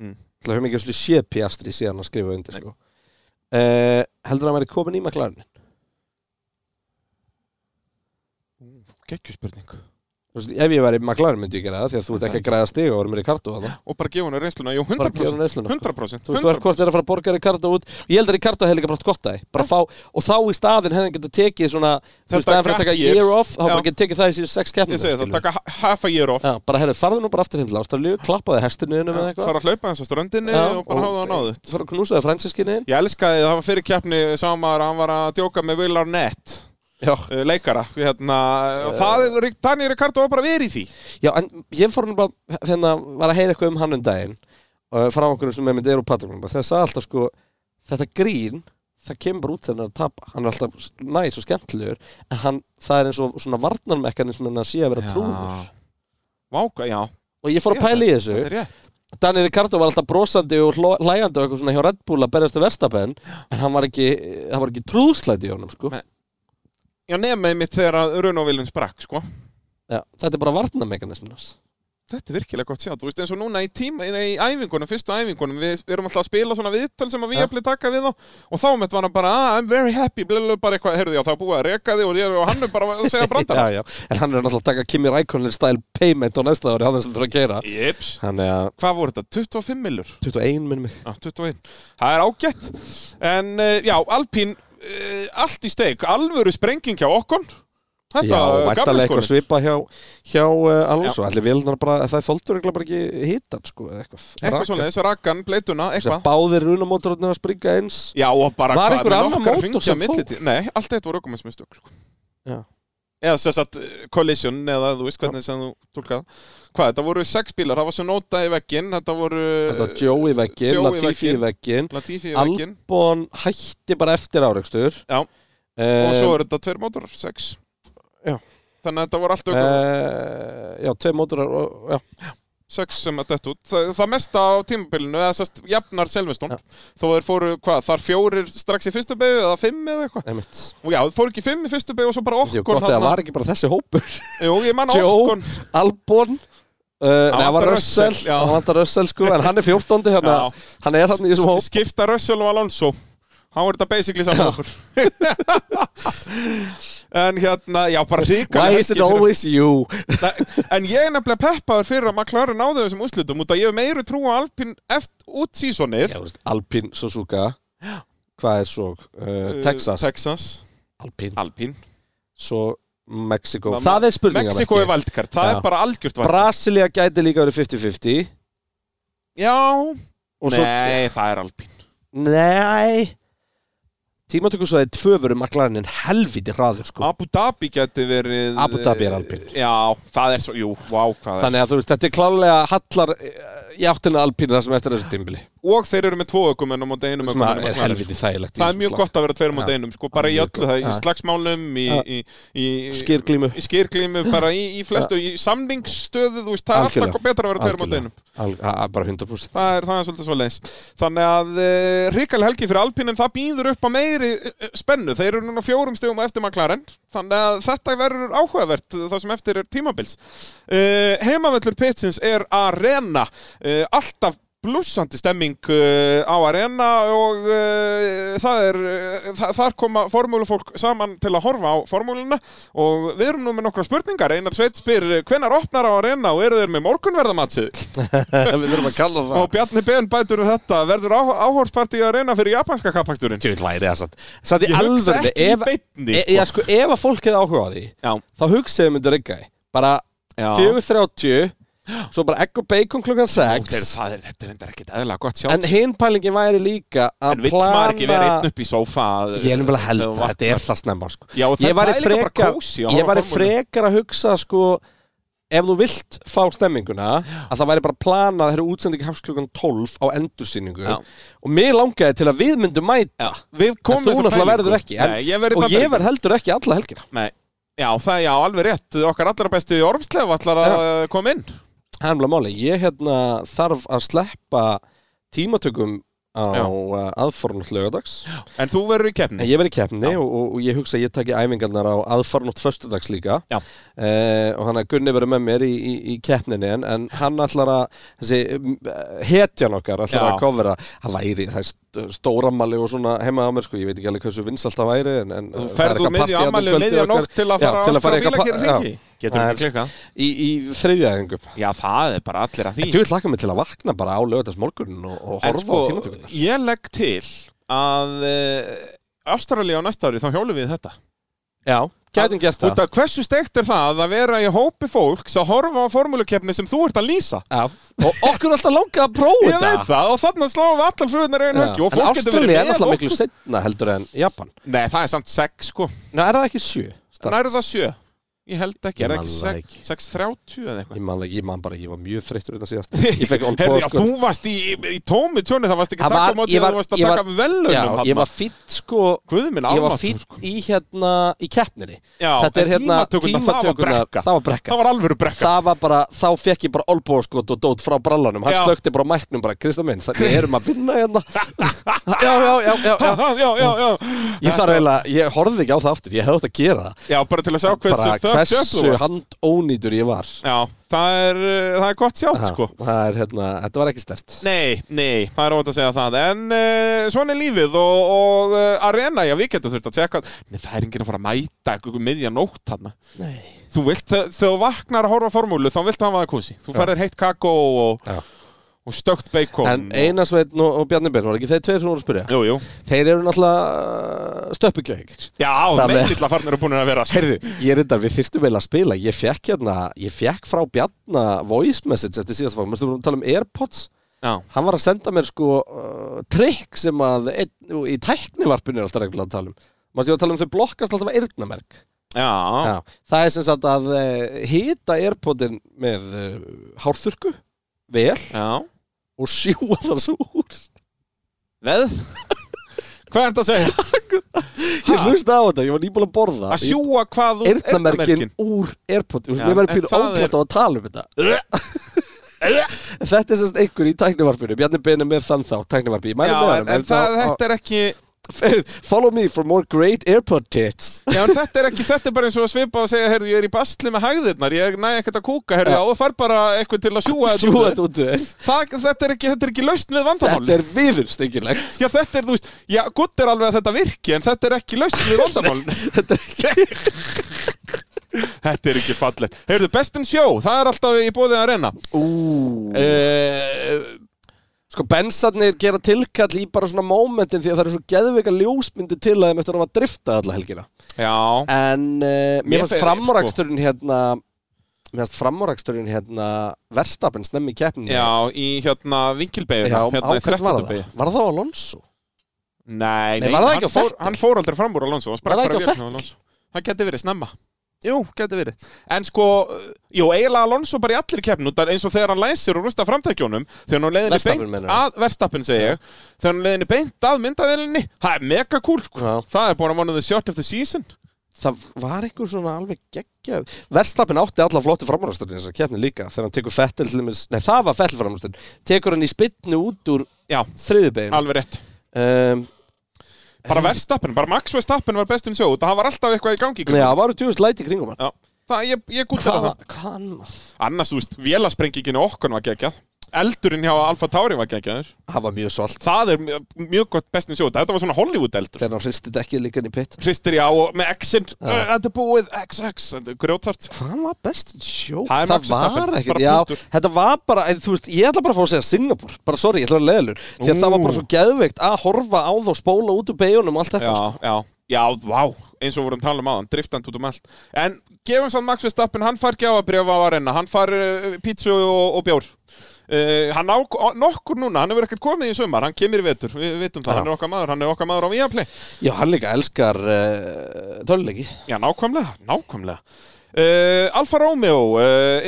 Mm. Það hefur mikið að sé Piastri síðan að skrifa undir Nei. sko. uh, Heldur hann að verið komin í maklarinn? Gekkjuspurning. Ef ég væri í maklarinn myndi ég gera það því að þú ert ekki að græða stig og verið mér í kartu Og bara gefa hann reynsluna, jú, Bara gefa 100%. honum reynsluna, sko. 100%. Þú veist, þú er hvort þeir að fara að borga Ricardo út Ég held að Ricardo hefði líka bara átt gott að bara fá, og þá í staðin hefði hann getað tekið svona þú veist, Þetta staðin fyrir að taka gap year. year off þá Já. bara getað tekið það í síðan sex keppnum Ég segi það, taka ha- half a year off. Já, bara herrið, farðu nú bara aftur hindi ástralíu, klappaði hestinu innum eða eitthvað fara að hlaupa eins á ströndinni Já, og bara hafa það á náðu Fara að knúsaði fransiskinni ég elskaði það var fyrir keppni sá maður að hann var að djóka með Will Arnett Já. eh, leikara hérna, og það, Daniel Ricardo var bara verið í því Já, en ég fór nefnilega, hérna, var að heyra eitthvað um hann um daginn uh, frá okkur sem er með Deir og Patrik Lundberg. þegar sagði alltaf sko, þetta grín það kemur bara út þegar hann er að tapa hann er alltaf s- næs og skemmtilegur en hann, það er eins og svona varnarmekanism en að sé að vera trúður Váka, já, og ég fór að Já, pæla í þessu þetta er rétt Daniel Ricardo var alltaf brosandi og hló- hlæjandi og eitthvað svona hjá Red Bull að berjast til Verstapen en hann var ekki, hann var ekki trúðslæti í honum sko. Nei. Já, nefnum mitt þegar að Runo Viljum sprakk, sko Já, þetta er bara varnarmekanismin hans Þetta er virkilega gott sjátt, þú veist eins og núna í tíma í, í æfingunum, fyrstu æfingunum, við, við erum alltaf að spila svona viðtöl sem að við Ja. jafnlega taka við þá og þá mitt var hann bara, ah, I'm very happy blablabla, bara eitthvað, heyrðu já, það er búið að reka þig og, ég- og hann er bara að segja brandar [LAUGHS] já, já. En hann er náttúrulega að taka Kimi Rækonin style payment á næsta ári, hann er sem þurfa að gera Jips, Hann er að hvað voru þetta, 25 millur? 21 minnum mig Já, 21, það er ágætt en eh, já, Alpín eh, allt í steik, alvöru sprenging hjá okkon Já, þetta eh, væntalega gamli eitthvað skólinn. svipa hjá, hjá uh, Alonso Já. Allir vélnar bara, það þóldur eiginlega bara ekki hitan sko, eða eitthvað eitthvað svona, þessi rakkan, bleituna, Þessar eitthvað Báðir runamótorarnir að springa eins Já, og bara Var einhver með annar nokkra mótor hringja sem fór? milliti- Nei, allt eitt voru ökumannsmistök sko. Já. Eða sem sagt eh, collision eða þú veist hvernig sem þú tólkað Hvað, þetta voru sex bílar, það var svo nota í veggin Þetta voru Þetta var Joey í veggin, Eh, Joey í Latifi í veggin Latifi í veggin Albon hætti bara eftir áreikstur Já. Og svo uh, eru þetta tveir mótorar, sex Já. Eh, Þannig að þetta voru allt ökum uh, Já, tvei mótorar og, já. sex sem að dett út það, það mesta á tímabilinu eða sest, jafnar Selvestón Já. þó þeir fóru, hvað, þar fjórir strax í fyrstu beigju eða fimm eða eitthvað Einmitt. og já, þeir fóru ekki fimm í fyrstu beigju og svo bara Þetta er okkon gott að það var ekki bara þessi hópur jú, ég manna Joe. okkon Albon Uh, nei, það var vantar Russell, Russell, já. hann vantar Russell sko, en hann er 14 þannig að hann er hann í þessum hóp skipta Russell og Alonso þá er þetta basically saman okkur [LAUGHS] en hérna, já, bara ríka Why is it always you? [LAUGHS] en ég er nefnilega peppaður fyrir að McLaren náðu þessum úrslitum út að ég hef meiri trú á Alpine eftir út sísonið Já, þú veist, Alpine Suzuka Hvað er svo? Uh, Texas Texas, Alpine Alpine Svo Mexico Mamma- Það er spurningamerki Mexiko er valdkart, það Já. er bara algjört valdkart Brasilia gæti líka verið 50-50 Já, Og svo Sko- nei, það er alpín Nei Tímatöku svo er tvö veru maklarinn helviti hraður sko Abu Dhabi geti verið eh, Abu Dhabi er alpín. Já, það er svo, jú, vá, hvað er Þannig að þú veist, þetta er klálega hallar eh, í áttina Alpine þar sem eftir er þessu dimbli Og þeir eru með tvo ökumenn á móti einum sem ökumenn að er helviti þægilegt í Það er þessu mjög slag. gott að vera tveir á móti Já. einum sko, bara í mjög öllu það, í gott. slagsmálum í, Já. í, í, í Skyrglímu. í skýrglímu, bara í, í flestu í samningsstöðu, þú veist, það er alltaf Algjörlega. betra að vera tveir á móti Algjörlega. einum Al- það er Bara 100% það er, það er svolítið svo leins þannig að e, ríkali helgi fyrir Alpín en það býður upp á meiri eh, spennu þeir eru núna fjórum stegum á eftir McLaren þannig að þetta verður áhugavert eh, það sem eftir er tímabils e, heimavöllur pitsins er Arena e, alltaf blúsandi stemming uh, á arena og uh, það er uh, þa þar koma formúlufólk saman til að horfa á formúluna og við erum nú með nokkra spurningar Einar Sveit spyr eh, hvenær opnar á arena og eru þeir með morgunverðamatsið [LAUGHS] Við þurfum að kalla það Og Bjarni Ben bætur við þetta Verður áhórspartið að reyna fyrir japanska kappaksturinn Tjóðil væri það satt Satt í Ég hugsa ekki alvörni í ef, beinni, e, sko. Já sko, ef að fólk hefði áhuga á því Já, Þá hugsaði myndu rigga því Bara Já. 4.30 Svo bara egg og bacon klukkan þeir, 6 það er, þetta er endur ekkit eðla gott sjálf En En, hinn pælingi væri líka að en vill maður ekki vera einn upp í sófa Ég er nefnilega held þegar að þú þetta er það snemma sko. Já, og Ég það- væri það er líka bara frekar kósí að Ég horfa á væri formúluna. frekar að hugsa sko Ef þú vilt fá stemminguna Að það væri bara planað Þegar útsendingi hefst klukkan 12 á endursýningu Já. Og mig langaði til að við myndum mæta vaknar. Við En komum þú þessum náttúrulega pælingum. verður ekki en, Nei, ég verður Og ég verð heldur ekki alla helgina Nei, já, það er já, alveg rétt Okkar allra besti í Ormsleif allar að eh, koma inn Það er mjög máli Ég hérna, þarf að sleppa tímatökum á Já. uh, aðfarnótt lögadags En þú verður í En keppni ég verði í keppni Já. og, og, og ég hugsa að ég taki æfingarnar á aðfarnótt föstudags líka Já. Eh, Og hann að Gunni verður með mér í, í, í keppninni en, en hann ætlar að þessi, mm, hetjan okkar ætlar Já. að kofra Hann væri, það er st- stóramali og svona heima á mér sko. Ég veit ekki alveg hversu vinsalt það væri en, en Þú það er ferður eitthvað úr partí miðju þarna um ammali og kvöldið miðja okkar. nótt til að fara Já, á til að fara Áskar í eitthvað Bílakir pa- ringi Getur Það ekki klikka í, í þriðjaðingum Já, það er bara allir að því Þú vil laka mig til að vakna bara á lögadags morgun og, og En sko, horfa á tímatökunar eh, Ég legg til að uh, Ástralja á næsta ári þá hjólum við þetta Já, gætum gert Út það af hversu steikt er það að vera í hópi fólks að horfa á formúlukefni sem þú ert að lýsa? Já. Og okkur er alltaf langað að prófa Ég veit það og þannig að sláum við allar flugurnar einu höggi og Já. En fólk getur Ástralja verið er með náttúrulega okkur. miklu setna heldur en Japan Nei, það er samt 6 sko. Ná, er það ekki sjö? En eru það 7? Ég held ekki, er Ég man það það ekki. ekki 6.30 eða Ég eitthvað? man, það ekki, ég man bara, ekki, ég var mjög þreyttur utan [LAUGHS] síðast Ég fekk [LAUGHS] on Herði, call já, sko þú varst í, í tómi tjóni, það varst ekki að taka á móti, þú varst að taka velunum Já, ég var fýtt sko Guð minn Ég var almáttugur, fýtt sko. í hérna, í keppninni Já, Þetta er en hérna tímatökurnar, það var tímatökurnar- brekka. Það var brekka Það var alvöru brekka það var bara, þá fekk ég bara olbóskot og dót frá brallanum, hann Já. slökti bara á mæknum bara, Kristján minn, það við erum að vinna [LAUGHS] hérna já, já, já, já, já Já, já, já, já. ég þarf eiginlega, ég horfði ekki á það aftur ég hefði átt að gera það, Já, bara til að sjá hversu bara fucked up þú hversu varst. handónýtur ég var Já, það er, uh, það er gott sjátt Ha, sko það er hérna, þetta var ekki stert Nei, nei, það er óvænt að segja það En uh, svona er lífið og, og uh, Arena, já, við getum þurft að tjekka Nei, það er enginn að fara að mæta einhver miðja nótt hann Nei. Þú vilt, þegar þú vaknar að horfa á formúlu þá viltu hafa það kósi Þú ferðir heitt kakó og, Já. og stökt beikon en Einars Veitn og, og Bjarni Ben var ekki þeir tveir sem voru að spyrja Jú, jú þeir eru náttúrulega uh, stöppugjöðingir Já, Það er- meðlilla farnir eru búin að vera sko. Heyrðu, ég reyndar, við þyrftum eiginlega að spila Ég fekk hérna, ég fekk frá Bjarna voice message eftir síðast fag Mér stúrum að tala um Airpods Já, hann var að senda mér sko uh, trikk sem að ein, í tæknivarpinu er alltaf reglulega að tala um maður stjórn að tala um þau blokkast alltaf að eyrnamerk já, Já, það er sem sagt að uh, hita airpodin með uh, hárþurku vel já. og sjúa það svo úr Veð? [LAUGHS] Hvað ertu að segja? ég hlusta á þetta, ég var nýbúin að borða Að sjúa hvað úr eyrnamerkin úr airpodin Já, mér verður en pínu það er- ókvæmt á að tala um þetta eyrnamerkin? En þetta er sem sagt einhver í tæknivarpinu Bjarni Beinu með þann þá, tæknivarpi, ég mælu Já, með en, hann en það, [LAUGHS] þetta er ekki Follow me for more great airpod tips Já, en þetta er ekki, þetta er bara eins og að svipa og segja Herðu, ég er í bastli með hægðirnar, ég næ ekkert að kúka Herðu, Já. já, og fær bara eitthvað til að sjúa þetta sjúa út. þetta út vel Það, þetta er ekki, þetta er ekki lausn við vandamál Þetta er [LAUGHS] viðurstengilegt Já, þetta er, þú veist, já, gutt er alveg að þetta virki En þetta er ekki lausn [LAUGHS] við vandamál Þetta er ekki Þetta er ekki fallegt Herðu, best in show, það er alltaf í bóðið að reyna uh, Eh, Sko bensarnir gera tilkall í bara svona momentin því að það eru svo geðveika ljósmyndi til að þeim eftir að hafa drifta alla helgina Já, En uh, Mér mér fannst fer- framáraksturinn hérna Mér fannst framáraksturinn hérna Verstapinn snemmi í keppninu já, í hérna vinkilbeiguna Já, hérna, á í hvern var 13. það? beygju. Var það á Alonso? Nei, Nei, nei, var það hann, ekki á fór, Vettel? hann fór aldrei fram úr Alonso hann sprakk Var bara vélina á það ekki á Vettel? Alonso. Það geti verið snemma Jú, geti verið En sko, jú, eiginlega Alonso bara í allir keppn út af- eins og þegar hann læsir og rústa framtækjónum þegar hann leiðinni Verstappen, beint meinarðu? að Verstappen segi ég þegar hann leiðinni beint að myndavélinni Það er mega cool sko. Já. Það er bara one of the shot of the season Það var einhver svona alveg geggja Verstapinn átti alla flotti framáraksturinn þessar keppni líka þegar hann tekur fettil til dæmis Nei, það var fettil framáraksturinn Tekur hann í spytnu út úr Já, þriðubegin alveg rétt um, Bara Verstappen, bara Max Verstappen var bestin sjó það var alltaf eitthvað í gangi í kringum. Já, varu tjóðist læti kringum hann Já. Það, ég, ég gúttir að Hvað það hvað annað? Annars, þú veist, vélasprengjikinu okkur var geggjað Eldurinn hjá Alfa Tauri var geggjaður Það var mjög svolt það er mjög- mjög gott bestin sjóta þetta var svona Hollywood eldur Þegar hann hristi dekkið líka inn í pitt hristir já og með X-in uh, þetta er búið XX þetta er grjótart sko. Hvað var best in show? Það er Max Verstappen, var bara ekkert Já, punktur. þetta var bara en Þú veist, ég ætla bara að fá að segja Singapore Bara sorry, ég ætla að vera leðilur Því að Ú. það var bara svo geðveikt að horfa á þá spóla út úr beigunum og allt já, þetta sko. já, já, vá eins og við vorum að tala um aðan, driftand út um allt en gefum sann Max Verstappen, hann fær gjáabrjöf á arena, hann fær uh, pítsu og, og bjór Uh, hann á nokkur núna, hann hefur ekkert komið í sumar hann kemur í vetur, við vitum það, Já. hann er okkar maður hann er okkar maður á Viaplay Já, hann líka elskar uh, töluleiki Já, nákvæmlega, nákvæmlega. Uh, Alfa Romeo uh,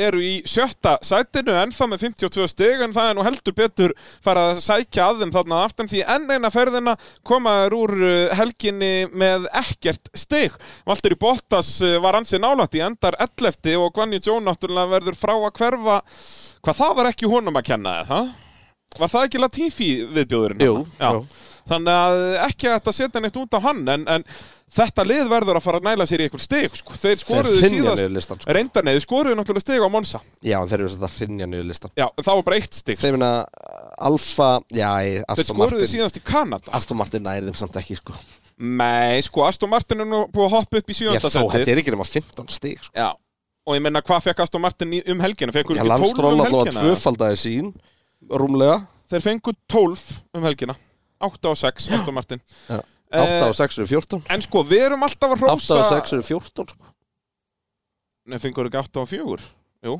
eru í sjötta sætinu ennþá með 52 stig en það er nú heldur betur fara að sækja að þeim þarna að aftan því enn eina ferðina komaður úr uh, helginni með ekkert stig Valtteri Bottas uh, var ansið nálætt í endar 11 og Gvanni Jón náttúrulega verður frá að hverfa hvað það var ekki honum að kenna eða það? Var það ekki Latifi viðbjóðurinn? Jú, Já. jú. Þannig að ekki hægt að setja neitt út á hann en, en þetta lið verður að fara að næla sér í einhver stig sko. Þeir skoruðu Þeir hrynja síðast niður listan, sko. Reyndar nei, þeir skoruðu náttúrulega stig á Monsa Já, en þeir eru þess að hrinja niður listan Já, það var bara eitt stig Þeir finna Alfa Já, í Þeir Aston skoruðu Martin síðast í Kanada Aston Martin næri þeim samt ekki sko. Nei, sko, Aston Martin er nú búið að hoppa upp í Ég sjönda þó, þetta setið er ekki nema 15 stig sko. Já, og ég menna hvað fekk Aston Martin í, um helgina? Fekkur Já, ekki 12 landstról um alltaf að helgina? tvöfaldaði sín Rúmlega Þeir fengu 12 um helgina 8 og 6, Aston Martin Já. 8 og 6 eru 14 En sko, við erum alltaf að 8 rosa og 6 eru 14 sko. Nei, fengur ekki 8 og 4 Jú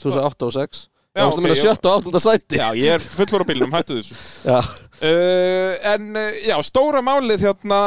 Þú sagði 8 og 6 Já, Já, ok, okay, meina já. 7 og 8 sæti Já, ég er fullur á bílnum, hættu þessu Já. Uh, en uh, já, stóra málið hérna,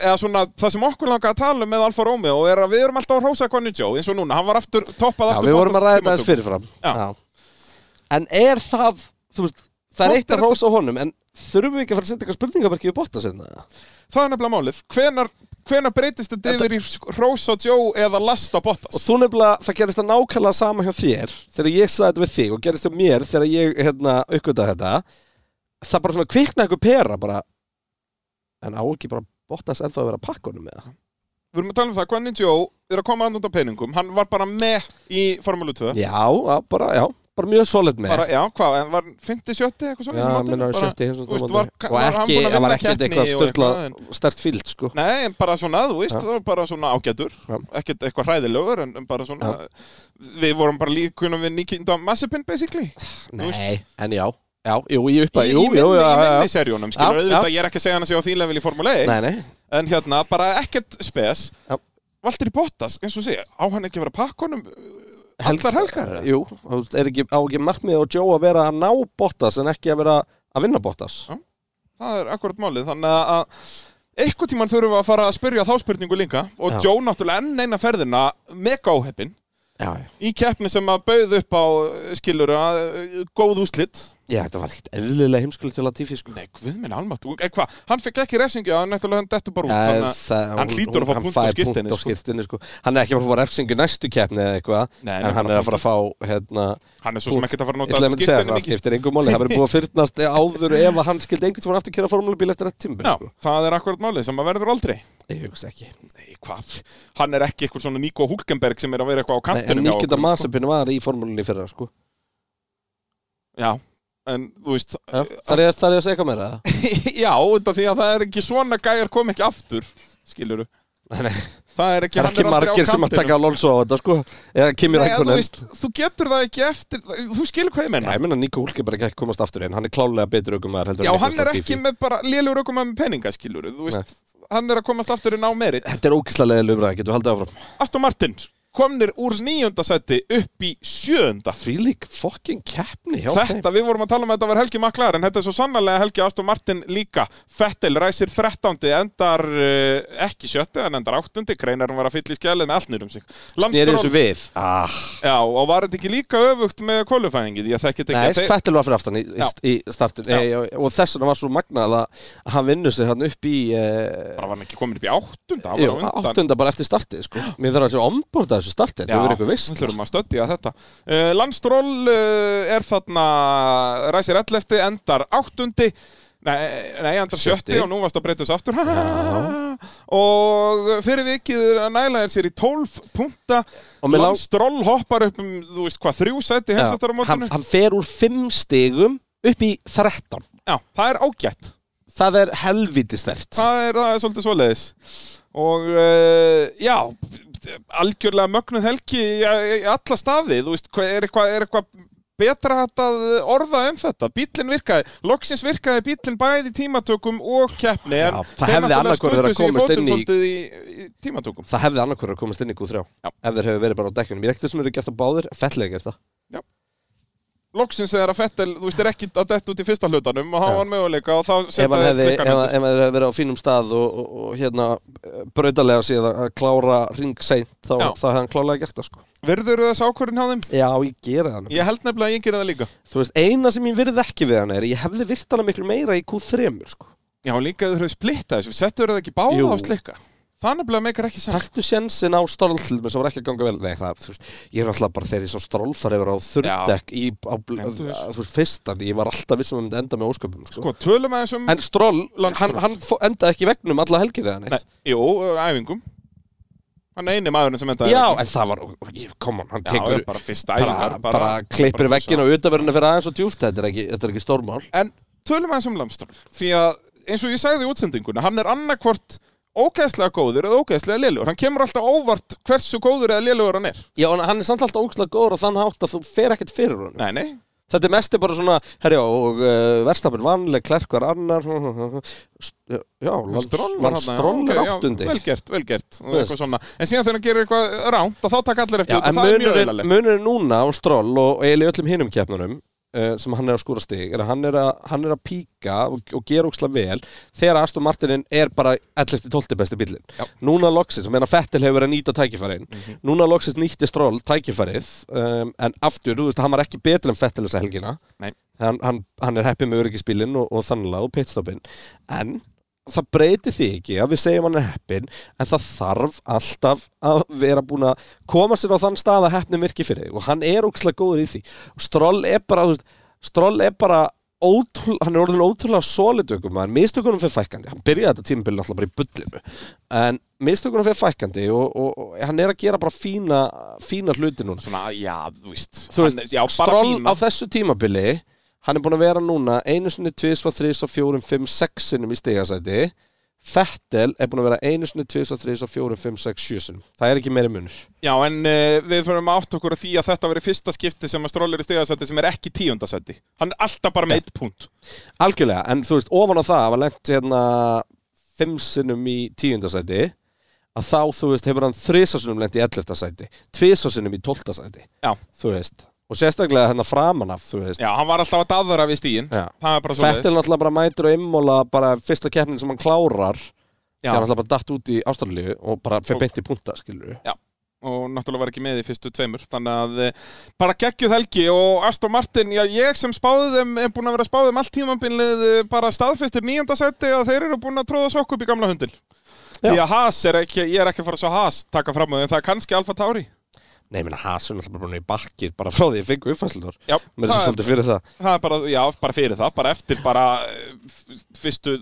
eða svona það sem okkur langar að tala um með Alfa Romeo er að við erum alltaf að hrósa Conny Joe eins og núna, hann var aftur, toppað Já, aftur við vorum að ræða þetta podcast- aðeins fyrirfram Já. En er það, þú veist, það Hvort er er eitt að þetta- rósa honum En þurfum við ekki að fara að setja eitthvað spurningamarki við hérna? botta sinna? Það er nefnilega málið, hvenar, hvenar breytist þetta yfir í sk- hrósa Joe eða lasta Og Bottas? þú nefnilega, það gerist það nákvæmlega sama hjá þér Þegar ég sagði þetta við þig og gerist hjá mér Þegar ég, hérna, aukvitað þetta Það bara svona kvikna einhver pera bara En á ekki bara Bottas ennþá að vera pakkunum með það Við erum að tala um það, Conny Joe er að koma andan á peningum, hann var bara með í Formule 2 Já, að bara, já, bara mjög solid með bara, já, hvað, en var 50, 70 eitthvað svona Já, minna var sjötti hins þú veist, og var- það var hann ekki, búinn að það var vinna ekkert keppni eitthvað og stöðla eitthvað, en- stert fíld, sko Nei, en bara svona, þú veist, Já. það var bara svona ágætur, Já. ekkert eitthvað hræðilegur, en en bara svona, við vorum bara líkunum við Nikinda Massipin, basically, Nei, en já, já, jú, ég uppa, í, jú, í, jú, minni, já, í já, minni já serjónum, skilur Já, auðvitað, ég er ekki að segja hann að segja á þínlega vilji Formule 1, Nei, nei, en hérna, bara ekkert spes, Já. Valtteri Bottas, eins og segja, á hann ekki að vera pakkunum allar helgar? jú, þú veist, er ekki, á ekki markmið og Joe að vera að ná Bottas en ekki að vera að vinna Bottas Það er akkurat málið, þannig að eitthvað tíman þurfum við að fara að spyrja þá spurningu líka, og Já. Joe náttúrulega enn eina ferðina, mega óheppin, Já, já, í keppni sem að bauð upp á skilur að góð úslit já, þetta var ekkert eðlilega heimskulega til að tífi, sko Nei, guð minn almátt eh, Hvað, hann fekk ekki refsingu að hann nættulega hann dettur bara út Eh, þannig að- það- hann hún- hlýtur að fá hann punkt á fær skírteini, punkt á sko. skírteini, sko. Hann er ekki að fara að fá refsingu í næstu keppni eða eitthvað Nei, nei, En hann bara er að fara að fá, hérna Hann er svo sem ekkert að fara að Ég ætla nota að mynda segja skiptinu það, mikið skiptir engum máli, það verður búið að fyrtnast áður ef að hann skildi einhvern tímann aftur kjöra formúlubíl eftir þetta timbil, Já, sko. það er akkurat málið sem að verður aldrei Ég hugsa ekki. Nei, hvað, hann er ekki eitthvað svona Nico Hulkenberg sem er að vera eitthvað á Nei, en kantinum hjá Nikita okkur, Masapin var í formúlunni fyrra, sko. sko. Já, en þú veist [LAUGHS] Já. Þar er ég að segja eitthvað meira? Já, þetta því að það er ekki svona gæjar kom ekki aftur Skilur Nei, nei. Það er ekki, Það er hann ekki aldrei á margir sem að kantinum. taka Alonso á þetta, sko. Eða Kimi Nei, en þú Rækkonen. veist, þú getur það ekki eftir Þú skilur hvað ég menna Já, ég menna Nico Hulkeberg ekki komast aftur einn, hann er klálega betur aukumæður heldur Já, en Nicolas hann er Latifi. ekki með bara lélur okkur með peninga, skilur Þú veist, hann er að komast aftur inn á merit Þetta er ógislega leiðilega umræða, getur haldið áfram. Aston Martin komnir úr nýjönda seti upp í sjöönda Því lík fokkin keppni hjá þeim. Þetta, við vorum að tala um að þetta var Helgi Maklar en þetta er svo sannarlega Helgi Aston Martin líka Fettel ræsir 13. endar uh, ekki sjöttu en endar 8. Greinarinn var að fylla í skjælið með allt nýrum sig Lance Snýri þessu Stroll- við. Ah, Já, og var þetta ekki líka öfugt með kvalifæðingi Ég þekki þetta Nei, ekki að þeir- Fettil var fyrir aftan í, í, Já. í startin Já. e, og þess vegna var svo magnað að hann vinnur sig hann upp í e, bara var hann ekki komin upp í áttunda hann jú, var á undan. áttunda bara eftir startið sko. Mér þarf að sé omborda þessu startið Já, það verður eitthvað vist Við þurfum að stöddja þetta uh, Landstról uh, er þarna ræsir 11. endar 8. Nei, nei, endar 70 Sjötti. og nú varst að breyta þessu aftur [LAUGHS] og fyrir vikið næla er sér í 12 punta Og mér lá- Landstról hoppar upp um, þú veist hvað, þrjú seti heimsastar á hann, mótinu hann fer úr fimm stigum upp í 13 Já, það er ágætt Það er helviti stert það er, það er svolítið svoleiðis og uh, já algjörlega mögnuð helgi í í alla staði, þú veist, hvað- er eitthvað er eitthvað betra hægt að orða um þetta, bílinn virkaði, loksins virkaði bílinn bæði í tímatökum og keppni en Já, það þeir hefði náttúrulega annað hvort verið að skutu sig komast fótinn inn í- svolítið í, í tímatökum Það hefði annarkur að komast inn í Q3 Já. ef þeir hefur verið bara á dekkunum Ég ekkert þessum eru gert það báðir, fellega gert það loksins þegar að Fettel, þú veist, er ekki að detta út í fyrsta hlutanum og þá Já. var hann möguleika og þá ef setja hann þeir hefði, ef, slikkan hann- ef hann hefði verið á fínum stað og, og, og hérna brautalega síðan að klára ring seint þá, Já. þá hefði hann klálega gert það sko verður þess ákvörðin hjá þeim? Já, ég gera það nefnilega. Ég held nefnilega að ég gerði það líka Þú veist, eina sem ég virði ekki við hann er ég hefði virt hana miklu meira í Q3 sko. Já, líka þau höfðu splitta þessu, settur það ekki báða Jú. á slikka Það nefnilega meikar ekki saman Taktu sjensin á stórlum sem var ekki að ganga vel Nei, það, þú veist, ég er alltaf bara þegar ég sá strólfar yfir á þurrdekk í, á, bl- Nei, þú veist. þú veist, fyrstan, ég var alltaf vissum að myndi enda með ósköpum sko. Sko, tölum aðeins um En stról, Lance hann, Stroll. hann fó- endaði ekki í vegnum alla helgir eða Nei, neitt Jú, æfingum Hann er eini maðurinn sem endaði Já, leikinn. en það var, ég- come on, hann Já, tekur já, bara fyrsta bara, æfingar bara klippir bara- veggin á utaverðinu fyrir aðeins og djúft þetta er ekki, þetta er ekki stórmál En tölum aðeins um Lamstról Því að, eins og ég sagði í útsendinguna Hann er annarkvort ógeðslega góður eða ógeðslega lélugur Hann kemur alltaf óvart hversu góður eða lélugur hann er Já, en hann er samt alltaf ógslag góður og þann hátt að þú fer ekkert fyrir honum Nei, nei Þetta er mest bara svona, herjá, og uh, verstafinn vanleg, klerkvar annar, st- já, Stroll var þarna, landstrón já, ok, er já, áttundi. Vel gert, vel gert og Þú eitthvað veist. svona En síðan þegar hann gerir eitthvað rámt að þá taka allir eftir Já, þetta en Það er mjög munurinn velalegt munurinn núna á Stroll og eiginlega í öllum hinum keppnunum uh, sem hann er að skúra stig er að hann er að, hann er að píka og, og gera óksla vel þegar Aston Martinin er bara 11-12 besti bílinn. Já. Mhm. Núna loksins, og meðan Fettil hefur verið að nýta tækifærin núna loksins nýtti Stroll tækifærið um, en aftur, þú veist, hann var ekki betur en Fettil þessa helgina Nei. hann, hann, hann er heppið með öryggisbílinn og, og þannlega og pitstoppin en það breytir því ekki að við segjum hann er heppin en það þarf alltaf að vera búin að koma sér á þann stað að heppnin virki fyrir þig og hann er ókslega góður í því og Stroll er bara, þú veist, Stroll er bara Ótrúl, hann er orðin ótrúlega solitökum maður, mistökunum fyrir fækandi hann byrjaði þetta tímabili alltaf bara í bullinu en mistökunum fyrir fækandi og, og, og hann er að gera bara fína fína hluti núna Svona, já, þú veist, þú veist, hann, Já, bara Stroll á fína þessu tímabili hann er búin að vera núna einu sinni, tvis, þrís, fjórum, fimm, sex sinnum í stigasæti Fettel er búin að vera einu sinni, tvis, þrís, fjórum, fimm, sex, sjö sinnum það er ekki meiri munur Já, en uh, við fyrir að átta okkur að því að þetta verið fyrsta skipti sem að strólir í stigasætti sem er ekki tíundasætti Hann er alltaf bara með eitt punkt algjörlega, en þú veist, ofan á það var lengt hérna fimm sinnum í tíundasæti að þá, þú veist, hefur hann þrisasunum lengt í 11. sæti, tvisasunum í 12. sæti Já. þú veist, og sérstaklega hérna framan af, þú veist Já, hann var alltaf að daðra við stíin Já. Það er bara svo Fettil náttúrulega bara mætir og immóla bara fyrsta keppnin sem hann klárar Já, þegar hann náttúrulega bara datt út í Ástralíu og bara Og- fyrir beint í punta, skilur og náttúrulega var ekki með í fyrstu tveimur þannig að eh, bara geggjuð helgi og Aston Martin, já ég sem spáði þeim er búin að vera að spáði þeim allt tímambilið eh, bara staðfestir nýjönda seti að þeir eru búin að tróða sokk upp í gamla hundin Já. því að Haas er ekki, ég er ekki að fara svo Haas taka fram á því en það er kannski Alfa Tauri Nei, minna, Hasun er náttúrulega bara búin í bakkið bara frá því ég fengu uppfæslunar já, Mér er það, svo svolítið fyrir það það er bara, já, bara fyrir það bara eftir bara eh, f- fyrstu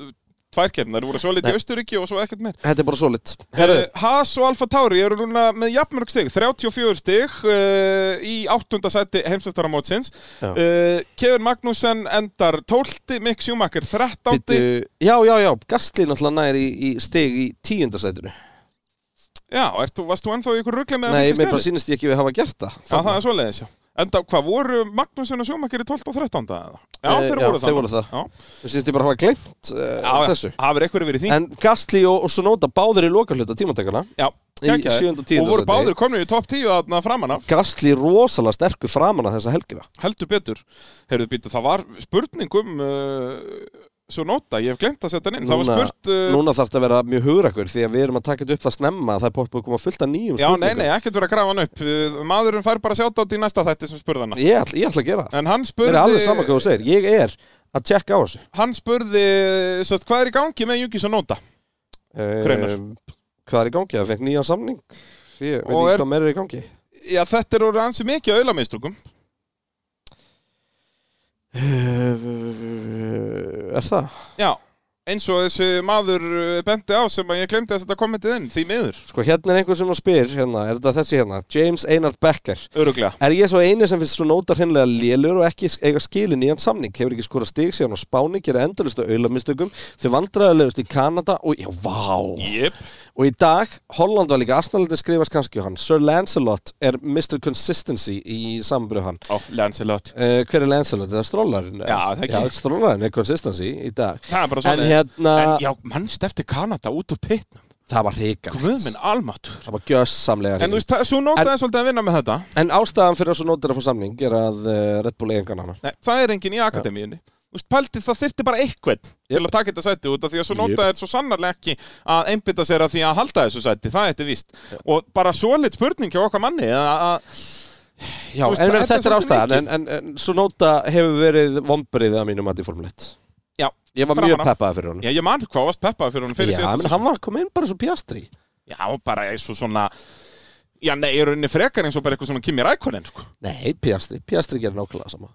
tværkeppnar, voru svo litið Nei. í Austuríki og svo ekkert meir Þetta er bara svolít Herru. Haas og Alfa Tauri eru núna með jafnmörg stig, 34 stig uh, í áttunda sæti heimsveistaramótsins. Já. Uh, Kevin Magnussen endar 12, Mick Schumacher 13. Já, já, já, Gastli náttúrulega næri í, í stig í tíundasætinu Já, ertu, varst þú ennþá í ykkur ruggli með að Nei, fylgja mér bara skrefið? sýnist ég ekki við hafa gert það Já, það er svoleiðis, já. Enda, hvað voru Magnussen og Schumacher í 12 og 13. eða? Já, Eh, þeir já, voru þeir voru það. Já, Mér sýnist ég bara hafa glemt já, uh, þessu já, hafur eitthvað verið í því. En Gastli og, og Sonóta báðir í lokahluta tímatakana já, í geggjaði. sjöunda og tíunda Og voru sæti. báður komin í topp 10 þarna framan af, Gastli rosalega sterkur framan að þessa helgina heldur betur. Herðu býtu, það var spurning um... Uh, Svo nota, ég hef glemt að setja hann inn Það var Núna- spurt uh, Núna þarf þetta að vera mjög hugrakkur því að við erum að taka þetta upp það snemma það er búið að koma fullt af Já, nýjum nei, spurningum. nei, ekkert verið að grafa hann upp Uh, Maðurinn fær bara sjátt átt í næsta þætti sem spurði hana Ég ætla, ég ætla að gera það. En hann Mér spurði er alveg saman hvað þú segir. Ég er að tjekka á þessu. Hann spurði, sérst, hvað er í gangi með Jungis og Nóta? Hreinar. Eh, Hvað er í gangi? Það fekk nýjan samning. Ég veit Og ekki er- hvað meira er í gangi. Já, þetta er orðið ansi mikið að auðlamistrugum Eh, Er það? Já, eins og þessi maður uh, bendi á sem að ég glemdi að setja kommentið inn Því miður, Sko hérna er einhver sem að spyr hérna, er þetta þessi hérna? James Einar Becker. öruglega Er ég svo eini sem finnst svo nótar hinnlega lélur og ekki eiga skilin í hann samning? Hefur ekki skora stig síðan á Spáni, gera endalista auðlamistökum, þau vandræðilegust í Kanada og... Já, vá! Jep, Og í dag, Holland var líka Asnaldi skrifast kannski á hann Sir Lancelot er Mr. Consistency í samanbyrðu hann ó, Lancelot uh, Hver er Lancelot? Það er strollarinn Já, það ekki. Já, strollarinn er Consistency í dag Það er bara En svona hérna, En já, mannst eftir Kanada út úr pitnum það var hrikalegt Guð minn almatur Það var gjössamlega En þú hrikalegt veist, svo En- nótaði svolítið að vinna með þetta En ástæðan fyrir að svo nótir að fá samning er að uh, Red Bull eigingan hann Nei, það er enginn í akademíunni Þú veist, pældi það þyrfti bara eitthvað til að taka þetta sæti út af því að svo Jep. nota er svo sannarlega ekki að einbytta sér að því að halda þessu sæti, það er þetta víst og bara svoleitt spurning hjá okkar manni að að- Já, Þú veist, en það- þetta er svolítið ástæðan mikið. en, en, en svo nóta hefur verið vombriðið að mínum að í Formule 1 Já, Ég var framan mjög af. peppaði fyrir honum Já, ég man hvað varst peppaði fyrir hún fyrir Já, menn síðasta hann var að koma inn bara svo pjastri Já, bara eins og svona Já, nei, ég er unni frekar eins og bara eitthvað svona Kimi Rækonen, sko Nei, Piastri, Piastri gerir nákvæmlega sama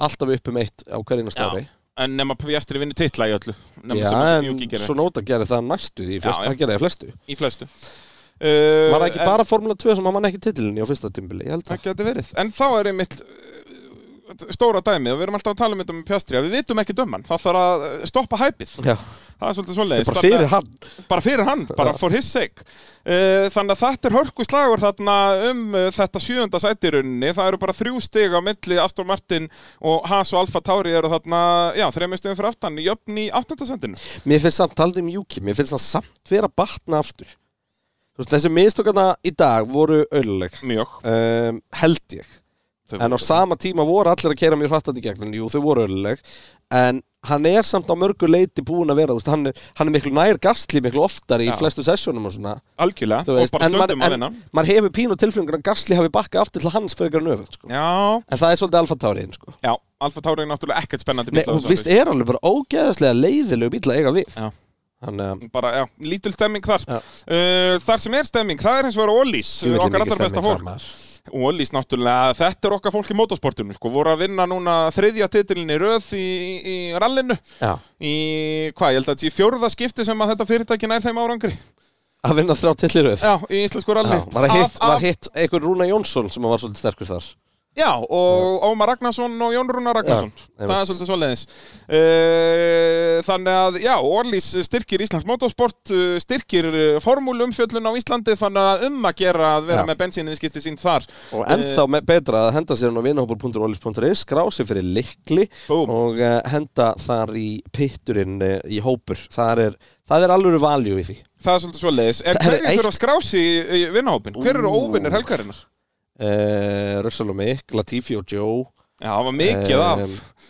Alltaf upp um eitt á hverjina Já, stári En nema Piastri vinnur titla í öllu Nema Já, sem að en Juki gerir svo nóta gerir það næstu því flest, Já, já. Það gerir það flestu í flestu uh, Var það ekki en- bara Formula 2 sem hann vann ekki titilinni á fyrsta tímbili, ég held Það það geti verið. En þá er einmitt uh, stóra dæmi og við erum alltaf að tala um þetta með Pjastri að við vitum ekki dömann, það þarf að eh, stoppa hæpið Já, það er svolítið svoleiðis bara fyrir hann bara fyrir hann, bara for his sake uh, þannig að þetta er hörku slagur þarna um uh, þetta sjöfunda sæti í rauninni, það eru bara þrjú stig á milli Aston Martin og Haas og Alfa Tauri eru þarna, já, þreymur stigum fyrir aftan jöfn í áttundasendinu Mér finnst samt, taldi um Juki, mér finnst það samt vera að batna aftur Þú veist, þessi mistökarna í dag voru ölluleg mjög um, Held ég Þau En voru- á sama tíma voru allir að keira mjög hrattat í gegn Jú, þau voru ölluleg En hann er samt á mörgu leiti búin að vera þú veist, hann, er, hann er miklu nær gastli miklu oftar í Já. flestu sessjónum og svona algjörlega, þú veist, og bara en maður- stundum að en- vinna Maður hefur pínu tilfengur að gastli hafi bakkað aftur til hans fyrir að nöfn sko. já, En það er svolítið alfa táriðin sko. já, Alfa Tauri er náttúrulega ekkert spennandi Nei, bíll á og þessu vist ári. er alveg bara ógeðaslega leiðilegu bíl að eiga við Já. Þannig að bara, já, lítil stemming þar Já. uh, þar sem er stemming, það er eins og vera Ólís Djöfull er okkar mikið allra besta stemning fólk þar, maður. Ólís náttúrulega, þetta er okkar fólk í motorsportinu sko, voru að vinna núna þriðja titilinni röð í, í rallinu Já. í, hvað, ég held að þetta sé fjórða skipti sem að þetta fyrirtæki nær þeim árangri að vinna þrjá tillir auð já, í íslensku ralli var, að hitt, Af- var af- hitt einhver Rúna Jónsson sem var svolítið sterkur þar já, og Ómar Ragnarsson og Jón Rúnar Ragnarsson Já, einmitt. það er svolítið svoleiðis uh, þannig að, já, Ólís styrkir Íslands motorsport uh, styrkir uh, formúlumfjöllun á Íslandi þannig að um að gera að vera Já. með bensinviðskipti sín þar og ennþá Eh, uh, betra að henda sér hann á vinahópur.olis.is skrá sig fyrir likli Búm. og uh, henda þar í pitturinn uh, í hópur þar er, það er alveg valjú í því það er svolítið svoleiðis en Það- herri, hverju þurfa eitt- að skrási í vinnahópin? hver eru Ú. óvinnir helgarinnar? uh, Russell og Mick, Latifi og Joe Já, það var mikið Um, af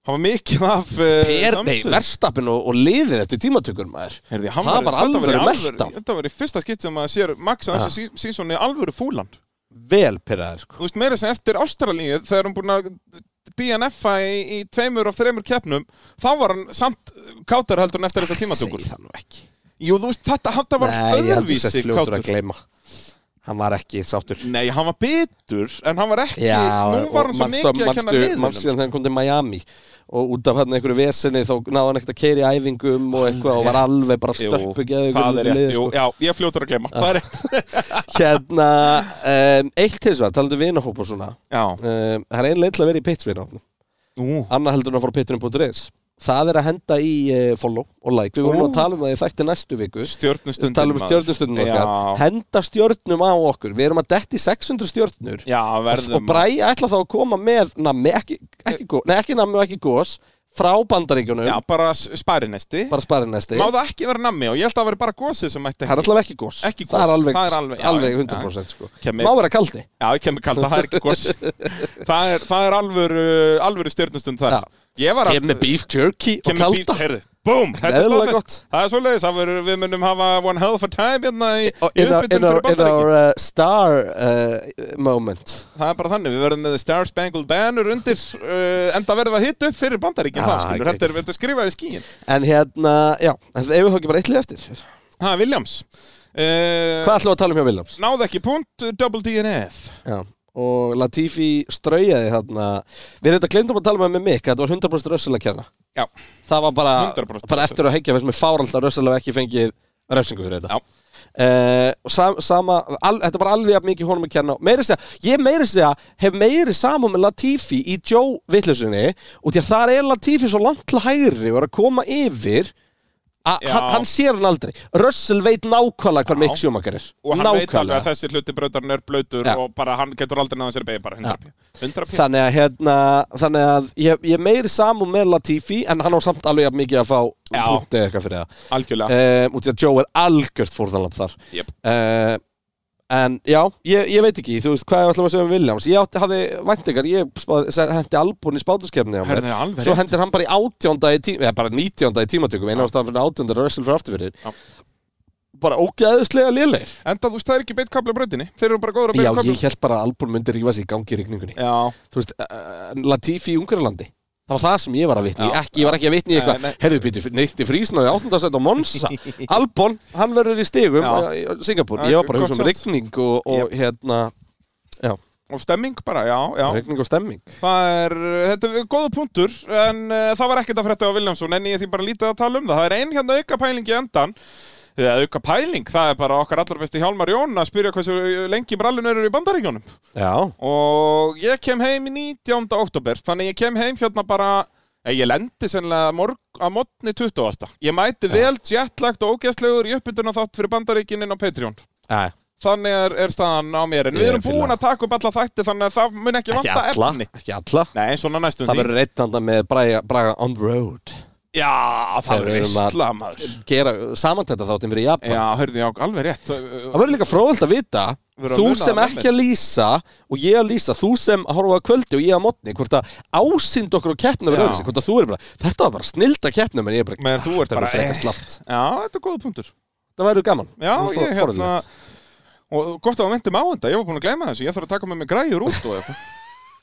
Það var mikið af uh, Per, nei, verstappin og, og liðið eftir tímatökur maður Heyrði, það var alvöru Ah. melta. Þetta var í fyrsta skipt sem maður sér Max að þessu sí- sísoni alvöru fúlan vel pyrraður sko Þú veist, meira sem eftir Ástralíu þegar hann búin að DNF-a í, í tveimur af þreimur keppnum þá var hann samt kátar heldur en eftir þessar tímatökur Segðu það nú ekki Jú, þú veist, þetta, þetta var Ah, Nei, ég held ég öðruvísi sett fljótur kátur að gleyma Hann var ekki sáttur Nei, hann var bitur en hann var ekki, nú var hann svo mikið að kenna sko. liðunum Manstu þegar hann kom til Miami og út af hann einhverju vesinni þá náði hann ekkert að keiri æfingum og eitthvað og var alveg bara Jú, stöppu það er rétt, jú, sko. já, ég er fljótur að [LAUGHS] gleyma Það er rétt, Hérna, um, eitt til þess að talandi um vinahóp og svona já um, Það er ein leið til að vera í pitsvinahópnum Ú, Anna heldur hann að fara pitturinn.is Það er að henda í uh, follow og like Við vorum Ú. að tala um það í þætti næstu viku stjörnustundum tala um maður. stjörnustundum Já. okkar Henda stjörnum á okkur Við erum að detti 600 stjörnur Já, verðum og Bræi ætla þá að koma með nammi, ekki, ekki, gó- nei, ekki nammi og ekki gós frá bandaríkjunum, Já, bara s- spærinesti bara sparið næsti Má það ekki vera nammi og ég held að það veri bara gósið sem mætti það er ekki allavega ekki gós, Ekki gos, það er alveg, það er alveg- já, já, 100% sko. Kemur- má vera kaldi Já, ég kemur kallt að það er ekki gós það, er, það er alvöru, alvöru stjörnustund þar Já. Ég var að beef jerky Kemur bíft, heyrðu Búm, þetta er Eðlilega staðfest gott. Það er svoleiðis, það verður, við munum hafa one hell of a time hérna í, Og í in our, in uppbytun our, fyrir in bandaríkin our uh, star uh, moment Það er bara þannig, við verðum með Star Spangled Banner undir uh, enda verðum við að hitta upp fyrir bandaríkin Ah, það skilur, geggjað. þetta er, þetta er skrifað í skíin en hérna, já, en ef við höfum bara eitthvað eftir hvað Ha, Williams uh, ætlum við að tala um hjá Williams Náði ekki punkt, uh, double DNF já. og Latifi straujaði þarna við reynda glemdum að tala um það með Mick að þetta var 100% rössil að kenna Já, það var bara, 100% bara eftir að hengja þessum er fáralt að Russell hafi ekki fengið refsingu fyrir Já. þetta Eh, og sam, sama, al, þetta er bara alveg jafn mikið honum að kenna meiri segja, ég meiri segja hef meiri samum með Latifi í Joe vittlusinni og því að þar er Latifi svo langt til hægri og er að koma yfir að Já. hann, hann sér hann aldrei Russell veit Já. nákvæmlega hvað Mick Schumacher er og hann veit alveg að nákvæmlega þessi hluti brautarinn er blöytur Já. og bara hann getur aldrei náðan sér beigja bara 100 pí 100 pí þannig að, hérna, þannig að ég, ég meiri samum með Latifi en hann á samt alveg jafn mikið að fá Já. punktið eitthvað fyrir það algjörlega um, út í að Joe er algjört fórðanlamp þar Jep. uh, en já, ég, ég veit ekki þú veist hvað ég ætlum að segja um Williams ég átti, hafði væntingar, ég spáði, se- hendi Albon í spátuskefni á mér, Herðu, alveg svo rétt. hendir hann bara í átjónda í tíma, eða bara nítjónda í tímatökum eina ástæðan fyrir átjónda er Russell fyrir afturfyrir Já. bara ógeðislega lélegir enda þú veist, það er ekki beitt kabla brautinni þeir eru bara góður að já, beitt kabla ég held bara að Albon myndi rífa sig í gangi í rigningunni já, þú veist, uh, Latifi í Ungarlandi það var það sem ég var að vitni, Já. ekki, ég var ekki að vitni í Nei, eitthvað, nei. herðu býti, neytti frísnaði áttundasætt á [LAUGHS] Monsa, Albon hann verður í stigum Já. já. í Singapur Já, ég var bara að hugsa um gott rigning og, og hérna, og stemming bara, já, já rigning og stemming það er, þetta er góða punktur eh, en uh, það var ekkert að frétta á Viljámsson en ég því bara lítið að tala um það það er ein hérna auka pæling í endan eða auka pæling, það er bara okkar allar besti Hjálmar Jón að spyrja hversu eh, lengi brallinu eru í bandaríkjónum Já, og ég kem heim í 19. oktober þannig ég kem heim hérna bara Nei, ég lendi sennilega morg, að mótni 20. Ég mæti vel jetlagt og ógæstlegur í uppbytuna þátt fyrir bandaríkinin á Patreon. já, Þannig er, er staðan á mér. En Ég við er erum búin fíla. að taka upp alla þætti þannig að það mun ekki ekki vanta alla efni. Ekki alla Nei, svona næstum Það því. verður reitt handa með Braga, Braga on the road Já, það Þegar við verður erum að- veistla, maður. Gera samantæta þáttin fyrir Japan Já, hörðu ég á alveg rétt. Það verður líka fróðald að vita Verður að Þú muna sem það ekki að lýsa og ég að lýsa Þú sem að horfa að kvöldi og ég að mótni Hvort að ásýnd okkur á keppnum Já. er öðruvísi, Hvort að þú er bara, þetta var bara snilda keppnum En ég er bara, "Ah, Men þú ert þetta er bara, eh. frekar slaft Já, þetta er góða punktur. Það væri gaman Já, Það væri ég fróðlegt. hérna... Og gott að við myndum á þetta. Ég var búin að gleyma þessu. Ég þarf að taka með mig græjur út og eitthvað.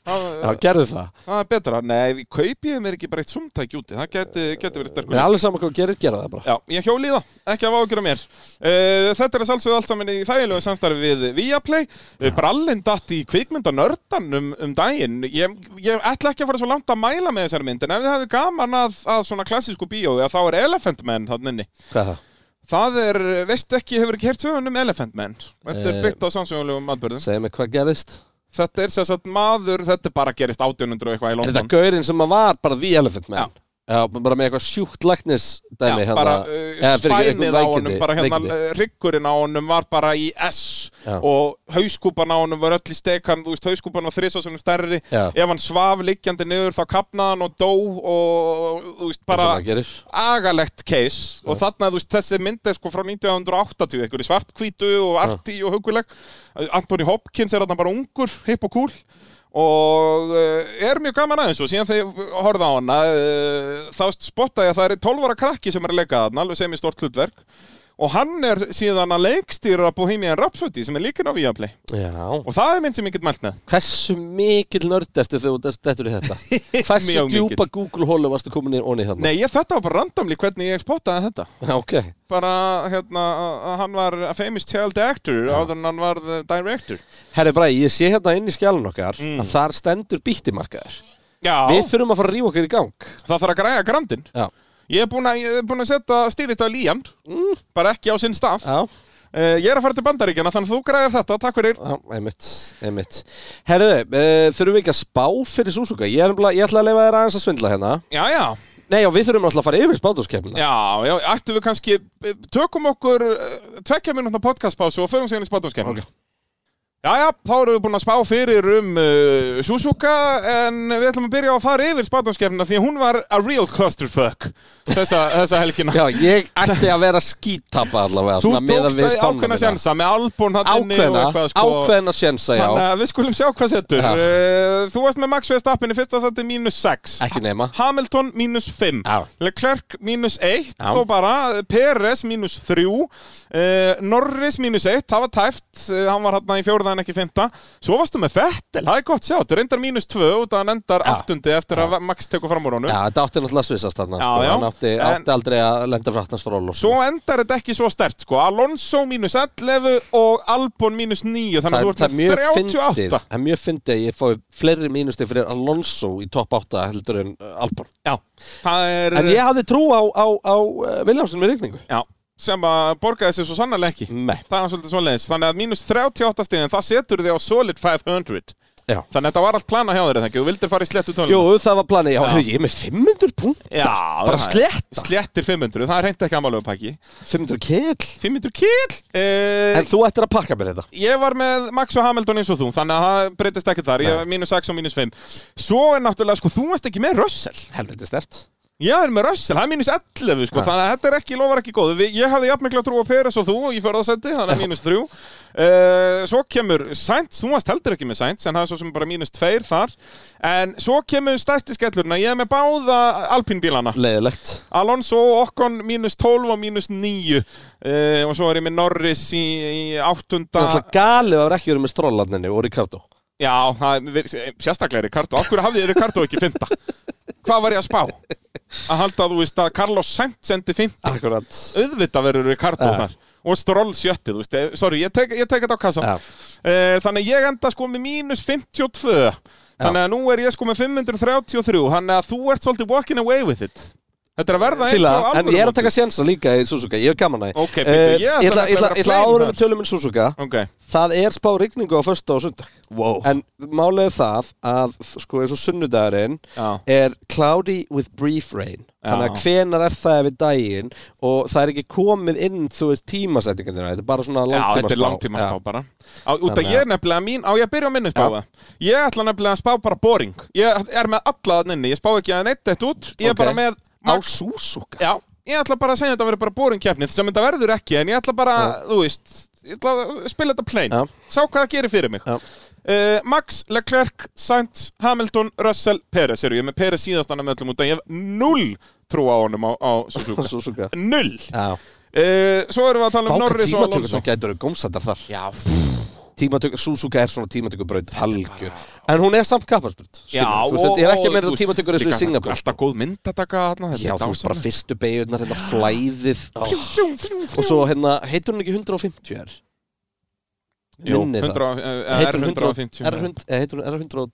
Já, Það- gerðu það Það er betra. Nei, við kaupið mér ekki bara eitt sumtæki úti. Það geti, geti verið sterkur. En alveg saman hvað þú gerir, gera það bara Já, ég hjóli í það, ekki af ágjur á mér uh, Þetta er að sjálfsögðu allt saman í þægilegu samstarfi við Viaplay uh, Brallin datt í kvikmyndanördan um, um daginn ég, ég ætla ekki að fara svo langt að mæla með þessari mynd En ef þið hefðu gaman að, að svona klassísku bíói að þá er Elephant Man þannig inni Hvað er það? Það er, veist ekki, hefur ekki heyrt sögum um Elephant Man Þetta er Eh, byggt á samsögulegum atbyrðum Segðu mig hvað gerðist Þetta er sér sagt maður, þetta er bara gerist 1800 og eitthvað í Er London þetta gaurinn sem að var bara The Elephant Man? Já. bara með eitthvað sjúkt læknis dæmi Já, hérna. bara Eða, uh, fyrir ekki, eitthvað spænið á honum, veikindi- bara hérna veikindi. uh, ryggurinn á honum var bara í S Já. og hauskúpan á honum var öll í stekan, þú veist, hauskúpan var þrisa sem stærri, Já. ef hann svaf liggjandi niður þá kapnaði hann og dó og þú veist, bara Eins og maður gerir. agalegt case og þarna, þú veist, þessi mynd er sko frá 1980, einhverju svartkvítu og arti og huguleg Anthony Hopkins er þarna bara ungur, hipp og cool og uh, er mjög gaman aðeins og síðan þegar ég horfði á hana uh, þá spotta ég að það er 12 ára krakki sem er að leika þarna, alveg sem í stort hlutverk og hann er síðan að leikstýra Bohemian Rhapsody sem er líkin á Viaplay Já. og það er mynd sem ég get mælt með Hversu mikil nörd ertu þegar þú dettur [LAUGHS] í þetta? Hversu Mjög mikill. djúpa Google-hólu varstu komin í onni þarna? Nei, ég, þetta var bara randomli hvernig ég spottaði þetta [LAUGHS] Ok. bara hérna að hann var a famous child actor áður en hann var director Herri Bræði, ég sé hérna inn í skjálun okkar Mm. að þar stendur bítimarkaður. Já, Við þurfum að fara að rífa okkur í gang. það þarf að græja grandin Já. Ég er búinn að, ég er búinn að setja stýrist á líjan bara ekki á sinn stað uh, Já. Ég er að fara til bandaríkjana þannig að þú græjar þetta, takk fyrir Já, einmitt, einmitt. Herriðu, uh, þurfum við ekki að spá fyrir Súsuka? Ég, er nefnilega- ég ætla að leifa þér aðeins að svindla hérna. Já, já, Nei, já, við þurfum alltaf að fara yfir spátumskeppnina. já, já, ættum við kannski tökum okkur eh, tvekja minútna podcastpásu og förum síðan í spátumskeim Ok. Já, já, þá erum við búin að spá fyrir um uh, Suzuka en við ætlum að byrja á að fara yfir spátumskeimna því að hún var a real clusterfuck þessa, þessa helgina Já, ég ætti að vera skítapa allavega Þú svona, miðað tókst við það í spánina ákveðna mína. sjensa með albún hann inni og Ákveðna, eitthvað sko ákveðna sjensa, já Þannig að við skulum sjá hvað setur Já. Eh, Þú varst með Max Verstappen í fyrsta seti mínus 6 Ekki nema. Hamilton mínus 5 Já. Leclerc mínus 1 Já. Þó bara Peres mínus 3 eh, Norris mínus 1 Það var tæft eh, Hann var hann í fjórða en ekki fymta Svo varstu með Vettel Það er gott sjá Þú reyndar mínus 2 og það endar Já. áttundi eftir að Max tekur fram úr honum Já, þetta átti náttúrulega að svissast þarna Já, sko. já. Hann átti, En- átti aldrei að lenda frá aftan stról og Svo endar þetta ekki svo stert sko Alonso mínus 11 og Albon mínus 9 Þannig Það, að er- þú ert það er með mjög fyndið 38 Það er mjög fyndið að ég fái fleiri mínusti fyrir Alonso í topp 8 heldur en uh, Albon Já, það er En ég hafði trú á, á, á uh, Viljámsson með regningu já, sem að borgaði sér svo sannarlega ekki Nei, Það er svolítið svoleiðis Þannig að mínus 38 stegin það setur þig á solid 500 já Þannig að þetta var allt plana hjá þér þegar Þú vildir fara í slettu tónum Jú, það var planið, já, já. ég er með 500 punkt já, það bara er- sletta. Slettir 500, það er reynd ekki amalega pakki 500 kill 500 kill eh, En þú ættir að pakka mér þetta Ég var með Max og Hamilton eins og þú Þannig að það breytist ekki þar Ég Nei. var mínus 6 og mínus 5 Svo er náttúrulega, sko, þú varst ekki með Russell Helviti stert Já, er með Russell, hann er mínus 11 sko, Ja. þannig að þetta er ekki, lofar ekki góð Vi, Ég hafði jafnmikla trú á Peres og þú í förðasendi þannig að mínus 3 uh, Svo kemur Sainz, þú varst heldur ekki með Sainz en það er svo sem bara mínus 2 þar en svo kemur stærsti skellurna ég er með báða alpínbílana Leðilegt Alonso og Okkon mínus 12 og mínus 9 uh, og svo er ég með Norris í, í Það er áttunda alltaf galið að vera ekki verið með stróllarninni og Ricardo Já, það er eh, sérstaklega Ricardo Af hverju hafði Ricardo ekki fynda? Hvað var ég að spá? Að halda þú veist að Carlos Sainz sendi 50 Akkurat auðvitað verður Ricardo Ja. þar og Stroll sjötti, þú veist, eh, sorry, ég tek, ég tek þetta á kassa Ja. Eh, þannig að ég enda sko með mínus 52 þannig að nú er ég sko með 533 þannig að þú ert svolítið walking away with it Þetta er að verða eins Fíla, og en ég er að taka sénsa líka í Suzuka, ég er gaman að því. Ok, bíddu, Eh, ég ætla Ég ætla nefnilega að vera ég ætla plain áður þar. með tölum um Suzuka Ok, Það er spá rigningu á föstu og sundag Wow. En málið er það að sko eins og sunnudagurinn Já. er cloudy with brief rain Þannig að Já. hvenar er það yfir daginn og það er ekki komið inn þú veist tímasetningarnir Þetta er bara svona já, langtíma þetta er langtíma spá bara á, Út að Þannig að- ég er nefnilega mín, á ég að byrja á minni spáða Ég ætla nefnilega að spá bara boring Ég er með alla þann inni, ég spá ekki að neitt þetta út Ég er Ok. bara með Á max- Suzuka Já, ég ætla bara að segja að þetta verður bara boring keppnið sem þetta verður ekki, en ég ætla bara, þú veist ég ætla að spila þetta plain Já. sá hvað það gerir fyrir mig Já. uh, Max, Leclerc, Sainz, Hamilton, Russell, Perez eru ég er með Perez síðastan með öllum út að ég hef null trú á honum á, á [LAUGHS] Suzuka Suzuka null Já, uh, Svo erum við að tala um fáka Norris og tímatökur Alonso sem gætur gómsættar þar Já, tímatökur, Suzuka er svona tímatökubraut halgjur, en hún er samt kapparsbrut já ég er ekki meira þú veist, tímatökur eins og í líka Singapur Alltaf góð mynd að taka þarna þetta já, er þú veist bara dásamlegt. fyrstu beigurnar hérna flæðið oh. Þrjú, þrjú, þrjú. og svo hérna, heitur hún ekki 150 er? Jú, minni það 100, eh, Heitir hún 150 er hund- eh, heitur hún er 100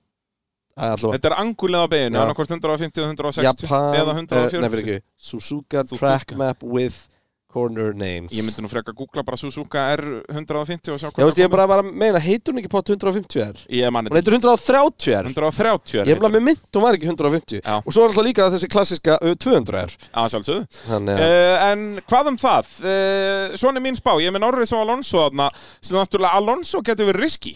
Æ, allavega, Þetta er angulega á beginu, Já. annarkvort 150 og 160 Japan eða eh, 140 nei, fyrir ekki, Suzuka Suzuka. track map with corner names Ég myndi nú freka að googla bara Suzuka R150 og sjá Já, hvað veist, ég er bara, bara að meina, heitur hún ekki pát 150 er? Ég man hún þetta heitur 130 er? 130 er Ég er bara með mynd, hún var ekki 150 Já. Og svo er alltaf líka þessi klassiska uh, 200 er Að sjálfsögðu Þannig að Uh, en hvað um það? Uh, svona er mín spá, ég er með Norris og Alonso þarna sem náttúrulega Alonso getur verið riski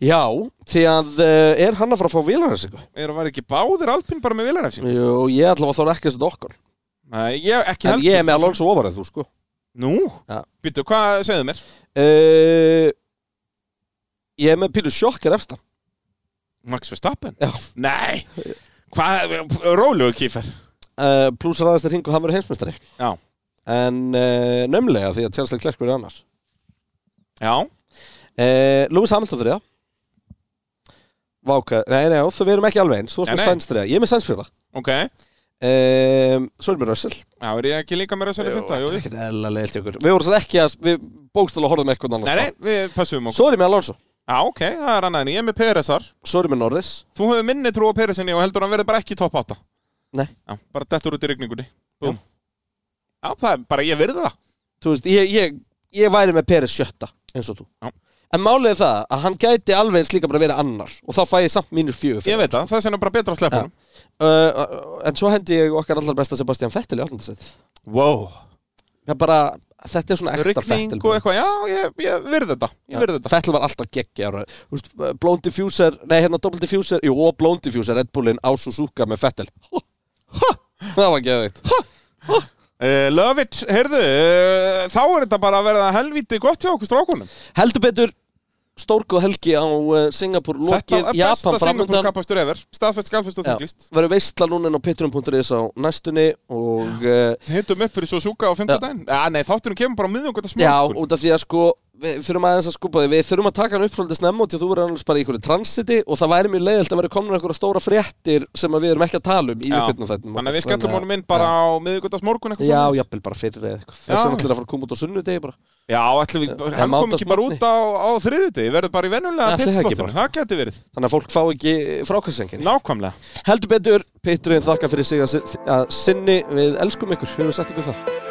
Eh, Já, því að uh, er hann að fara að fá vélarhæsingu? er að vera ekki báðir Alpin bara með vilarefsing Jú, ég ætla að þá er ekki að setja okkar Nei, ég ekki En heldur ég er með Alonso ofar en þú sko Nú, Já. býttu, hvað segðu mér? uh, Ég er með pílu sjokkar efstan Max Verstappen? Já. Nei, hvað, róluðu kýfer uh, Plús ræðast er hing og hann verið heimsmeistari Já. En uh, nömlega því að tjálslega klerkur er annars Já, uh, Lewis Hamilton þriða Váka, nei, nei, já, þau verum ekki alveg eins Þú Nei, varst með nei. sænsþriða, ég er með sænsfriða ok Já, um, Svo erum við Russell er ég ekki líka með Russell í fymta? Þetta er ekkert eðlilega leilt í okkur Við vorum satt ekki að Við bókstala horfum eitthvað annars Nei, nei, við passum okkur Svo er ég með Alonso Já, ok, það er annað en ég er með Peres þar Svo er ég með Norris Þú hefur minni trú á Peresinni og heldur hann verði bara ekki í topp 8 Nei. Já, bara dettur út í rigningunni Búm. Já, það er bara, ég virði það Þú veist, ég, ég, ég væri með Peres sjötta Eins og þú Já. En málið er það Að hann gæti alveg eins líka bara verið annar Og þá fæ ég samt mínur fjögur Ég veit það, það er sem bara betra að sleppa Já. honum uh, En svo hendi ég okkar allar besta Sebastian Vettel í átlandasætið Wow Það er bara Þetta er svona ekta Rigning Vettel og eitthvað, já, ég, ég virði þetta Ég virði þetta Fettil var alltaf geggi ára Blown uh, Diffuser, nei hérna Double Diffuser Jú, og Blown Diffuser, Red Bullin á Suzuka með Fettil Það var geðveikt uh, Love it, heyrðu, uh, þá er þetta bara að verða helvítið gott hjá okkur strákunum Heldur betur stórkuð helgi á uh, Singapur Þetta lokið, er Japan besta Singapur framöndan kapastur ever Staðfest, galfest og Já. þinglist verður veistla núna inn á pitturum.is á næstunni og uh, Hittum upp fyrir Suzuka á 5. daginn Já, nei, þátturinn kemur bara miðungut að já, smörkun út af því að sko við þurfum aðeins að skupa því, við þurfum að taka hann upp svolítið snemma og því að þú verður annars bara í einhverju transiti og það væri mjög leiðilt að vera komin einhverja stóra fréttir sem að við erum ekki að tala um í Já. uppbyrnum þetta Þannig að við skellum honum inn bara á miðugut að smorgun Já, jafnvel bara fyrir eða eitthvað Já, Þessi er já. náttúrulega að fara að koma út á sunnudegi bara Já, ætlum við, Já, hann kom máta ekki bara smotni. út á, á þriðutegi, verður bara í Já, vennulega ætli það ekki pittslottinu, það geti verið, Þannig að fólk fá ekki eh, frákvæmsengin nákvæmlega. Heldur betur, Péturinn þakka fyrir sig að, að sinni Við elskum ykkur, höfum við sagt ykkur það